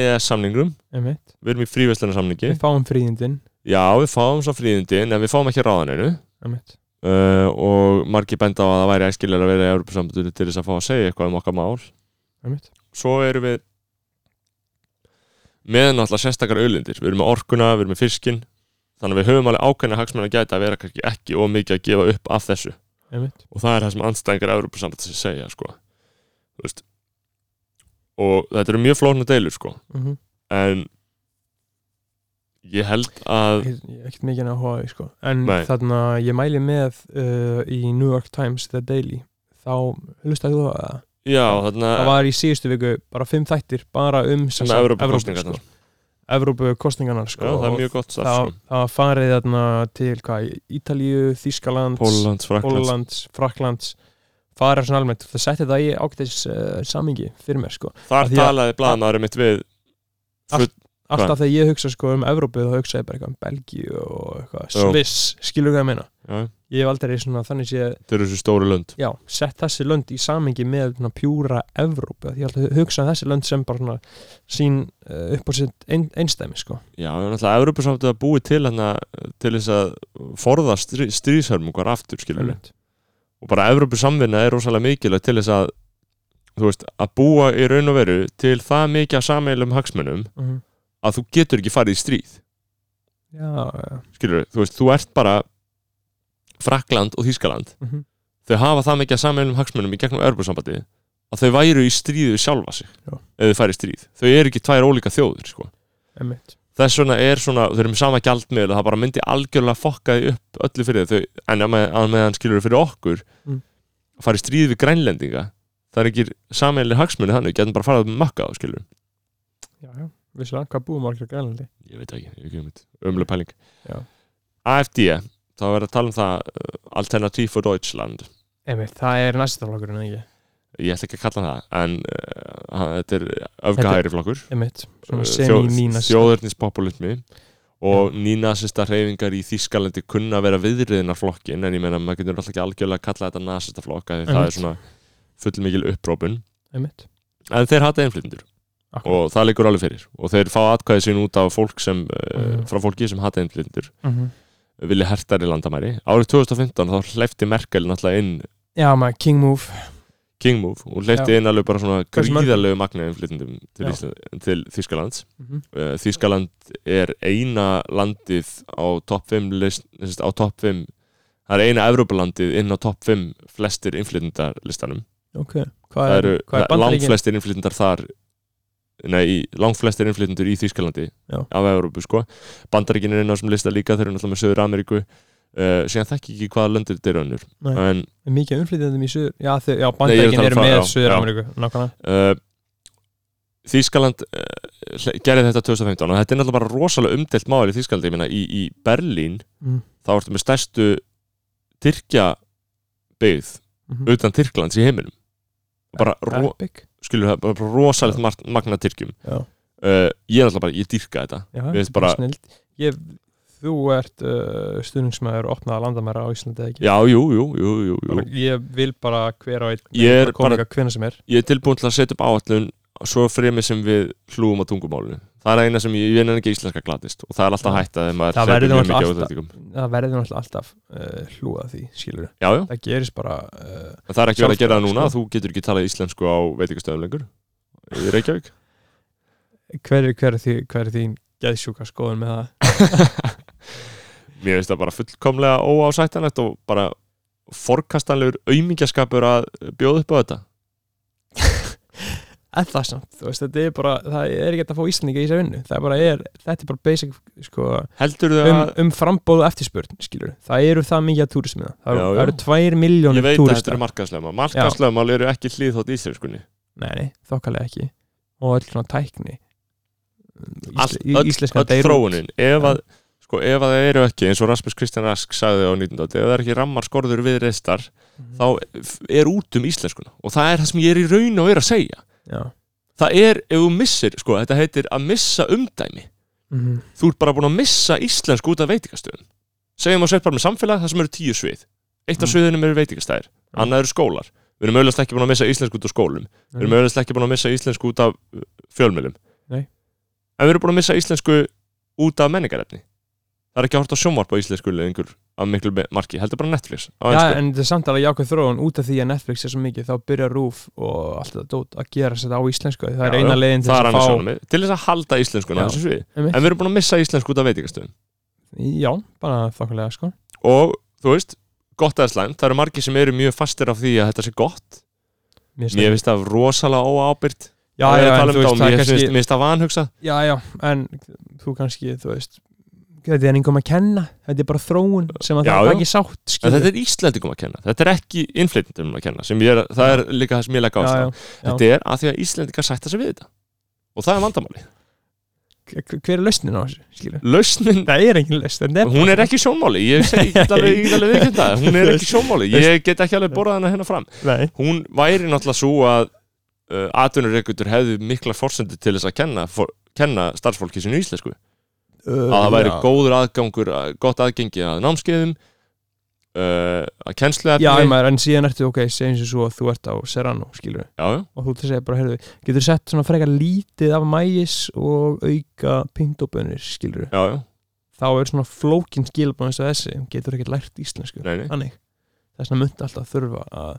[SPEAKER 1] EES samningum
[SPEAKER 2] Einmitt
[SPEAKER 1] við erum í fríverslunarsamningi
[SPEAKER 2] Við fáum fríðindin
[SPEAKER 1] Já, við fáum svo fríðindi en við fáum ekki ráðaninu
[SPEAKER 2] Einmitt
[SPEAKER 1] uh, og margir benda á að það væri æskilega að vera í Evrópu sambandinu til þess að fá að segja eitthvað um okkar mál
[SPEAKER 2] Einmitt
[SPEAKER 1] svo erum við með náttúrulega sérstakar auðlindir við erum með orkuna, við erum með fiskin þannig að við höfum alveg ákveðna hagsmenn að gæta að vera kannski ekki of mikið að gefa upp af þessu
[SPEAKER 2] Einmitt
[SPEAKER 1] og það er það sem anstæðingar Evrópusambands segja sko Þú veist. og þetta eru mjög flóknar deilur sko
[SPEAKER 2] mm -hmm.
[SPEAKER 1] en ég held að
[SPEAKER 2] ekkert mikið að hóa því sko en
[SPEAKER 1] Nei.
[SPEAKER 2] þarna ég mæli með uh, í New York Times The Daily þá hlustaði þú að
[SPEAKER 1] já, þarna
[SPEAKER 2] það var í síðustu viku bara fimm þættir bara um sem
[SPEAKER 1] Svona
[SPEAKER 2] sagt
[SPEAKER 1] Evrópukosningarnar.
[SPEAKER 2] Evrópu, sko. Evrópu kostningarnar
[SPEAKER 1] já,
[SPEAKER 2] sko.
[SPEAKER 1] það er
[SPEAKER 2] og
[SPEAKER 1] mjög gott
[SPEAKER 2] það,
[SPEAKER 1] starf sko.
[SPEAKER 2] það var farið þarna til hvað, Ítalíu, Þískaland
[SPEAKER 1] Póllands, Fraklands
[SPEAKER 2] Póllands, Fraklands farið svona almennt, það setti þetta í ágætis uh, samingi fyrir mér sko Af
[SPEAKER 1] þar
[SPEAKER 2] því að-
[SPEAKER 1] talaði blaðamæður mitt við
[SPEAKER 2] alltaf þegar ég hugsa sko um Evrópu þá hugsa ég bara eitthvað um Belgíu og eitthvað
[SPEAKER 1] Já.
[SPEAKER 2] Sviss, skilur hvað ég meina
[SPEAKER 1] já,
[SPEAKER 2] ég hef aldrei svona, þannig sé
[SPEAKER 1] þetta eru þessu stóru lönd
[SPEAKER 2] já, sett þessi lönd í samingi með svona, pjúra Evrópu því ég alltaf hugsa um þessi lönd sem bara svona, sín uh, upp á sitt ein, einstæmi sko.
[SPEAKER 1] já, en náttúrulega Evrópu samt að búi til hana, til þess að forða strí, stríðsörmungar aftur skilur
[SPEAKER 2] Einmitt.
[SPEAKER 1] og bara Evrópu samvinna er rosalega mikilvægt til þess að þú veist, að búa í raun og veru til það mikið að sameilum hagsmunum
[SPEAKER 2] Mhm.
[SPEAKER 1] að þú getur ekki farið í stríð
[SPEAKER 2] já, já
[SPEAKER 1] skilur, þú veist, þú ert bara Frakland og Þískaland
[SPEAKER 2] mhm.
[SPEAKER 1] þau hafa það mikið að sameilum hagsmunum í gegnum Evrópusambandi að þau væru í stríðu við sjálfa sig
[SPEAKER 2] Já.
[SPEAKER 1] ef þau farið í stríð, þau eru ekki tvær ólíka þjóðir sko.
[SPEAKER 2] Einmitt.
[SPEAKER 1] þess vegna er svona, þau eru með sama gjaldmiðl og það bara myndi algjörlega fokka því upp öllu fyrir þau, en að með- að meðan skilur þau fyrir okkur
[SPEAKER 2] Mm.
[SPEAKER 1] að fara í stríð við grænlendinga það er ekki sameilir hagsmunni þannig, við getum bara farað að makka á skilur
[SPEAKER 2] Já, já, visslega, hvað búum margir grænlandi?
[SPEAKER 1] ég veit ekki, ég kemur mitt, ömlega pæling
[SPEAKER 2] Já.
[SPEAKER 1] AFD, þá er að tala um það uh, Alternativ for Deutschland
[SPEAKER 2] Einmitt, það er næstaflokkurinn, ekki?
[SPEAKER 1] ég ætla ekki að kalla það, en uh, hann- þetta er öfgahæri flokkur
[SPEAKER 2] Einmitt,
[SPEAKER 1] Eh,
[SPEAKER 2] svona semi-nínast.
[SPEAKER 1] þjóðurnispopulismi og nýnasista hreyfingar í Þískalandi kunna að vera viðriðina flokkin en ég meina maður getur alltaf ekki algjörlega að kalla þetta nasista flokk af því það
[SPEAKER 2] Einmitt.
[SPEAKER 1] er svona fullmikil upprópun
[SPEAKER 2] Einmitt,
[SPEAKER 1] en þeir hata einflýtjendur
[SPEAKER 2] akkur.
[SPEAKER 1] og það liggur alveg fyrir og þeir fá atkvæði sín út af fólk sem, uh,
[SPEAKER 2] Mhm.
[SPEAKER 1] frá fólki sem hata einflýtjendur
[SPEAKER 2] Mhm.
[SPEAKER 1] vilja hertari landamæri árið 2015 þá hleyfti Merkel náttúrulega inn
[SPEAKER 2] Já, maður, king move.
[SPEAKER 1] King Move og hleyfti
[SPEAKER 2] Já.
[SPEAKER 1] inn alveg bara svona
[SPEAKER 2] Hversu mörgum?
[SPEAKER 1] gríðarlegu magna einflýtjendum til,
[SPEAKER 2] Já.
[SPEAKER 1] Ísland- til Þískalands
[SPEAKER 2] Mm
[SPEAKER 1] Eh, Þýskaland er eina landið á topp 5 list, sérst, á top 5 það er eina Evrópulandið inn á topp 5 flestir innflytjendarlistanum
[SPEAKER 2] Ok, hvað
[SPEAKER 1] það
[SPEAKER 2] er,
[SPEAKER 1] eru
[SPEAKER 2] hvað
[SPEAKER 1] það-
[SPEAKER 2] er bandaríkin?
[SPEAKER 1] langflestir innflytjendar þar nei, í- langflestir innflytjendur í Þýskalandi
[SPEAKER 2] Já.
[SPEAKER 1] af Evrópu sko Bandaríkin er eina á þessum lista líka, þeir eru náttúrulega með Söður Ameríku uh, síðan þekki ég ekki hvaða löndur þetta eru önnur
[SPEAKER 2] Nei.
[SPEAKER 1] en
[SPEAKER 2] Er Mikið umflytjandum í söður? Já, þau, já,
[SPEAKER 1] Nei, ég er að
[SPEAKER 2] bandaríkin
[SPEAKER 1] tala
[SPEAKER 2] eru
[SPEAKER 1] frá-
[SPEAKER 2] með
[SPEAKER 1] já,
[SPEAKER 2] Suður-Ameríku, nákvæmlega.
[SPEAKER 1] uh, Þýskaland uh, gerði þetta 2015 og þetta er náttúrulega bara rosalega umdelt mál í Þýskalandi, ég meina í, í Berlín
[SPEAKER 2] Mm.
[SPEAKER 1] þá ertu með stærstu Tyrkja byggð
[SPEAKER 2] Mhm.
[SPEAKER 1] utan Tyrklands í heiminum Og bara, ro,
[SPEAKER 2] Epic.
[SPEAKER 1] skilur það, bara rosalegt mar- magna Tyrkjum
[SPEAKER 2] Já,
[SPEAKER 1] uh, ég er alltaf bara, ég dyrka þetta
[SPEAKER 2] já,
[SPEAKER 1] Við
[SPEAKER 2] þetta er
[SPEAKER 1] bara-
[SPEAKER 2] snild. Ég, þú ert uh, stuðningsmæður opnaða landamæra á Íslandi, eða ekki?
[SPEAKER 1] já, jú, jú, jú, jú, jú.
[SPEAKER 2] Bara, ég vil bara hver á einn
[SPEAKER 1] Ég er
[SPEAKER 2] koma
[SPEAKER 1] bara-
[SPEAKER 2] bara... hvena sem er.
[SPEAKER 1] ég er tilbúin til að setja upp áallun svo fremi sem við hlúum á tungumálinu það er eina sem ég, ég er ekki íslenska glatist og það er alltaf
[SPEAKER 2] Já.
[SPEAKER 1] hætta þegar maður
[SPEAKER 2] Það
[SPEAKER 1] hleypur
[SPEAKER 2] verður
[SPEAKER 1] mjög
[SPEAKER 2] náttúrulega
[SPEAKER 1] mikið á
[SPEAKER 2] alltaf-
[SPEAKER 1] útlendingum.
[SPEAKER 2] Það verður náttúrulega alltaf uh, hlúað því, skilur
[SPEAKER 1] já, já,
[SPEAKER 2] Það gerist bara uh,
[SPEAKER 1] En það er ekki verið að gera það
[SPEAKER 2] Sjálfstæði,
[SPEAKER 1] núna,
[SPEAKER 2] sko.
[SPEAKER 1] þú getur ekki talað íslensku á veitingastöðum lengur í
[SPEAKER 2] [laughs]
[SPEAKER 1] Reykjavík
[SPEAKER 2] hver, er- hver, er því, hver er þín geðsjúka skoðun með það? [laughs]
[SPEAKER 1] Mér finnst það bara fullkomlega óásættanlegt og bara forkastanlegur aumingjaskapur að bjóða upp á þetta
[SPEAKER 2] En það samt, þú veist, þetta er bara það er ekki hægt að fá Íslandinga í þessa vinnu það er bara er, þetta er bara basic sko,
[SPEAKER 1] Heldur þau
[SPEAKER 2] um,
[SPEAKER 1] að,
[SPEAKER 2] um frambóð og eftirspurn, skilur Það eru það mikið að túrismi það Það
[SPEAKER 1] Já,
[SPEAKER 2] eru-
[SPEAKER 1] já.
[SPEAKER 2] það eru 2
[SPEAKER 1] ég veit
[SPEAKER 2] miljónir
[SPEAKER 1] að þetta
[SPEAKER 2] túristar
[SPEAKER 1] eru markaðslegumál Markaðslegumál eru ekki hlið þótt íslenskunni
[SPEAKER 2] Nei, nei, þokkalega ekki og öll svona tækni
[SPEAKER 1] Allt,
[SPEAKER 2] Ísle-
[SPEAKER 1] öll,
[SPEAKER 2] íslenska
[SPEAKER 1] öll
[SPEAKER 2] Beirut.
[SPEAKER 1] þróunin ef
[SPEAKER 2] Já.
[SPEAKER 1] að, sko, ef að það eru ekki eins og Rasmus Kristján Rask sagði á 19. ef það er ekki rammar skorður við reistar
[SPEAKER 2] Mhm.
[SPEAKER 1] þá f- er út um íslenskuna og það er það sem ég er í raun og er að segja
[SPEAKER 2] Mhm. Já,
[SPEAKER 1] það er, ef þú missir, sko, þetta heitir að missa umdæmi
[SPEAKER 2] Mhm.
[SPEAKER 1] þú ert bara búin að missa íslensk út af veitingastöðun segjum að sett bara með samfélag það sem eru tíu svið eitt af
[SPEAKER 2] Mm.
[SPEAKER 1] sviðunum eru veitingastæðir, annað eru skólar við erum auðvitað ekki búin að missa íslensk út af skólum við erum auðvitað ekki búin að missa íslensk út af uh, fjölmiðlum
[SPEAKER 2] Nei.
[SPEAKER 1] en við erum búin að missa íslensku út af menningarefni það er ekki að horta sjónvarp á íslensku lengur af miklu me- marki, heldur bara Netflix á
[SPEAKER 2] Já,
[SPEAKER 1] ensku.
[SPEAKER 2] en þetta er samt alveg jákvæð þróun út af því að Netflix er svo mikið þá byrjar Rúf og allt þetta dót að gera sér á íslensku það er
[SPEAKER 1] Já,
[SPEAKER 2] eina
[SPEAKER 1] já,
[SPEAKER 2] leiðin til
[SPEAKER 1] það er
[SPEAKER 2] þess
[SPEAKER 1] annars
[SPEAKER 2] að fá
[SPEAKER 1] sjónumið til þess að halda íslenskuna á
[SPEAKER 2] Já.
[SPEAKER 1] þessu sviði en
[SPEAKER 2] Einmitt.
[SPEAKER 1] við erum búin að missa íslensku út af veitingastöðun
[SPEAKER 2] Já, bara þokkulega sko
[SPEAKER 1] og þú veist, gott eða slæmt það eru margir sem eru mjög fastir af því að þetta sé gott
[SPEAKER 2] Mér finnst
[SPEAKER 1] Mér
[SPEAKER 2] það-
[SPEAKER 1] finnst það rosalega óábyrgt
[SPEAKER 2] Já,
[SPEAKER 1] að
[SPEAKER 2] já,
[SPEAKER 1] vera að
[SPEAKER 2] en
[SPEAKER 1] tala um
[SPEAKER 2] þú
[SPEAKER 1] þetta
[SPEAKER 2] veist
[SPEAKER 1] og
[SPEAKER 2] það er
[SPEAKER 1] mér finnst-
[SPEAKER 2] kannski
[SPEAKER 1] mér finnst það vanhugsa
[SPEAKER 2] Já, já, en þú kannski, þú veist þetta er einhverjum að kenna þetta er bara þróun sem að
[SPEAKER 1] Já, já.
[SPEAKER 2] það er ekki sátt
[SPEAKER 1] En
[SPEAKER 2] skilur.
[SPEAKER 1] þetta er Íslandingum að kenna, þetta er ekki innflytjendum að kenna, sem ég er, það er líka það sem ég legg á
[SPEAKER 2] já,
[SPEAKER 1] það.
[SPEAKER 2] já.
[SPEAKER 1] Þetta er að því að Íslendingar sætta sig við þetta. Og það er vandamáli.
[SPEAKER 2] Hver- hver er lausnin á þessu skilur?
[SPEAKER 1] Lausnin,
[SPEAKER 2] það er engin lausn þetta er-
[SPEAKER 1] hún er ekki sjónmáli, ég segi- ég get alveg, ég get alveg viðkynnt það, hún er ekki sjónmáli, ég get ekki alveg borðað hana hérna fram.
[SPEAKER 2] Nei.
[SPEAKER 1] Hún væri náttúrulega svo að uh, atvinnureikundur hefðu mikla forsendu til þess að kenna, for, kenna starfsfólki sinu íslensku. að það væri
[SPEAKER 2] Já.
[SPEAKER 1] góður aðgangur að- gott aðgengi að námskeiðum uh, að kennsluefni
[SPEAKER 2] Já, ég maður, en síðan ertu, ok, segjum sér svo að þú ert á Serrano, skilur
[SPEAKER 1] já, já.
[SPEAKER 2] og þú ert að segja bara, heyrðu, getur sett svona frekar lítið af mægis og auka pintobönir, skilur
[SPEAKER 1] já, já.
[SPEAKER 2] þá er svona flókin skilabóð eins og þessi, getur ekkert lært íslensku
[SPEAKER 1] Nei, nei.
[SPEAKER 2] þannig, þess að myndi alltaf þurfa að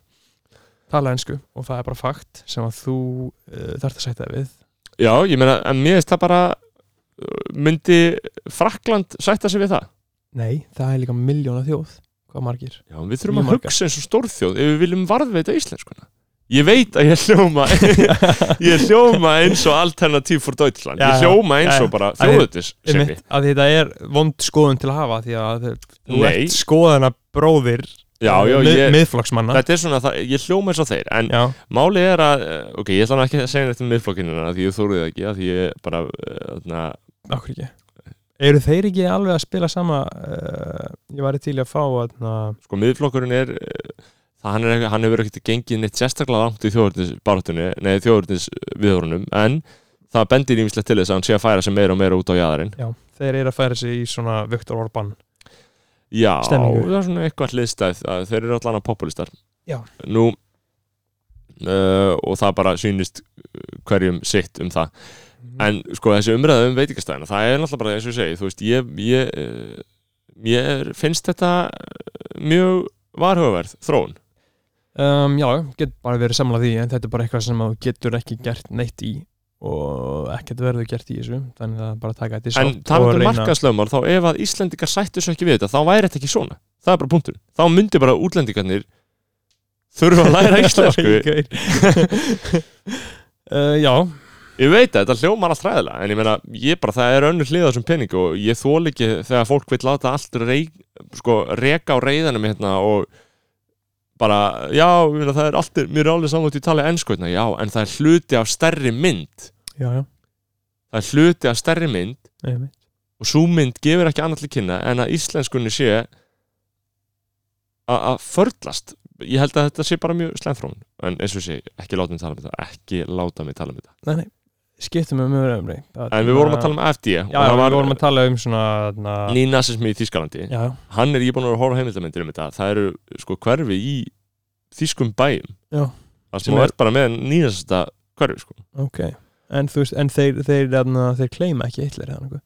[SPEAKER 2] tala ensku og það er bara fakt sem að þú uh, þarft að sætta þig við
[SPEAKER 1] já, ég meina en mér finnst það bara uh, myndi Frakland sætta sig við það
[SPEAKER 2] Nei, það er líka miljóna þjóð hvað [laughs] margir
[SPEAKER 1] já, við þurfum
[SPEAKER 2] Mjög
[SPEAKER 1] að
[SPEAKER 2] margar.
[SPEAKER 1] hugsa eins og stórþjóð ef við viljum varðveita íslenskuna ég veit að ég hljóma ég hljóma eins [laughs] og alternativ fór Deutschland,
[SPEAKER 2] Já,
[SPEAKER 1] ég
[SPEAKER 2] já.
[SPEAKER 1] hljóma eins og
[SPEAKER 2] Já, já.
[SPEAKER 1] bara
[SPEAKER 2] Æ,
[SPEAKER 1] þjóðutis sem
[SPEAKER 2] Einmitt, að þetta er vond skoðun til að hafa því að þú
[SPEAKER 1] Nei.
[SPEAKER 2] ert skoðana bróðir
[SPEAKER 1] já, já,
[SPEAKER 2] mið,
[SPEAKER 1] ég
[SPEAKER 2] miðflokksmanna
[SPEAKER 1] Þetta er svona, það, ég hljóma eins og þeir en
[SPEAKER 2] Já,
[SPEAKER 1] Málið er að, eh, ok, ég ætla nú ekki að segja þetta um miðflokkinina því ég þórið ekki, að því ég bara, eh, þarna,
[SPEAKER 2] okkur ekki Eru þeir ekki alveg að spila sama uh, ég væri til í að fá atna,
[SPEAKER 1] sko miðflokkurinn er, eh, það hann, er, ekki- hann hefur ekkert gengið neitt sérstaklega langt í þjóðurnis barátunni, nei þjóðurnis viðhorunum, en það bendir ímislegt til þess að hann sé að færa sig meira og meira út á jæðarinn.
[SPEAKER 2] Já, þeir eru að færa sig í svona Viktor Orban
[SPEAKER 1] Já,
[SPEAKER 2] Stemningu.
[SPEAKER 1] það er svona eitthvað hliðstæð, að þeir eru allan að populistar.
[SPEAKER 2] Já.
[SPEAKER 1] Nú, uh, og það bara sýnist eh, hverjum sitt um það.
[SPEAKER 2] Mm.
[SPEAKER 1] en sko þessi umræða um veitingastæðina það er náttúrulega bara eins og ég segi þú veist, ég, ég, eh, mér finnst þetta eh, mjög varhugaverð þróun
[SPEAKER 2] um, Já, get bara verið samlað því en þetta er bara eitthvað sem þú getur ekki gert neitt í og ekkert verður gert í þessu þannig að bara taka þetta í
[SPEAKER 1] en
[SPEAKER 2] sátt og
[SPEAKER 1] talað um
[SPEAKER 2] reyna-
[SPEAKER 1] markaðslöfumar þá ef að Íslendingar sættu svo ekki við þetta þá væri þetta ekki svona, það er bara punktur þá myndi bara útlendingarnir þurfa að
[SPEAKER 2] [laughs]
[SPEAKER 1] læra íslensku
[SPEAKER 2] Gaur. [laughs] uh, Já,
[SPEAKER 1] ég veit að þetta hljómar allt ræðilega en ég meina, ég bara, það er önnur hliða á þessum pening og ég þól ekki þegar fólk vil láta allt reik, sko, reka á reyðanum hérna og bara, já, ég meina, það er allt mér er alveg samvægt í tala ennsku hérna, já, en það er hluti af stærri mynd
[SPEAKER 2] já, já,
[SPEAKER 1] það er hluti af stærri mynd
[SPEAKER 2] einmitt
[SPEAKER 1] og svo mynd gefur ekki annað til kynna en að íslenskunni sé a- að förlast ég held að þetta sé bara mjög slemþrón en eins og sé, ekki láta mig tala um þetta ekki láta mig tala um þetta
[SPEAKER 2] Nei, nei, skiptum um við með umræðumri
[SPEAKER 1] en við vorum að tala um FD já,
[SPEAKER 2] Já, já, við vorum að tala um svona na,
[SPEAKER 1] nýnasismi í Þískalandi
[SPEAKER 2] Já,
[SPEAKER 1] hann er íbúin að vera að horfa á heimildarmyndir um þetta það eru sko hverfi í þýskum bæjum
[SPEAKER 2] Já.
[SPEAKER 1] það
[SPEAKER 2] Sem
[SPEAKER 1] sem
[SPEAKER 2] er-
[SPEAKER 1] er bara með nýnasista hverfi sko.
[SPEAKER 2] ok En þú veist, en þeir, þeir, na, þeir kleima ekki Hitler eða nokkuð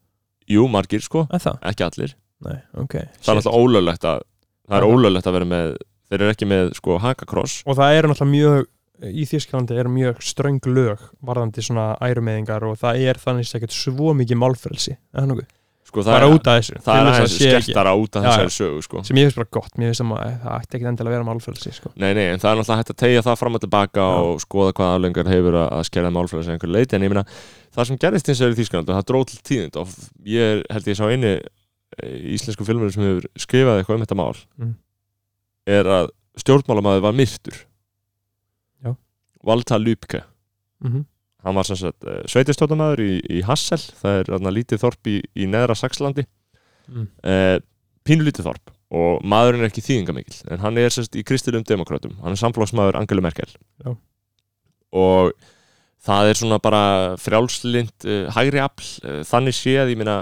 [SPEAKER 1] jú, margir sko,
[SPEAKER 2] Að það?
[SPEAKER 1] ekki allir
[SPEAKER 2] Nei, ok
[SPEAKER 1] það er
[SPEAKER 2] Shit.
[SPEAKER 1] alltaf ólöglegt að það er
[SPEAKER 2] Já.
[SPEAKER 1] ólöglegt að vera með þeir eru ekki með sko hakakross
[SPEAKER 2] Og það eru náttúrulega mjög Í Þísklandi eru mjög ströng lög varðandi svona ærumeðingar og það er þannig sækert svo mikið málfrelsi eða nokkuð,
[SPEAKER 1] sko, það,
[SPEAKER 2] bara
[SPEAKER 1] er,
[SPEAKER 2] út af þessu
[SPEAKER 1] það
[SPEAKER 2] til
[SPEAKER 1] er
[SPEAKER 2] þess
[SPEAKER 1] aðeins
[SPEAKER 2] sé ekki-
[SPEAKER 1] skelltara út að
[SPEAKER 2] Já,
[SPEAKER 1] þessari sögu sko.
[SPEAKER 2] sem ég finnst bara gott, mér finnst að maður- það ætti ekkert endilega að vera málfrelsi sko.
[SPEAKER 1] Nei, nei, en það er náttúrulega hægt að tegja það fram og tilbaka
[SPEAKER 2] Já.
[SPEAKER 1] og skoða hvað aflengar hefur að, að skerða málfræðis einhverju leiti, en ég meina það sem gerðist eins og er í Þýskalandi, það dróð til tíðind og ég er, held ég sá eini eh, íslensku filmur sem hefur skrifað eitthvað um þetta mál
[SPEAKER 2] Mm.
[SPEAKER 1] er að stjórnmálamæður var myrtur
[SPEAKER 2] Já.
[SPEAKER 1] Valta Lübke
[SPEAKER 2] mm
[SPEAKER 1] hann var sem sagt sveitistjóttamæður í, í Hassel það er þarna lítið þorp í, í neðra Saxlandi
[SPEAKER 2] Mm.
[SPEAKER 1] eh, pínlítið þorp og maðurinn er ekki þýðingamikil en hann er sérst í kristilum demokratum hann er samflóksmaður Angelu Merkel
[SPEAKER 2] Já.
[SPEAKER 1] og það er svona bara frjálslind uh, hægri afl, uh, þannig séð ég meina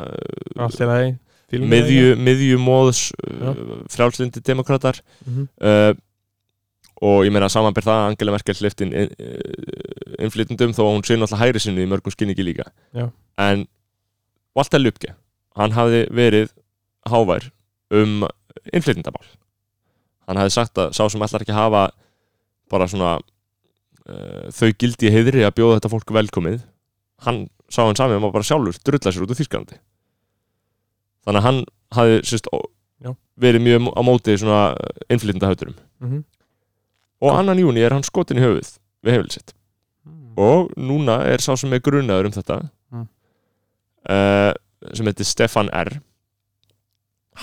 [SPEAKER 2] Allt í lagi fílum við það,
[SPEAKER 1] miðju, miðjumóðs
[SPEAKER 2] Já.
[SPEAKER 1] uh, frjálslindi demokratar
[SPEAKER 2] ekki? Mhm.
[SPEAKER 1] uh, og ég meina samanbyrð það að Angela Merkel hliftin in, uh, innflytendum þó að hún sé náttúrulega hægri sinni í mörgum skinningi líka
[SPEAKER 2] Já.
[SPEAKER 1] en Walter Lübke hann hafði verið hávær um innflytendamál hann hafði sagt að sá sem ætlar ekki að hafa bara svona uh, þau gildi í heiðri að bjóða þetta fólk velkomið hann sá hann samið um að bara sjálfur drulla sér út úr Þýskalandi þannig að hann hafði sérst, ó-
[SPEAKER 2] Já.
[SPEAKER 1] verið mjög á móti svona innflytendahauturum
[SPEAKER 2] Mhm.
[SPEAKER 1] og annan júni er hann skotin í höfuð við hefðil sitt
[SPEAKER 2] Mm.
[SPEAKER 1] og núna er sá sem er grunaður um þetta
[SPEAKER 2] Mm.
[SPEAKER 1] eh, sem heitir Stefan R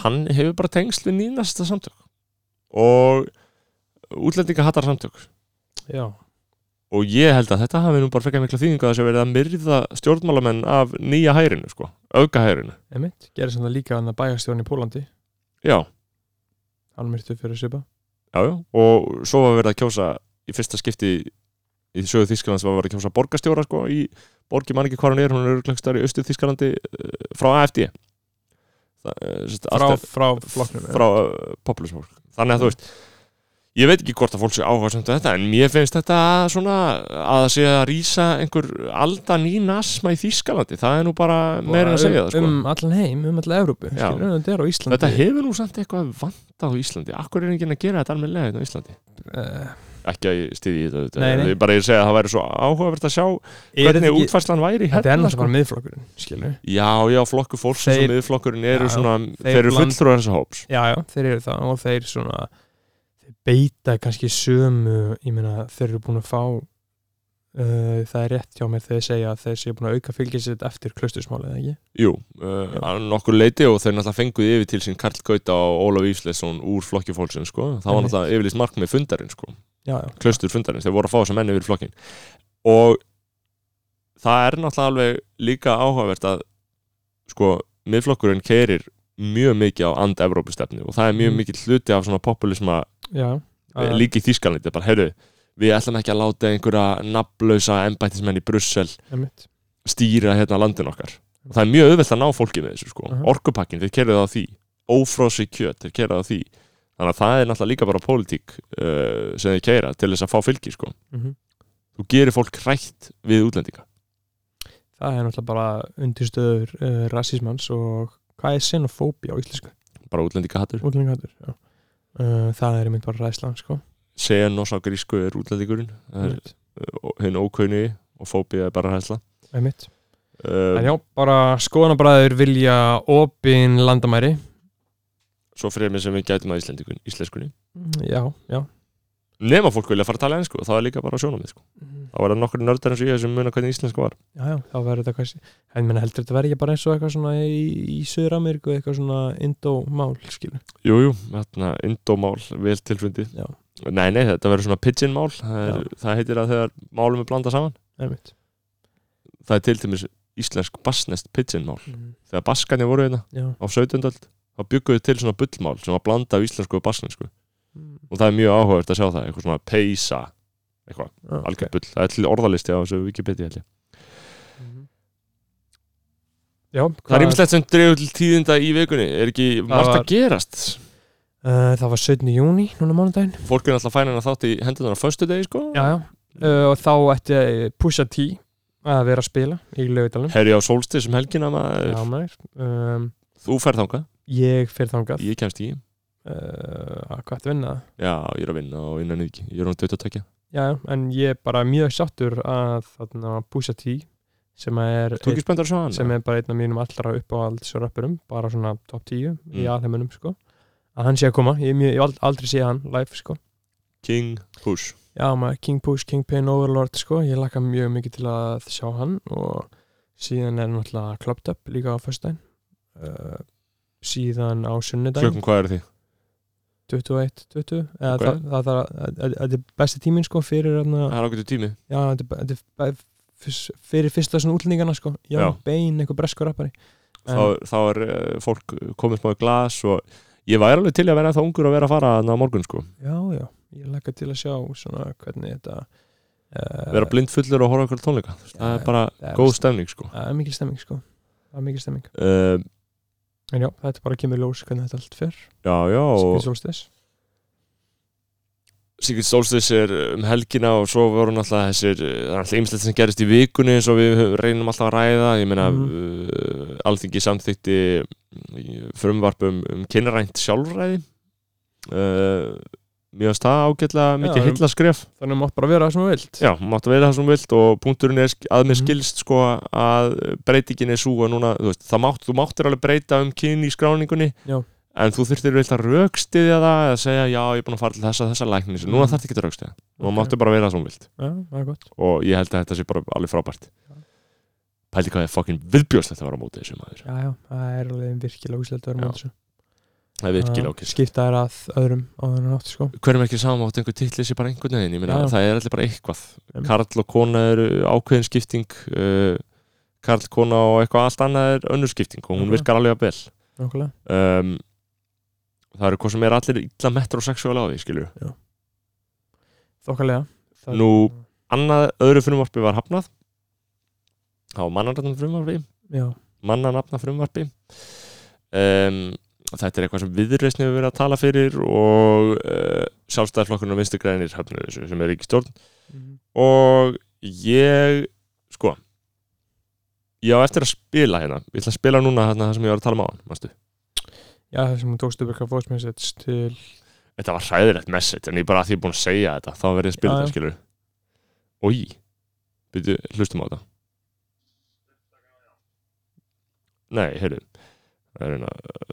[SPEAKER 1] hann hefur bara tengsl við nýnasta samtök og útlendinga hattar samtök
[SPEAKER 2] já,
[SPEAKER 1] og ég held að þetta hafi nú bara frekar mikla þýðinga þess að verið að myrða stjórnmálamenn af nýja hærinu sko, auka hærinu
[SPEAKER 2] emitt gerir sem það líka hann að bæjastjórn í Pólandi
[SPEAKER 1] já,
[SPEAKER 2] hann myrtu fyrir svipa
[SPEAKER 1] já, já, og svo var verið að kjósa í fyrsta skipti í sögu Þísklands var verið að kjósa borgarstjóra sko, í borgi mann ekki hvað hann er, hún er örglangstar í austu Þísklandi frá AFD Þa, eh, sest,
[SPEAKER 2] frá, Mm. frá flokknum já.
[SPEAKER 1] frá uh, populismar þannig að þú veist ég veit ekki hvort að fólk sé áhuga sem þetta en mér finnst þetta svona að það sé að rýsa einhver aldan í nasma í Þýskalandi það er nú bara meira en að segja það sko.
[SPEAKER 2] um, um allan heim, um allan Evrópu
[SPEAKER 1] Já.
[SPEAKER 2] skilur, en þetta er á Íslandi
[SPEAKER 1] þetta hefur nú samt eitthvað vanda á Íslandi akkur er enginn að gera þetta almennilega hérna á Íslandi
[SPEAKER 2] Eh,
[SPEAKER 1] ekki að ég stiði í þetta auðvitað.
[SPEAKER 2] Nei, nei.
[SPEAKER 1] Ég bara ég segja að það væri svo áhugavert að sjá
[SPEAKER 2] er
[SPEAKER 1] hvernig
[SPEAKER 2] þetta ekki-
[SPEAKER 1] útfærslan væri
[SPEAKER 2] þetta er
[SPEAKER 1] hérna
[SPEAKER 2] náttúrulega bara miðflokkurinn skilur.
[SPEAKER 1] já, já, flokkur fólks
[SPEAKER 2] Þeir-
[SPEAKER 1] sem miðflokkurinn eru
[SPEAKER 2] Já,
[SPEAKER 1] svona,
[SPEAKER 2] þeir
[SPEAKER 1] þeir eru
[SPEAKER 2] bland-
[SPEAKER 1] fulltrúar þessa hóps
[SPEAKER 2] já, já, þeir eru það og þeir svona þeir beita kannski sömu ég meina þeir eru búin að fá uh, það er rétt hjá mér þegar þeir segja að þeir séu búin að auka fylgisitt eftir klaustusmálið, eða ekki?
[SPEAKER 1] Jú, uh, að nokkur leiti og þeir náttúrulega fenguði yfir til sín Karl Gauta og Ólaf Ísleson úr flokki fólksinn sko. það var
[SPEAKER 2] Einmitt.
[SPEAKER 1] náttúrulega yfirlýst markmið fundarinn sko.
[SPEAKER 2] Já, já,
[SPEAKER 1] klaustur fundarins, þeir voru að fá þess að menni yfir flokkin og það er náttúrulega alveg líka áhugavert að sko, miðflokkurinn keirir mjög mikið á and-Evrópustefni og það er mjög
[SPEAKER 2] Mm.
[SPEAKER 1] mikið hluti af svona populisma
[SPEAKER 2] já
[SPEAKER 1] uh.
[SPEAKER 2] Eh,
[SPEAKER 1] líka í Þýskalandi, bara heyrðu við ætlum ekki að láta einhverja nafnlausa embættismenn í Brussel
[SPEAKER 2] einmitt.
[SPEAKER 1] stýra hérna landin okkar og það er mjög auðvelt að ná fólki með þessu sko.
[SPEAKER 2] Aha.
[SPEAKER 1] orkupakkin, þeir kerðu það á því ófrósi kjöt, þeir kerðu það á því þannig að það er náttúrulega líka bara pólitík uh, sem þeir keira til þess að fá fylgi sko.
[SPEAKER 2] Mhm.
[SPEAKER 1] þú gerir fólk hrætt við útlendinga
[SPEAKER 2] það er náttúrulega bara undirstöður uh, rasismans og hvað er xenofóbía á íslensku?
[SPEAKER 1] bara útlendinga hattur,
[SPEAKER 2] Útlengatur, já uh, það er einmitt bara ræslan, sko
[SPEAKER 1] segjan og sá grísku er útlendingurinn það er
[SPEAKER 2] einmitt,
[SPEAKER 1] uh, hinn ókaunni og fóbía er bara hæsla
[SPEAKER 2] einmitt. en
[SPEAKER 1] uh,
[SPEAKER 2] já, bara skoðanabræður vilja opin landamæri
[SPEAKER 1] svo fremið sem við gætum að íslendingun íslenskunni,
[SPEAKER 2] Mm, já, já
[SPEAKER 1] nema fólk vilja fara að tala ennsku og það er líka bara sjónamið sko. þá var það nokkur nördar eins og ég sem muna hvernig íslensku var
[SPEAKER 2] Já, já, þá verður þetta kannski En menn heldur þetta verður ekki bara eins og eitthvað svona í, í Suður-Ameríku, eitthvað svona indó-mál, skilu
[SPEAKER 1] Jú, jú, þarna indómál, vel tilfundi
[SPEAKER 2] Já.
[SPEAKER 1] Nei, nei, þetta verður svona pidgin-mál það, er-
[SPEAKER 2] Já.
[SPEAKER 1] það heitir að þegar málum er blanda saman
[SPEAKER 2] Einmitt
[SPEAKER 1] Það er til dæmis íslensk basnest pidgin-mál
[SPEAKER 2] mm.
[SPEAKER 1] Þegar baskarnir voru hérna
[SPEAKER 2] Já
[SPEAKER 1] á 17. öld þá bygguðu til svona bullmál sem var blanda af íslensku og basnesku
[SPEAKER 2] Mm.
[SPEAKER 1] og það er mjög áhugavert að sjá það, eitthvað svona peisa eitthvað,
[SPEAKER 2] Já, Ah, ok.
[SPEAKER 1] algjör bull Það er til orðalisti á þessu Wikipedia held ég.
[SPEAKER 2] Mhm. Já,
[SPEAKER 1] Það
[SPEAKER 2] hvað-
[SPEAKER 1] er ymmislegt sem dregur til tíðinda í vikunni er ekki margt
[SPEAKER 2] var-
[SPEAKER 1] að gerast
[SPEAKER 2] Uh, það var 17. júni, núna mánudaginn
[SPEAKER 1] Fólk er alltaf fænin að þátt í hendunar á föstu degi sko
[SPEAKER 2] Já, já uh, Og þá ætti eh, Pusha T að vera að spila í lögutalum
[SPEAKER 1] Herri á sólstið sem helgina maður,
[SPEAKER 2] Já, maður um,
[SPEAKER 1] þú færð þangað,
[SPEAKER 2] Ég fyrir þangað uh,
[SPEAKER 1] ég kemst í
[SPEAKER 2] Hvað ætti að vinna það?
[SPEAKER 1] Já, ég er að vinna og vinna nýðki Ég er um 22
[SPEAKER 2] Já, já, en ég er bara mjög sáttur að þarna Pusha T sem að er
[SPEAKER 1] Þú ekki spenntar svo hann?
[SPEAKER 2] sem er bara einn af mínum allra uppáhaldsrappurum bara svona top 10 í
[SPEAKER 1] Mm.
[SPEAKER 2] alheiminum sko. að hann sé að koma, ég, hef mjög, ég hef ald- aldrei sé hann live sko.
[SPEAKER 1] King Push
[SPEAKER 2] já maður King Push, King Pain Overlord sko. ég laka mjög mikið til að sjá hann og síðan er náttúrulega Clubbed Up líka á föstudaginn uh, síðan á sunnudaginn
[SPEAKER 1] Klukkum hvað er því?
[SPEAKER 2] 21, 20 eða
[SPEAKER 1] Ok.
[SPEAKER 2] okay. það, það, það, það, það, það er besti tíminn sko, fyrir, þarna-
[SPEAKER 1] Það er ágættu tími
[SPEAKER 2] já, þetta er bara- þetta er bara fyrst- fyrir fyrsta svona útlendingana sko. já,
[SPEAKER 1] Já.
[SPEAKER 2] bein, eitthvað breskur rappari
[SPEAKER 1] Þá, þá er uh, fólk komið smá í glas og ég væri alveg til í að vera það ungur að vera að fara þannig á morgun sko
[SPEAKER 2] Já, já, ég lakka til að sjá svona hvernig þetta uh,
[SPEAKER 1] Vera blind fullur og horfa okkur tónleika Þú veist, Það er bara góð stemning sko
[SPEAKER 2] Það er mikil stemming sko Það er mikil stemming
[SPEAKER 1] uh,
[SPEAKER 2] En já, þetta bara kemur í ljós hvernig þetta allt fer
[SPEAKER 1] Já, já og
[SPEAKER 2] Svíðsólstis
[SPEAKER 1] Sigurd Solstis er um helgina og svo voru náttúrulega þessir uh, það er alltaf ymslegt sem gerist í vikunni eins og við höfum- reynum alltaf að ræða ég meina
[SPEAKER 2] Mhm.
[SPEAKER 1] uh, alþingi samþykti uh, frumvarp um, um kynrænt sjálfræði uh, mjög að það ágætlega
[SPEAKER 2] Já,
[SPEAKER 1] mikið hillaskref
[SPEAKER 2] Þannig mátt bara vera það sem þú vilt
[SPEAKER 1] já, máttu vera það sem þú vilt og punkturinn er sk- að mér
[SPEAKER 2] Mhm.
[SPEAKER 1] skilst sko að breytingin er svo að núna, þú veist, það mátt, þú máttir alveg breyta um kyn í skráningunni
[SPEAKER 2] Já.
[SPEAKER 1] en þú þurftir vel að raukstiðja það eða segja já, ég er búin að fara til þessa, þessa læknis núna
[SPEAKER 2] Mhm.
[SPEAKER 1] þarf ekki að raukstiðja og
[SPEAKER 2] Ok.
[SPEAKER 1] okay. máttu bara vera það sem þú vilt
[SPEAKER 2] Já, það er gott
[SPEAKER 1] og ég held að þetta sé bara alveg frábært pældi hvað ég fokkin viðbjóðst þetta var á móti þessu maður
[SPEAKER 2] Já, já, það er alveg virkilega úslega að vera
[SPEAKER 1] Já.
[SPEAKER 2] með þessu
[SPEAKER 1] vaknaði virkilega ákist
[SPEAKER 2] skipta þær að öðrum á þennan átt sko
[SPEAKER 1] hverjum ekki sama átt einhver titli sé bara einhvern veginn ég meina
[SPEAKER 2] Já.
[SPEAKER 1] það er allir bara eitthvað
[SPEAKER 2] Einmitt.
[SPEAKER 1] Karl og kona eru ákveðin skipting uh, Karl, kona og eitthvað allt annað er önnur skipting og hún
[SPEAKER 2] Nákvæmlega.
[SPEAKER 1] virkar alveg að bel
[SPEAKER 2] Nákvæmlega.
[SPEAKER 1] um, það eru hvað sem er allir illa metrosexuál á því skilur
[SPEAKER 2] þokkalega Það-
[SPEAKER 1] Nú- annað öðru frumvarpi var hafnað á mannarnafna frumvarpi
[SPEAKER 2] já,
[SPEAKER 1] mannanafna frumvarpi um, þetta er eitthvað sem viðreysni hefur verið að tala fyrir og uh, sjálfstæðflokkurinn og vinstugræðinir höfnur þessu sem er ekki stjórn
[SPEAKER 2] Mhm.
[SPEAKER 1] og ég sko ég á eftir að spila hérna ég ætla að spila núna hérna það sem ég var að tala um á hann
[SPEAKER 2] já það sem hún tókst upp eitthvað voice message til
[SPEAKER 1] þetta var hræðilegt message en ég bara að því ég er búin að segja þetta þá verð ég að spila
[SPEAKER 2] Já,
[SPEAKER 1] þetta skilur Ói, byrju, hlustum á þetta Nei, heyrðu það er eina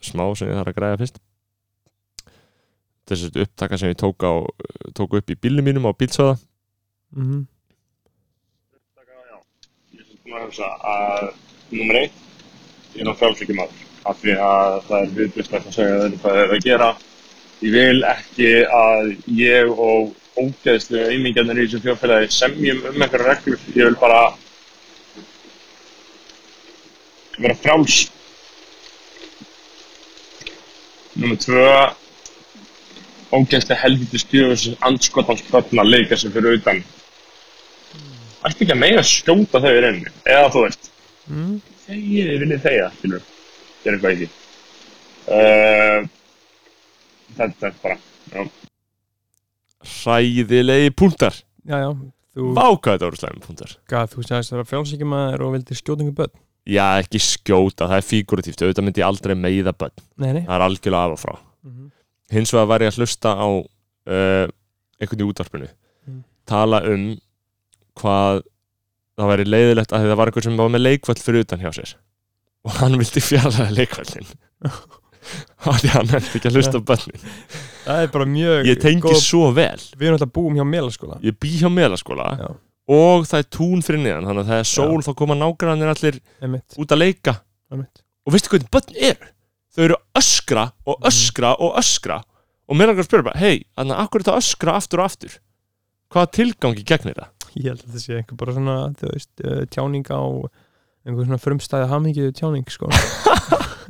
[SPEAKER 1] smá sem ég þarf að græða fyrst þessi upptaka sem ég tók, á, tók upp í bílum mínum á bílsöða
[SPEAKER 2] mm -hmm.
[SPEAKER 4] Ég er búin að hugsa að nummer eitt, ég er náttúrulega frálsleikir maður. Af því að það er viðbyrst að segja þeirri hvað þeir eru að gera. Ég vil ekki að ég og ógeðslu eimingarnir í þessu þjóðfélagi semjum um einhverja reglur. Ég vil bara vera fráls. Nummer tvö, ógeðslu helviti stjöfus andskotans fötna leika sem fyrir utan ætti ekki að mega skjóta þau í rauninni eða þú veist
[SPEAKER 2] Mm.
[SPEAKER 4] þegið þið viljið þegja skilur gera eitthvað í því uh, þetta er bara já.
[SPEAKER 1] hræðilegi púntar
[SPEAKER 2] já, já, þú
[SPEAKER 1] Váka þetta voru slæmi púntar
[SPEAKER 2] Hvað, þú sagðist það var frjálsíkjamaður og vildir skjótingu börn?
[SPEAKER 1] Já, ekki skjóta, það er fíguratíft auðvitað myndi ég aldrei meiða börn
[SPEAKER 2] Nei, nei.
[SPEAKER 1] það er algjörlega af og frá
[SPEAKER 2] Mhm.
[SPEAKER 1] hins vegar var ég að hlusta á uh, einhvern í útvarpinu
[SPEAKER 2] Mm.
[SPEAKER 1] tala um hvað það væri leiðilegt að það var einhver sem var með leikvöld fyrir utan hjá sér og hann vildi fjarlæða leikvöldin
[SPEAKER 2] [laughs]
[SPEAKER 1] og því hann hefði ekki að hlusta á börnin
[SPEAKER 2] Það er bara mjög
[SPEAKER 1] ég tengi
[SPEAKER 2] góð-
[SPEAKER 1] svo vel
[SPEAKER 2] Við erum alltaf búum hjá Melaskóla
[SPEAKER 1] ég bý hjá melaskóla
[SPEAKER 2] Já.
[SPEAKER 1] og það er tún fyrir neðan þannig að það er sól þá koma nágrannir allir
[SPEAKER 2] Einmitt,
[SPEAKER 1] út að leika
[SPEAKER 2] einmitt
[SPEAKER 1] og veistu hvernig börn eru þau eru öskra og öskra og öskra og mér langar að spyrja bara hei, þannig að akkur er þetta að öskra aftur og aftur hvaða tilgangi gegnir það?
[SPEAKER 2] Ég held að það sé einhver bara svona, þú veist, uh, tjáning á einhver svona frumstæði hamingið tjáning, sko [laughs]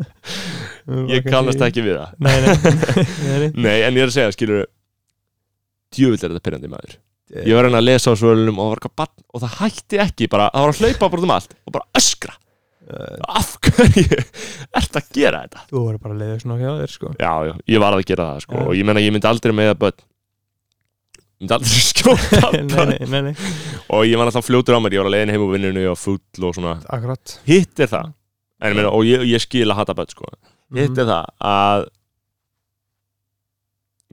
[SPEAKER 1] Ég kannast ekki við það
[SPEAKER 2] Nei, [laughs] nei, nei, nei.
[SPEAKER 1] Nei, en ég er að segja, skilur djöfull er þetta pyrrandi maður
[SPEAKER 2] Eh.
[SPEAKER 1] ég var að reyna að lesa á svölunum og það var eitthvað barn og það hætti ekki, bara, það var að hlaupa bara um allt og bara öskra
[SPEAKER 2] Uh,
[SPEAKER 1] af hverju [laughs] ert að gera þetta?
[SPEAKER 2] Þú verður bara leiðið svona hjá þér, [laughs] sko
[SPEAKER 1] Já, já, ég var að gera það, sko
[SPEAKER 2] Já.
[SPEAKER 1] og ég meina, ég myndi aldrei með að börn myndi aldrei [laughs] skjóta
[SPEAKER 2] Nei,
[SPEAKER 1] börn.
[SPEAKER 2] nei, nei, nei
[SPEAKER 1] og ég var alltaf fljótur á mér, ég var að leiðin heim úr vinnunni og full og svona,
[SPEAKER 2] Akkurat
[SPEAKER 1] hitt er það en, ég meina, og ég, ég skil að hata börn sko
[SPEAKER 2] Mhm,
[SPEAKER 1] hitt er það að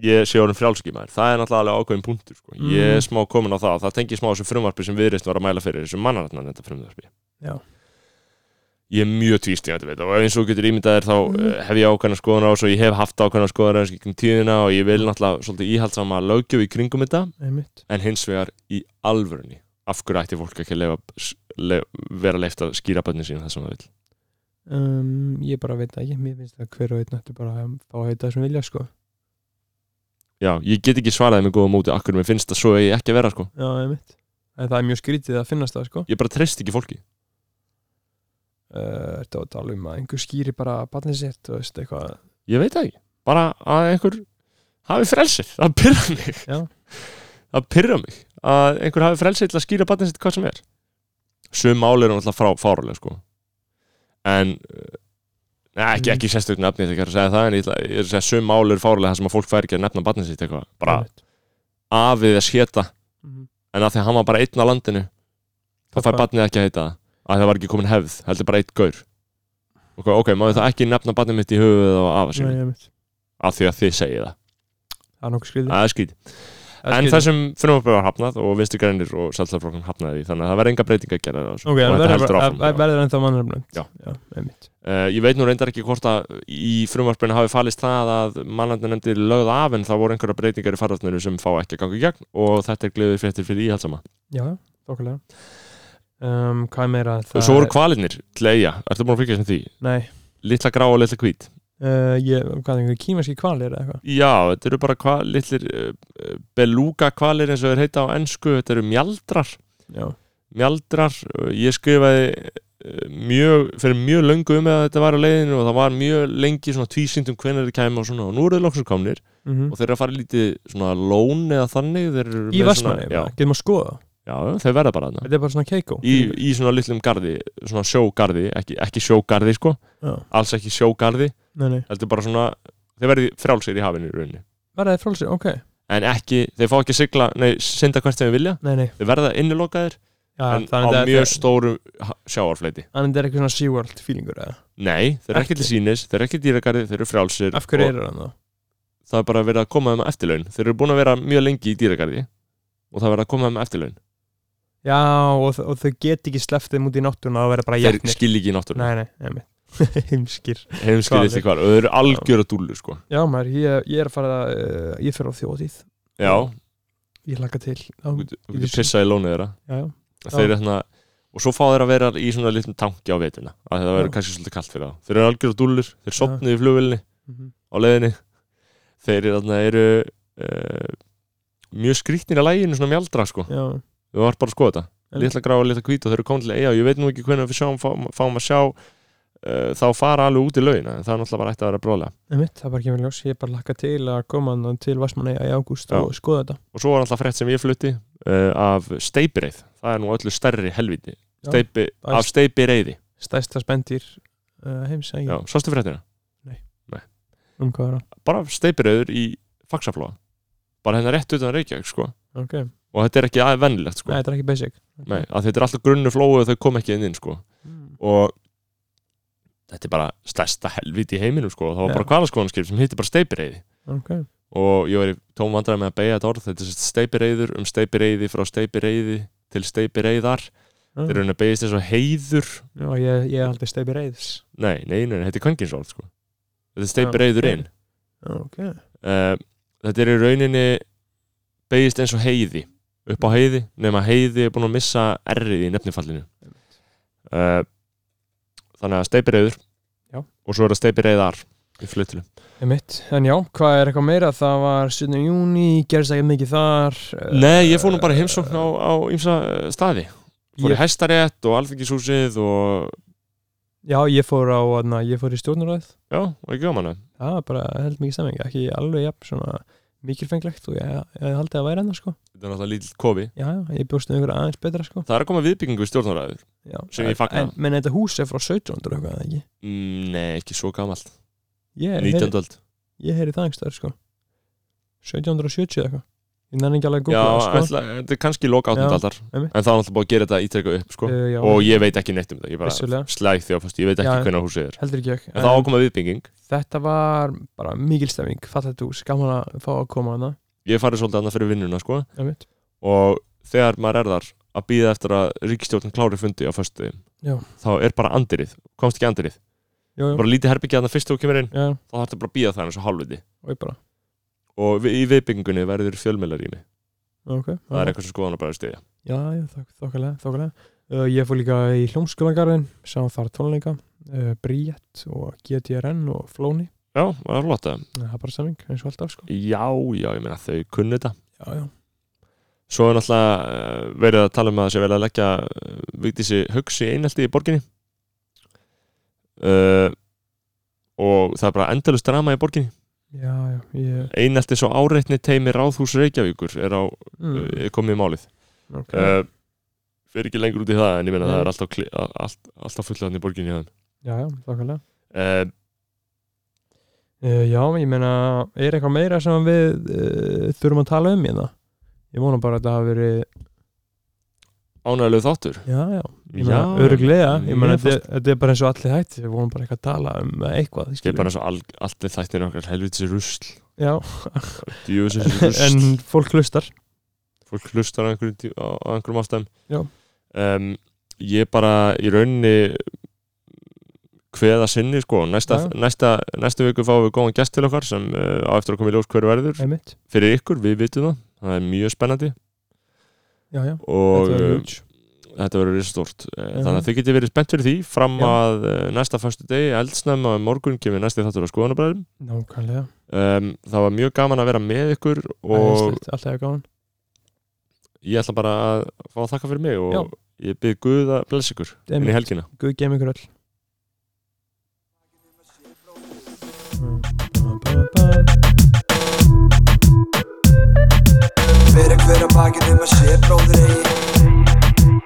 [SPEAKER 1] ég sé orðin frjálskýmaður, það er náttúrulega alveg ákveðin punktur sko. ég er
[SPEAKER 2] Mhm.
[SPEAKER 1] smá komin á það, það tengi smá þessu frumvarpi sem viðreist var að mæla fyrir, þessu mannararnan þetta frumvarpi
[SPEAKER 2] Já.
[SPEAKER 1] ég er mjög tvísting að þetta og eins og þú getur ímyndaðir þá
[SPEAKER 2] Mhm.
[SPEAKER 1] mm. hef ég ákveðna skoðan á þessu, og ég hef haft ákveðna skoðan á þessu gegnum tíðina og ég vil náttúrulega svolítið íhaldsama löggjöf í kringum þetta
[SPEAKER 2] Einmitt
[SPEAKER 1] en hins vegar í alvörunni af hverju ætti fólk ekki að lefa, lef, vera leift að skýra bönni sín það sem það vil
[SPEAKER 2] um, Ég bara veit það ekki, mér finnst það hver og einn ættu bara að fá að heita það sem vilja, sko
[SPEAKER 1] já, ég get ekki svaraði með góða móti akkur mér finnst það svo eigi ekki að vera sko
[SPEAKER 2] Já, einmitt En það er mjög skrítið að finnast það, sko
[SPEAKER 1] ég bara treyst ekki fólki
[SPEAKER 2] uh, Þetta var að tala um að einhver skýri bara barnið sitt og veist eitthvað
[SPEAKER 1] ég veit það ekki, bara að einhver hafi frelsið, það pyrra mig
[SPEAKER 2] Já.
[SPEAKER 1] það pyrra mig að einhver hafi frelsið til að skýra bönni sitt hvað sem er sum máli eru náttúrulega frá fáraleg sko en eh, Nei, ekki, ekki sérstök nefni, ég ætla ekki að segja það, en ég ætla ég er að segja sum máli eru fárulega það sem að fólk fær ekki að nefna barnið sitt eitthvað, bara
[SPEAKER 2] Einmitt.
[SPEAKER 1] afið að sketa
[SPEAKER 2] Mhm.
[SPEAKER 1] en að því að hann var bara einn á landinu þá
[SPEAKER 2] Það
[SPEAKER 1] fær
[SPEAKER 2] bara-
[SPEAKER 1] barnið ekki að heita það að það var ekki komin hefð, heldur bara einn gaur ok, ok, maður það ekki nefna barnið mitt í höfuð og afa
[SPEAKER 2] Nei,
[SPEAKER 1] sér
[SPEAKER 2] einmitt.
[SPEAKER 1] af því að þið segið það,
[SPEAKER 2] Það er nokkuð skriðið
[SPEAKER 1] það er skýt en þessum frumvarpið var hafnað og vinstu grænir og sjálfstæðarflokkan hafnaði því þannig að það verði enga breyting að gera þessu
[SPEAKER 2] Ok, en
[SPEAKER 1] og þetta
[SPEAKER 2] verður
[SPEAKER 1] heldur
[SPEAKER 2] bara-
[SPEAKER 1] áfram
[SPEAKER 2] ver- verður ennþá mannrefnum
[SPEAKER 1] Já.
[SPEAKER 2] Já, einmitt
[SPEAKER 1] uh, ég veit nú reyndar ekki hvort að í frumvarpinu hafi falist það að mannandi nefndir lögð af en það voru einhverja breytingar í farvartninu sem fá ekki að ganga í gegn og þetta er gleður fréttir fyrir íhaldsama
[SPEAKER 2] Já, okkurlega um, Hvað meira
[SPEAKER 1] og svo voru kvalirnir til eiga, ertu búin að fylgjast með því
[SPEAKER 2] Nei,
[SPEAKER 1] litla grá og litla hvít
[SPEAKER 2] uh, ég, hvað er einhver kímerski kvalir eða eitthvað
[SPEAKER 1] Já, þetta eru bara hva, litlir uh, beluga kvalir eins og þeir heita á ennsku, þetta eru mjaldrar
[SPEAKER 2] já,
[SPEAKER 1] mjaldrar, uh, ég skrifaði uh, mjög, fyrir mjög löngu um að þetta var á leiðinu og það var mjög lengi svona tvísindum hvenær þeir kæmi og svona og nú eru þeir loksur komnir
[SPEAKER 2] mm
[SPEAKER 1] og þeir eru að fara lítið svona lón eða þannig þeir eru
[SPEAKER 2] í
[SPEAKER 1] með svona-
[SPEAKER 2] Vestmanni,
[SPEAKER 1] já,
[SPEAKER 2] getum að skoða það.
[SPEAKER 1] já, þeir verða bara þarna
[SPEAKER 2] þetta er bara svona keiko
[SPEAKER 1] í, í svona litlum garði, svona sjógarði ekki, ekki sjógarði sko,
[SPEAKER 2] já,
[SPEAKER 1] alls ekki sjógarði
[SPEAKER 2] nei, nei,
[SPEAKER 1] heldur bara svona, þeir verði frálsir í hafinu í rauninni,
[SPEAKER 2] verða þið frálsir, ok
[SPEAKER 1] en ekki, þeir fá ekki að sigla, nei, synda hvert sem þeir vilja
[SPEAKER 2] nei, nei,
[SPEAKER 1] þeir verða innilokaðir
[SPEAKER 2] já,
[SPEAKER 1] en á
[SPEAKER 2] þannig að
[SPEAKER 1] mjög
[SPEAKER 2] þetta-
[SPEAKER 1] stóru ha- sjávarfleti
[SPEAKER 2] þannig að þetta er eitthvað svona SeaWorld feelingur eða,
[SPEAKER 1] Nei, þeir eru ekki
[SPEAKER 2] Ekki.
[SPEAKER 1] til sínis, þeir eru ekki í dýragarði, þeir eru frjálsir
[SPEAKER 2] af hverju
[SPEAKER 1] og
[SPEAKER 2] er það þá
[SPEAKER 1] það er bara verið að koma þeim að eftirlaun þeir eru búin að vera mjög lengi í dýragarði og það er verið að koma þeim að eftirlaun
[SPEAKER 2] já, og, þ- og þau get ekki sleppt þeim út í náttúruna og verða bara
[SPEAKER 1] þeir
[SPEAKER 2] jætnir
[SPEAKER 1] skilja ekki í náttúruna,
[SPEAKER 2] nei, nei, nei, [laughs] heimskir
[SPEAKER 1] hefum skiljað
[SPEAKER 2] Hvalir.
[SPEAKER 1] til hvar og þeir eru algjöra dúllur sko
[SPEAKER 2] já, maður, ég, ég er að fara uh, ég fer á þjóðið,
[SPEAKER 1] Já,
[SPEAKER 2] ég laka til já,
[SPEAKER 1] þú getur- þú
[SPEAKER 2] ég
[SPEAKER 1] getur
[SPEAKER 2] vissi.
[SPEAKER 1] pissað í lónu þeirra
[SPEAKER 2] já, já,
[SPEAKER 1] þeir eru þarna, og svo fá þeir að vera í svona litlum tanki á vetina að það verður
[SPEAKER 2] Já.
[SPEAKER 1] kannski svolítið kallt fyrir þá þeir eru algjöra dúllur, þeir
[SPEAKER 2] Já.
[SPEAKER 1] sopnuðu í flugvilni
[SPEAKER 2] mhm.
[SPEAKER 1] á leiðinni þeir eru, þarna, eru uh, mjög skrýtnir að læginu svona mjaldra sko
[SPEAKER 2] já,
[SPEAKER 1] við varum bara að skoða þetta
[SPEAKER 2] En-
[SPEAKER 1] litla gráa, litla hvít og þeir eru komin til eiga og ég veit nú ekki hvernig við sjáum, fáum, fáum að sjá uh, þá fara alveg út í laugina en það er náttúrulega bara ætti að vera bróðlega
[SPEAKER 2] Einmitt, það er bara kemur í ljós, ég er bara lakka til að koma hann til Vestmannaeyja í ágúst
[SPEAKER 1] Já.
[SPEAKER 2] og skoða þetta
[SPEAKER 1] og svo var alltaf frétt sem ég flutti uh, af steipireið, það er nú öllu stærri helviti Steipi,
[SPEAKER 2] það er-
[SPEAKER 1] af steipireiði
[SPEAKER 2] stærsta spendýr uh, heims
[SPEAKER 1] já,
[SPEAKER 2] eða ekki,
[SPEAKER 1] sástu fréttina,
[SPEAKER 2] um hvað er
[SPEAKER 1] bara steipireiður í faksaflóa, bara hérna rétt utan Reykjavík sko,
[SPEAKER 2] það ok,
[SPEAKER 1] og þetta er ekki aðeins vennilegt
[SPEAKER 2] nei
[SPEAKER 1] sko,
[SPEAKER 2] þetta er ekki basic Ok.
[SPEAKER 1] nei, að þetta er alltaf grunnu flóu og þau kom ekki inn inn sko
[SPEAKER 2] Mm.
[SPEAKER 1] og þetta er bara stærsta helviti í heiminum sko, og það var
[SPEAKER 2] Já.
[SPEAKER 1] bara kvalaskoðanskip sem hitti bara steipireiði
[SPEAKER 2] ok,
[SPEAKER 1] og ég var í tóm vandræði með að beigja þetta orð þetta er sérst steipireiður um steipireiði frá steipireiði til steipireiðar mm.
[SPEAKER 2] já,
[SPEAKER 1] þeir eru henni að beigja þess að heiður
[SPEAKER 2] já, ég, ég er aldrei steipi reyðs
[SPEAKER 1] nei, nei, nei, nei, þetta er kvenginsorð sko. þetta er steipireiður inn
[SPEAKER 2] ok,
[SPEAKER 1] uh, þetta er í rauninni beigist eins og heiði upp á heiði, nema heiði er búin að missa errið í nefnifallinu uh, þannig að steipireiður
[SPEAKER 2] Já.
[SPEAKER 1] og svo er það steipireiðar í flutinu
[SPEAKER 2] einmitt, en já, hvað er eitthvað meira það var 17. júni, gerðist ekki mikið þar eh,
[SPEAKER 1] Nei, ég fór nú bara í heimsókn á, á ymsa eh, staði Fór
[SPEAKER 2] Ég-
[SPEAKER 1] í hestarétt og alþingishúsið og
[SPEAKER 2] já, ég fór á, na, ég fór í stjórnuræð
[SPEAKER 1] já, og ekki gaman að
[SPEAKER 2] það var bara held mikið stemming, ekki alveg jafn svona mikilfenglegt og ég, ég haldi að væri enn sko,
[SPEAKER 1] Þetta er náttúrulega lítill kofi
[SPEAKER 2] já, já, ég bjóst um ykkur aðeins betra sko
[SPEAKER 1] Það er að koma viðbyggingu í stjórnaræður
[SPEAKER 2] Já,
[SPEAKER 1] Sem ég fagna.
[SPEAKER 2] en, menn þetta hús er frá 1700 og eitthvað eða ekki
[SPEAKER 1] mm, Nei, ekki svo gamalt
[SPEAKER 2] ég, heyri-
[SPEAKER 1] 19. öld
[SPEAKER 2] ég heyri það einhver sko 1770 eða eitthvað ég nenni ekki alveg að
[SPEAKER 1] Já,
[SPEAKER 2] googla það, sko.
[SPEAKER 1] ætla, þetta er kannski loka 18.
[SPEAKER 2] Já,
[SPEAKER 1] aldar En
[SPEAKER 2] einmitt.
[SPEAKER 1] það er náttúrulega búið að gera þetta ítrekka upp sko.
[SPEAKER 2] Eh, já,
[SPEAKER 1] Og ég veit ekki neitt um þetta Ég bara
[SPEAKER 2] Vissulega.
[SPEAKER 1] slæg því á fast Ég veit ekki
[SPEAKER 2] Já.
[SPEAKER 1] hvenær húsið er
[SPEAKER 2] heldur ekki ekki
[SPEAKER 1] En það á að koma viðbygging
[SPEAKER 2] þetta var bara mikil stemming fallet hús, gaman að fá að koma hana
[SPEAKER 1] Ég farið svolítið annað fyrir vinnuna sko.
[SPEAKER 2] einmitt.
[SPEAKER 1] Og þegar maður er þar að býða eftir að ríkistjórn klári fundi á föstu
[SPEAKER 2] Já.
[SPEAKER 1] þá er bara andyrið, komst ekki andyrið
[SPEAKER 2] jú, jú,
[SPEAKER 1] bara lítið herbyggja þannig fyrst þú kemur inn
[SPEAKER 2] já,
[SPEAKER 1] þá þarf þetta bara að býða það eins og halvviti
[SPEAKER 2] og ég bara
[SPEAKER 1] og við, í viðbyggingunni verður fjölmjölarými
[SPEAKER 2] ok,
[SPEAKER 1] það er
[SPEAKER 2] já,
[SPEAKER 1] eitthvað sem skoðan að bara stiðja
[SPEAKER 2] já, já þok, þokkalega, þokkalega. Uh, ég fór líka í hljómskjölangarðin sá þar tónleika, uh, Bríett og GTRN og Flóni
[SPEAKER 1] já, það er flott að
[SPEAKER 2] það er bara stemming eins og alltaf sko
[SPEAKER 1] já, já, ég meina þau kunnu þetta
[SPEAKER 2] já, já,
[SPEAKER 1] svo er náttúrulega eh, verið að tala um að það sé vel að leggja eh, Vigdísi hugsi einhaldi í borginni uh, og það er bara endalust drama í borginni
[SPEAKER 2] já, já ég,
[SPEAKER 1] einhaldi svo áreitni teimi Ráðhús Reykjavíkur er á,
[SPEAKER 2] mm,
[SPEAKER 1] eh, komið í málið uh,
[SPEAKER 2] okay.
[SPEAKER 1] fer ekki lengur út í það en ég meina
[SPEAKER 2] Nei.
[SPEAKER 1] það er alltaf, kli- a- allt, alltaf fulla hann í borginni hjá þeim.
[SPEAKER 2] já, já, þokkalega
[SPEAKER 1] Eh,
[SPEAKER 2] Uh, já, ég meina, er eitthvað meira sem við uh, þurfum að tala um hérna? Ég vona bara að þetta hafi verið,
[SPEAKER 1] ánægulegu þáttur
[SPEAKER 2] já, já, ég meina, öruglega, ég meina,
[SPEAKER 1] mér fannst-
[SPEAKER 2] þetta þetta er bara eins og allir hætti, við vonum bara eitthvað að tala um
[SPEAKER 1] Ég
[SPEAKER 2] eitthvað,
[SPEAKER 1] er
[SPEAKER 2] skilur.
[SPEAKER 1] bara svo all, allir þættir okkar helvitsi rusl
[SPEAKER 2] Já,
[SPEAKER 1] Djöfisins
[SPEAKER 2] [laughs] en
[SPEAKER 1] rusl
[SPEAKER 2] fólk hlustar,
[SPEAKER 1] Fólk hlustar á einhverjum, djú- á, á einhverjum ástæðum
[SPEAKER 2] Já.
[SPEAKER 1] um, Ég bara í rauninni hveða sinni sko næsta,
[SPEAKER 2] Já.
[SPEAKER 1] næsta, næsta viku fáum við góðan gest til okkar sem uh, á eftir að koma í ljós hverju verður
[SPEAKER 2] einmitt,
[SPEAKER 1] fyrir ykkur, við vitum það það er mjög spennandi
[SPEAKER 2] já, já,
[SPEAKER 1] og
[SPEAKER 2] þetta er
[SPEAKER 1] uh,
[SPEAKER 2] huge,
[SPEAKER 1] þetta verður risa stort þannig að þið getið verið spennt fyrir því fram
[SPEAKER 2] Já.
[SPEAKER 1] að eh, næsta fyrstu degi, eldsnæma á morgun kemur næsti þáttur á skoðanabræðum
[SPEAKER 2] nákvæmlega
[SPEAKER 1] um, það var mjög gaman að vera með ykkur og
[SPEAKER 2] Æðislegt, Alltaf er gaman
[SPEAKER 1] ég ætla bara að fá að þakka fyrir mig og
[SPEAKER 2] Já.
[SPEAKER 1] ég byrð Guð að blessa ykkur inn í
[SPEAKER 2] Einmitt.
[SPEAKER 1] helgina
[SPEAKER 2] Guð gem ykkur öll
[SPEAKER 3] Fyrir hver að bakið um að sé bróðir eigi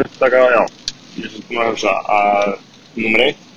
[SPEAKER 4] upptaka, já, ég er svona búin að hugsa að nummer eitt,